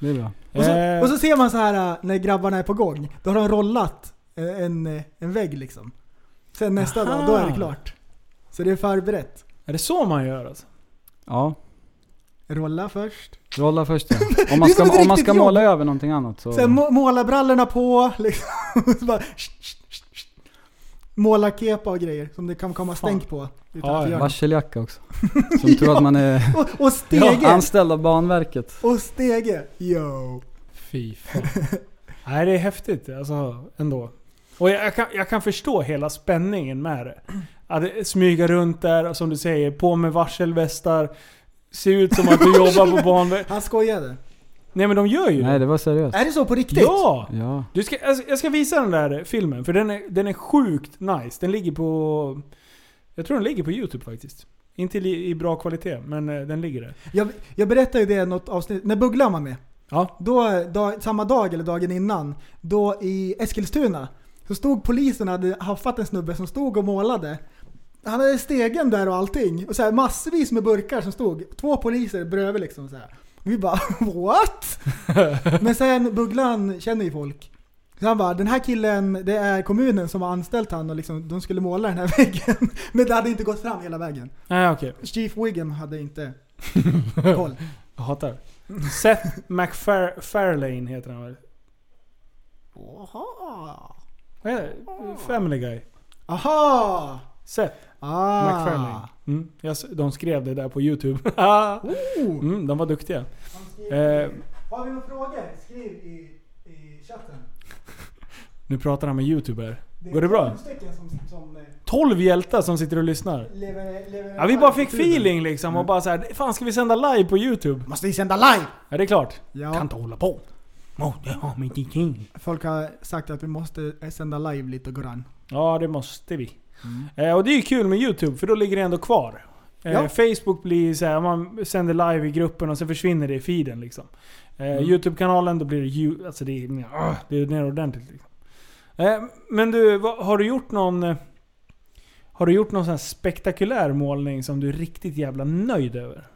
Det är bra.
Och så,
Eh,
och så ser man så här äh, när grabbarna är på gång, då har de rollat eh, en, eh, en vägg liksom. Sen nästa
Aha.
dag, då är det klart. Så det är förberett.
Är det så man gör alltså?
Ja.
Rolla först.
Rolla först ja. Om man
Det är som ett
ska, om man ska
riktigt jobb.
måla över någonting annat så...
Sen må, måla brallorna på, liksom. Så bara, sh, sh, sh, sh. Måla kepa och grejer som det kan komma
Fan.
stänk på.
Ja,
utanför
ja.
hjörnet.
Varseljacka också. Som tror att man är
Och, och
ja,
stege!
anställd av Banverket.
Och stege! Yo!
Fy fan. Nej, det är häftigt alltså ändå. Och jag, jag, kan, jag kan förstå hela spänningen med det. Att eh, smyga runt där, och som du säger, på med varselvästar. Se ut som att du jobbar på banverket.
Han skojade.
Nej men de gör ju
Nej,
det.
det var seriöst.
Är det så på riktigt?
Ja!
Äh.
Ja.
Du ska, alltså, jag ska visa den där filmen, för den är, den är sjukt nice. Den ligger på... Jag tror den ligger på Youtube faktiskt. Inte i, i bra kvalitet, men eh, den ligger där.
Jag, jag berättade ju det i något avsnitt, när Bugglan var med.
Ja.
Då, dag, samma dag eller dagen innan, då i Eskilstuna, så stod polisen och hade haffat en snubbe som stod och målade. Han hade stegen där och allting. Och så här, massvis med burkar som stod. Två poliser bredvid liksom. Så här. Vi bara what? Men sen Bugglan känner ju folk. Så han bara, den här killen, det är kommunen som har anställt han och liksom, de skulle måla den här väggen. Men det hade inte gått fram hela vägen.
Nej okej.
Chief Wiggum hade inte koll.
Jag hatar. Seth MacFarlane heter han väl?
Aha!
Vad är det? Family Guy.
Aha!
Seth
Ah.
MacFarlane. Mm. jag s- De skrev det där på YouTube. Ah.
Oh.
mm, de var duktiga. Eh,
Har vi några frågor? Skriv i, i chatten.
Nu pratar han med youtuber. Går det bra?
tolv stycken som, som eh,
12 hjältar som sitter och lyssnar.
lever, lever
Ja, vi bara fick feeling liksom och bara så här, fan ska vi sända live på youtube?
Måste vi sända live?
Ja det är klart.
Ja.
Kan inte hålla på. Må, det har mig ingenting.
Folk har sagt att vi måste eh, sända live lite grann.
Ja, det måste vi. Eh, och det är ju kul med YouTube, för då ligger det ändå kvar. Eh,
Mm. Ja.
Facebook blir så här, man sänder live i gruppen och sen försvinner det i feeden liksom. Eh,
Mm.
YouTube-kanalen, då blir det ju... Alltså det är, ah, det är ner ordentligt liksom. Eh, men du, vad, har du gjort någon... eh, Har du gjort någon sån här spektakulär målning som du är riktigt jävla nöjd över?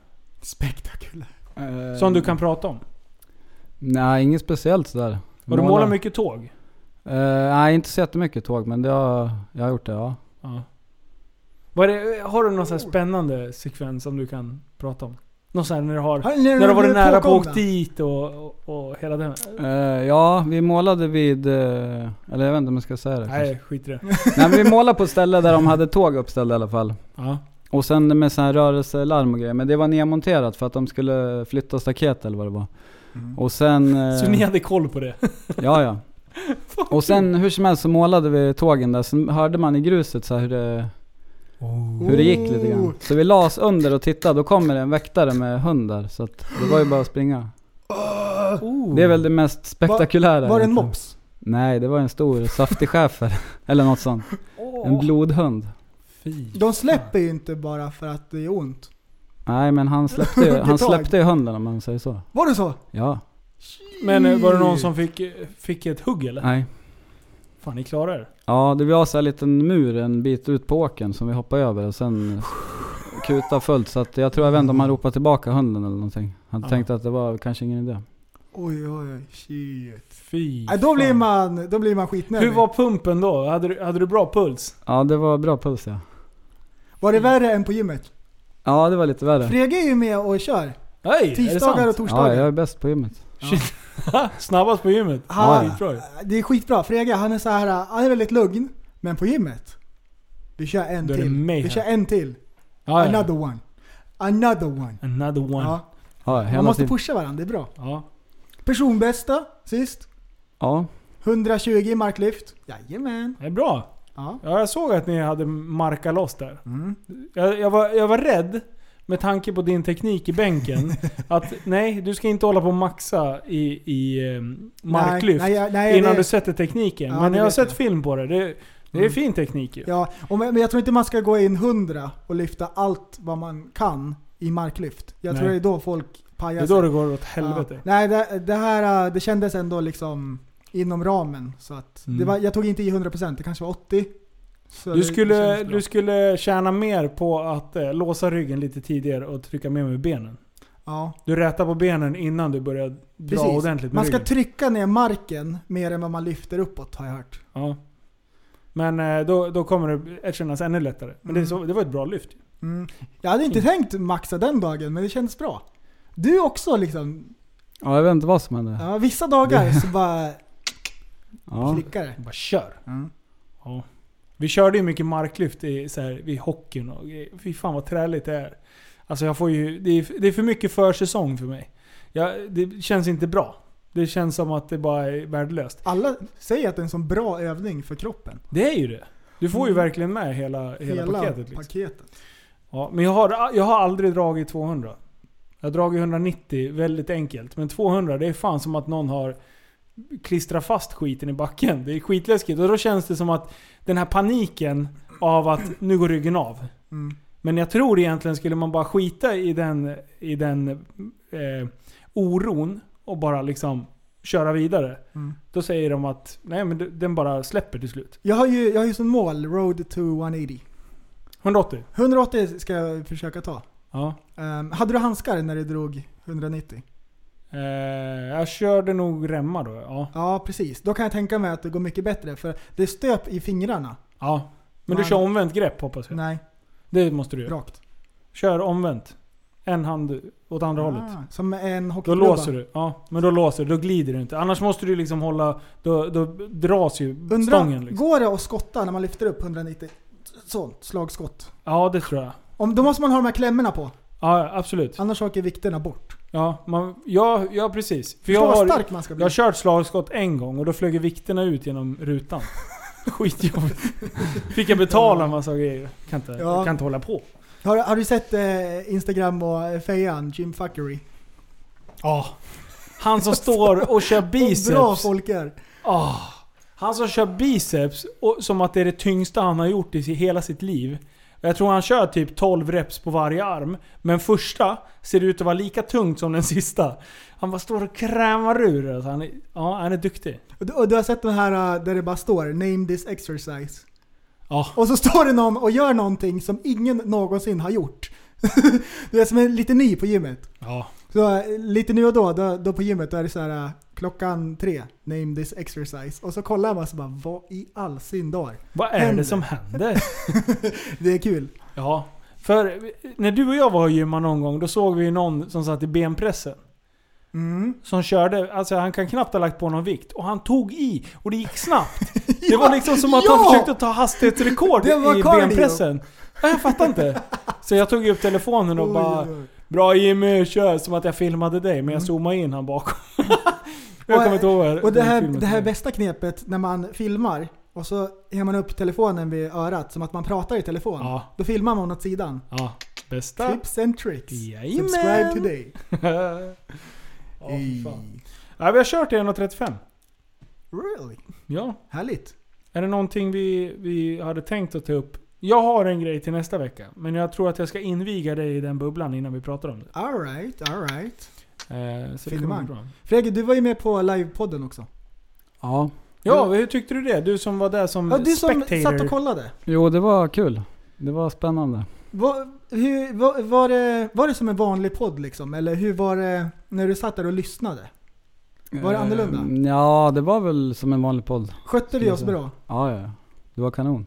Spektakulär.
Eh,
Som du kan prata om?
Nej, inget speciellt sådär.
Har du
Måla-
målat mycket tåg?
Eh, nej, inte så jättemycket tåg, men det har, jag har gjort det ja.
Ja. Vad är det, har du någon sån här spännande sekvens som du kan prata om? Någon sån här när du har...
när
När du varit nära på att
påkomna?
åkt dit och, och, och hela den...
Eh, ja, vi målade vid... eh, eller jag vet inte om jag ska säga det kanske.
Nej, skit i det.
Nej, men vi målade på ett ställe där de hade tåg uppställda i alla fall.
Ja.
Och sen med sån här rörelselarm och grejer. Men det var nedmonterat för att de skulle flytta staket eller vad det var.
Mm.
Och sen... eh,
Så ni hade koll på det?
Ja, ja. Och sen hur som helst så målade vi tågen där, sen hörde man i gruset så här hur det, hur det gick lite
Oh.
grann. Så vi la oss under och tittade, då kommer det en väktare med hund där. Så att det var ju bara att springa.
Oh.
Det är väl det mest spektakulära.
Var det en
egentligen.
mops?
Nej, det var en stor saftig schäfer. Eller något sånt. En blodhund.
De släpper ju inte bara för att det är ont.
Nej men han släppte ju, han
tag.
släppte ju hunden om man säger så.
Var det så?
Ja.
Men eh, var det någon som fick, eh, fick ett hugg eller?
Nej.
Fan, ni klarar er.
Ja, det var så här liten mur en bit ut på åkern som vi hoppade över och sen kuta fullt så att jag tror jag vet inte om han ropade tillbaka hunden eller någonting. Han
Ja.
tänkte att det var kanske ingen idé.
Oj oj oj, shit.
Fy
Nej, då, blir
fan.
man, då blir man skitnödig.
Hur var pumpen då? Hade du, hade du bra puls?
Ja, det var bra puls ja.
Var det värre än på gymmet?
Ja, det var lite värre.
Frege är ju med och kör.
Nej,
Tisdagar
är det
och
sant?
Ja,
torsdagar.
jag är bäst på gymmet.
Ha, Snabbast på gymmet?
Han-
Skitbra ju.
Det är skitbra. Frege han är så här, han är väldigt lugn. Men på gymmet. Vi kör en
Då är det
till.
mayhem.
Vi kör en till.
Ja, ja.
Another one. Another one.
Another one.
Ja.
Ja,
Man
hela
måste
tiden.
pusha varandra, det är bra.
Ja.
Personbästa sist.
Ja,
120 i marklyft. Jajamän.
Det är bra.
Ja. Mm.
Ja, jag såg att ni hade markat loss där. Jag, jag, var, jag var rädd, med tanke på din teknik i bänken, att nej, du ska inte hålla på och maxa i, i eh, marklyft
Nej, nej, nej,
innan
det-
du sätter tekniken.
Ja,
Men
det
jag har
vet
sett
jag.
film på det. Det, det är
Mm.
fin teknik ju.
Ja, och men men jag tror inte man ska gå in 100 och lyfta allt vad man kan i marklyft. Jag
Nej.
tror det är då folk
det
pajar
är
sig.
då det går åt
Ja.
helvete.
Nej, det, det här eh, det kändes ändå liksom inom ramen. Så att
Mm.
det var, jag tog inte i 100%, det kanske var 80. Så det-
Du
det
skulle,
kändes bra.
du skulle tjäna mer på att eh, låsa ryggen lite tidigare och trycka mer med benen.
ja,
Du rätar på benen innan du börjar dra
precis.
ordentligt med
man ska
ryggen.
trycka ner marken mer än vad man lyfter uppåt har jag hört.
Ja. Men eh, då, då kommer det kännas ännu lättare. Men det, är så, det var ett bra lyft.
Mm. Jag hade inte tänkt maxa den dagen, men det kändes bra. Du också liksom.
ja jag vet inte vad som hände.
Ja, vissa dagar så bara
Ja.
klickar det.
Bara kör.
Mm.
Ja. Vi körde ju mycket marklyft i, så här, vid hockeyn och grejer. fy fan vad träligt det är. Alltså jag får ju, det, är, det är för mycket försäsong för mig. Jag, det känns inte bra. Det känns som att det bara är värdelöst.
Alla säger att det är en sån bra övning för kroppen.
Det är ju det. Du får ju verkligen med hela, Mm. hela, paketet. Liksom.
paketet.
Ja, men jag har, jag har aldrig dragit 200. Jag har dragit 190 väldigt enkelt. Men 200, det är fan som att någon har klistrat fast skiten i backen. Det är skitläskigt. Och då känns det som att den här paniken av att nu går ryggen av.
Mm.
Men jag tror egentligen skulle man bara skita i den, i den eh, oron och bara liksom köra vidare.
Mm.
Då säger de att nej men den bara släpper till slut.
Jag har ju, jag har ju som mål, road to 180.
180?
180 ska jag försöka ta.
Ja.
Ehm, hade du handskar när du drog 190?
Eh, jag körde nog remmar då. Ja.
Ja, precis. Då kan jag tänka mig att det går mycket bättre för det är stöp i fingrarna.
Ja. Men du
Man-
kör omvänt grepp hoppas jag?
Nej,
Det måste du göra.
rakt.
Kör omvänt. En hand åt andra hållet.
Ah, som en
Då
hockeyklubba.
låser du. Ja, men då låser du. Då glider du inte. Annars måste du liksom hålla... Då, då dras ju
Undra,
stången liksom.
går det att skotta när man lyfter upp 190? Sånt, slagskott.
Ja, det tror jag.
Om, då måste man ha de här klämmorna på.
Ja, absolut.
Annars åker vikterna bort.
Ja, man, ja, ja precis. För
Förstå
jag
vad
har,
stark man ska
jag
bli.
har kört slagskott en gång och då flög vikterna ut genom rutan. Skitjobbigt. Fick jag betala en massa grejer. Kan inte,
Ja.
kan inte hålla på.
Har, har du sett eh, Instagram och eh, fejan, Jim Fuckery?
Ja. Han som står och kör
Vad bra
biceps.
folk är.
Ah. Han som kör biceps och, som att det är det tyngsta han har gjort i si- hela sitt liv. Jag tror han kör typ 12 reps på varje arm. Men första ser ut att vara lika tungt som den sista. Han bara står och krämar ur. Alltså, han, är, ja, han är duktig.
Och du, och du har sett den här eh, där det bara står “Name this exercise”.
Ja.
Och så står det någon och gör någonting som ingen någonsin har gjort. du är som är lite ny på gymmet.
Ja.
Så eh, lite nu och då, då, då på gymmet, då är det så här eh, klockan tre, “Name this exercise”. Och så kollar man så bara “Vad i all sin dar?”
Vad är
Händer.
det som händer?
Det är kul.
Ja. För när du och jag var och gymmade någon gång, då såg vi ju någon som satt i benpressen.
Mm.
Som körde, alltså han kan knappt ha lagt på någon vikt. Och han tog i, och det gick snabbt. Det var liksom som att han
Ja!
försökte ta hastighetsrekord
Det var
i
cardio.
benpressen. Ja, jag fattar inte. Så jag tog upp telefonen och
Oj,
bara
oj, oj.
Bra Jimmy, kör! Som att jag filmade dig, men jag zoomade in han bakom. jag kommer inte ihåg vad
Och det
den
här,
filmen
det här
heter.
bästa knepet när man filmar och så har man upp telefonen vid örat som att man pratar i telefon.
Ja.
Då filmar man åt sidan.
Ja, bästa.
Tips and tricks.
Jajamän.
Subscribe today.
Ja, fy fan. ja, vi har kört i 1.35.
Really?
Ja.
Härligt.
Är det någonting vi, vi hade tänkt att ta upp? Jag har en grej till nästa vecka, men jag tror att jag ska inviga dig i den bubblan innan vi pratar om det.
Alright, alright.
Eh, så det kommer
Finemang.
bli bra.
Fredrik, du var ju med på livepodden också.
Ja.
Ja, hur tyckte du det? Du som var där som
Ja, du som
spectator.
satt och kollade.
Jo, det var kul. Det var spännande.
Var, hur, var, var, det, var det som en vanlig podd liksom? Eller hur var det när du satt där och lyssnade? Var det annorlunda?
Eh, Ja, det var väl som en vanlig podd.
Skötte vi
Skulle
oss
jag säga.
bra?
Ja, ja. ja. Det var kanon.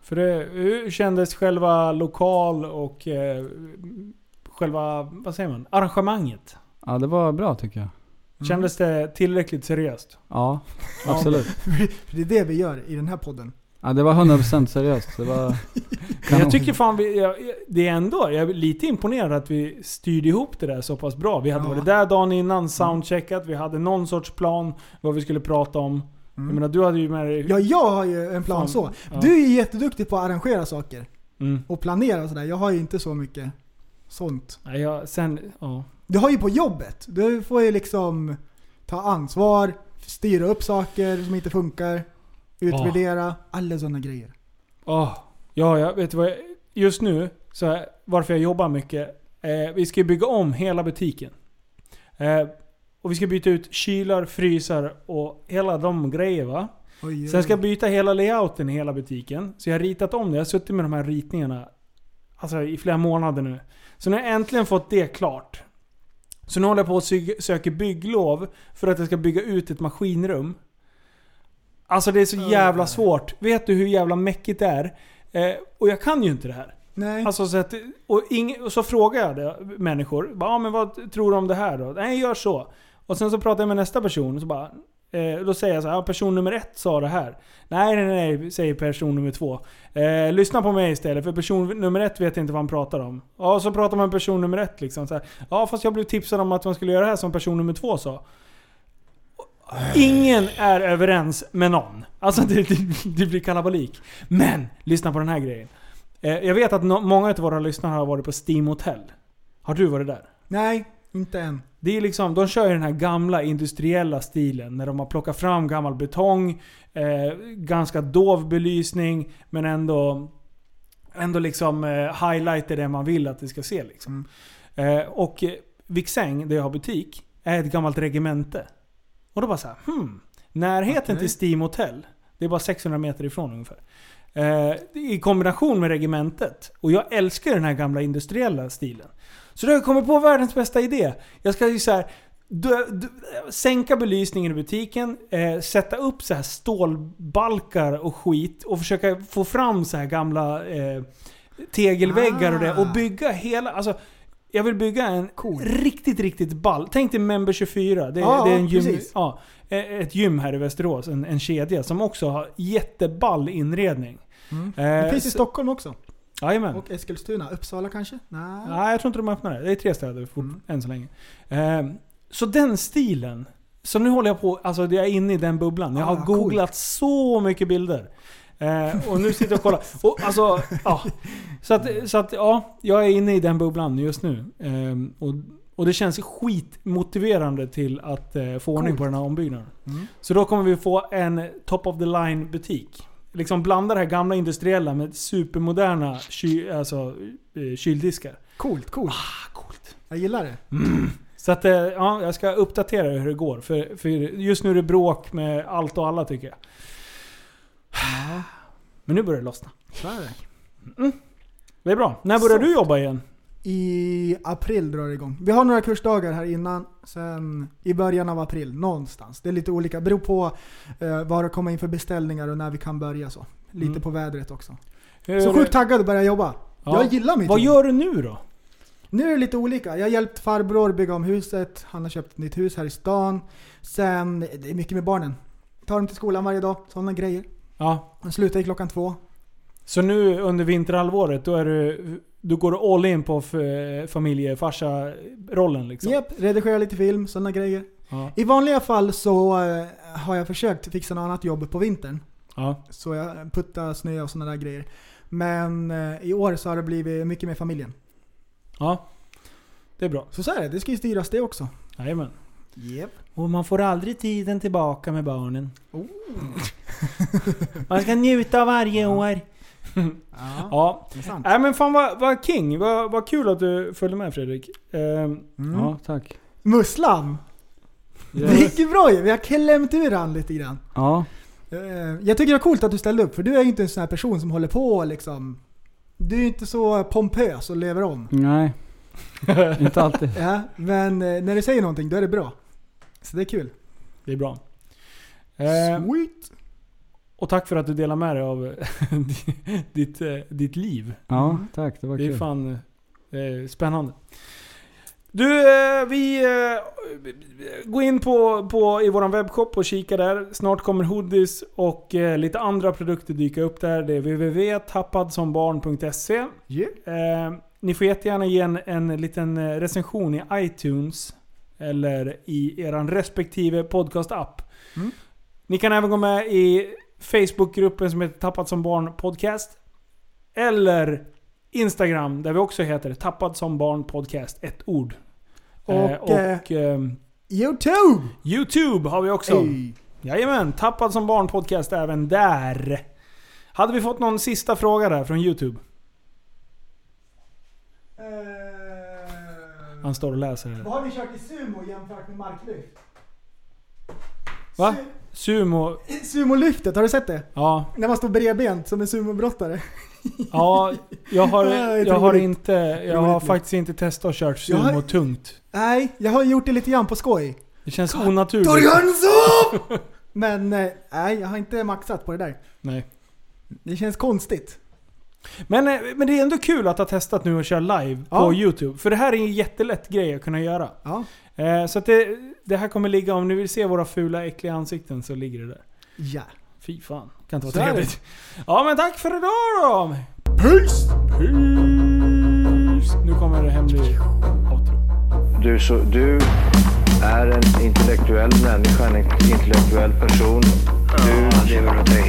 För det, hur kändes själva lokal och eh, själva, vad säger man, arrangemanget?
Ja, det var bra tycker jag.
Kändes det tillräckligt seriöst?
Ja, absolut.
För det är det vi gör i den här podden.
Ja, det var 100% seriöst. Det var
Men
kanon.
jag tycker fan vi, jag, jag- det är ändå, jag är lite imponerad att vi styrde ihop det där så pass bra. Vi hade
Ja. Mm.
varit där dagen innan, soundcheckat, vi hade någon sorts plan vad vi skulle prata om. Jag menar du hade ju med dig...
Mm. Ja, jag har ju en plan
Fan,
så.
ja.
Du är ju jätteduktig på att arrangera saker
Mm.
och planera och sådär. Jag har ju inte så mycket sånt.
Nej, jag, sen, ja.
Du har ju på jobbet. Du får ju liksom ta ansvar, styra upp saker som inte funkar, utvärdera,
Ah.
alla sådana grejer.
Åh. ja, jag vet du vad jag, Just nu, så här, varför jag jobbar mycket. Eh, vi ska ju bygga om hela butiken. Eh, och vi ska byta ut kylar, frysar och hela de grejer va.
Oj,
Sen ska jag byta hela layouten i hela butiken. Så jag har ritat om det. Jag har suttit med de här ritningarna alltså, i flera månader nu. Så nu har jag äntligen fått det klart. Så nu håller jag på och sy- söker bygglov för att jag ska bygga ut ett maskinrum. Alltså det är så jävla svårt. Vet du hur jävla mäckigt det är? Eh, och jag kan ju inte det här.
Nej.
Alltså, så, att, och ing, och så frågar jag det, människor. Bara, ah, men vad tror du om det här då? Nej, gör så. Och sen så pratar jag med nästa person. Så bara, eh, då säger jag så här, ah, person nummer ett sa det här. Nej, nej, nej, säger person nummer två. Eh, lyssna på mig istället, för person nummer ett vet inte vad han pratar om. Ja, och så pratar man med person nummer ett liksom. Så här, ja, fast jag blev tipsad om att man skulle göra det här som person nummer två sa. Ingen är överens med någon. Alltså det, det, det blir kalabalik. Men, lyssna på den här grejen. Eh, Jag vet att no- många av våra lyssnare har varit på Steam Hotel. Har du varit där?
Nej, inte än.
Det är liksom, de kör ju den här gamla industriella stilen när de har plockat fram gammal betong, eh, ganska dov belysning men ändå, ändå liksom eh, highlighter det man vill att det ska se. Liksom. Eh, och eh, Viksäng, där jag har butik, är ett gammalt regemente. Och då bara så här, hmm. Närheten
Okej.
till Steam Hotel, det är bara 600 meter ifrån ungefär. Eh, I kombination med regementet. Och jag älskar den här gamla industriella stilen. Så då har jag kommit på världens bästa idé. Jag ska ju så här, dö, dö, sänka belysningen i butiken, eh, sätta upp så här stålbalkar och skit och försöka få fram så här gamla eh, tegelväggar och det. Och
Ah.
bygga hela... Alltså, jag vill bygga en riktigt, riktigt ball. Tänk dig Member 24. Det, är-
Ja,
det är en gym,
precis.
ja, eh, ett gym här i Västerås, en, en kedja, som också har jätteball inredning.
Mm.
Eh,
Det finns i
så-
Stockholm också.
Jajamän.
Och Eskilstuna, Uppsala kanske? Nej.
Nej, jag tror inte de öppnar det. Det är tre städer fort,
Mm.
än så länge. Ehm, så den stilen. Så nu håller jag på, alltså jag är inne i den bubblan. Jag har
Ah, coolt.
googlat så mycket bilder. Eh, och nu sitter jag och kollar. Och, alltså, ja. Så, att, så att, ja, jag är inne i den bubblan just nu. Ehm, och, och det känns skitmotiverande till att eh, få ordning på den här ombyggnaden.
Mm.
Så då kommer vi få en top of the line butik. Liksom blanda det här gamla industriella med supermoderna ky, alltså, eh, kyldiskar.
Coolt, coolt.
Ah, coolt.
Jag gillar det.
Så att, eh, ja, jag ska uppdatera hur det går. För, för just nu är det bråk med allt och alla tycker jag. Men nu börjar det lossna.
Så är det.
Det är bra. När börjar
Så.
du jobba igen?
I april drar det igång. Vi har några kursdagar här innan, sen i början av april någonstans. Det är lite olika, beror på eh, var det kommer in för beställningar och när vi kan börja så. Lite
Mm.
på vädret också.
Hur-
Så sjukt taggad att börja jobba.
Ja.
Jag gillar mitt
Vad
jobb.
gör du nu då?
Nu är det lite olika. Jag har hjälpt farbror bygga om huset, han har köpt ett nytt hus här i stan. Sen, det är mycket med barnen. Tar dem till skolan varje dag, sådana grejer.
Ja.
De slutar ju klockan två.
Så nu under vinterhalvåret, då är du, du går all in på f- familjefarsa-rollen liksom?
Japp, redigerar lite film, sådana grejer.
Ja.
I vanliga fall så eh, har jag försökt fixa något annat jobb på vintern.
ja.
Så jag puttar snö och sådana där grejer. Men eh, i år så har det blivit mycket med familjen.
Ja. Det är bra.
Så så är det, det ska ju styras det också.
Jajamän.
Yep.
Och man får aldrig tiden tillbaka med barnen. man ska njuta av varje år.
Ja,
Ja,
intressant.
Nej men fan vad, vad king, vad, vad kul att du följde med Fredrik. Ehm,
Mm.
Ja, tack.
Musslan! Det gick ju bra ju, vi har klämt ur han lite grann.
Ja,
Eh, Jag tycker det är coolt att du ställde upp, för du är ju inte en sån här person som håller på och liksom... Du är ju inte så pompös och lever om.
nej. Inte alltid.
Ja, men eh, när du säger någonting då är det bra. Så det är kul.
det är bra. Ehm,
Sweet!
och tack för att du delar med dig av ditt, eh, ditt liv.
Ja, tack. Det var
Det är
kul.
fan eh, spännande. Du, eh, vi eh, går in på, på i våran webbshop och kika där. Snart kommer hoodies och eh, lite andra produkter dyka upp där. Det är www.tappadsombarn.se
Yeah.
Eh, ni får jättegärna ge en, en liten eh, recension i iTunes eller i er respektive podcastapp.
Mm.
Ni kan även gå med i Facebookgruppen som heter Tappat som barn podcast. Eller Instagram där vi också heter Tappat som barn podcast, ett ord.
Och,
eh, och ehm,
Youtube!
Youtube har vi också.
Ey.
Jajamän, Tappad som barn podcast även där. Hade vi fått någon sista fråga där från Youtube?
Eh,
Han står och läser här.
vad har vi kört i sumo jämfört med marklyft?
Va? Sumo...
Su- Sumolyftet, har du sett det?
Ja,
När man står bredbent som en sumobrottare.
Ja, jag har,
Nej,
jag har
roligt.
inte, jag har
Roligt.
faktiskt inte testat att köra
Jag har-
sumo tungt.
Nej, jag har gjort det lite grann på skoj.
Det känns onaturligt.
Torjansson! Men eh, nej, jag har inte maxat på det där.
Nej.
Det känns konstigt.
Men, eh, men det är ändå kul att ha testat nu att köra live
Ja.
på Youtube. För det här är en jättelätt grej att kunna göra.
Ja.
Eh, så att det, det här kommer ligga, om ni vill se våra fula äckliga ansikten så ligger det där.
Ja.
Fy fan, kan inte
Så
vara
är det.
trevligt. Ja men tack för idag då!
Peace!
Peace! Nu kommer det hemlig outro.
Du, så, du är en intellektuell människa, en intellektuell person. Du lever av dig.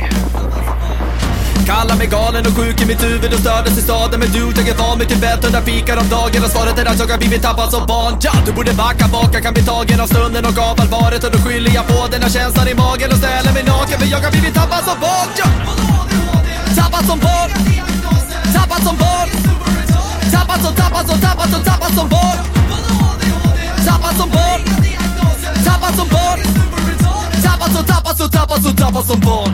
Kallar mig galen och sjuk i mitt huvud och stördes i staden Men du, jag är van vid Tibet och där fikar om dagen Och svaret är att jag har blivit tappad som barn ja, Du borde backa bak, jag kan bli tagen av stunden och av allvaret Och då skyller jag på den här känslan i magen och ställer mig naken För jag har blivit tappad som barn ja. Tappad som barn Tappad som barn Tappad som, tappad som, tappad som, tappad som barn Tappad som barn Tappad som barn Tappad som, tappad som, tappad som, tappad som barn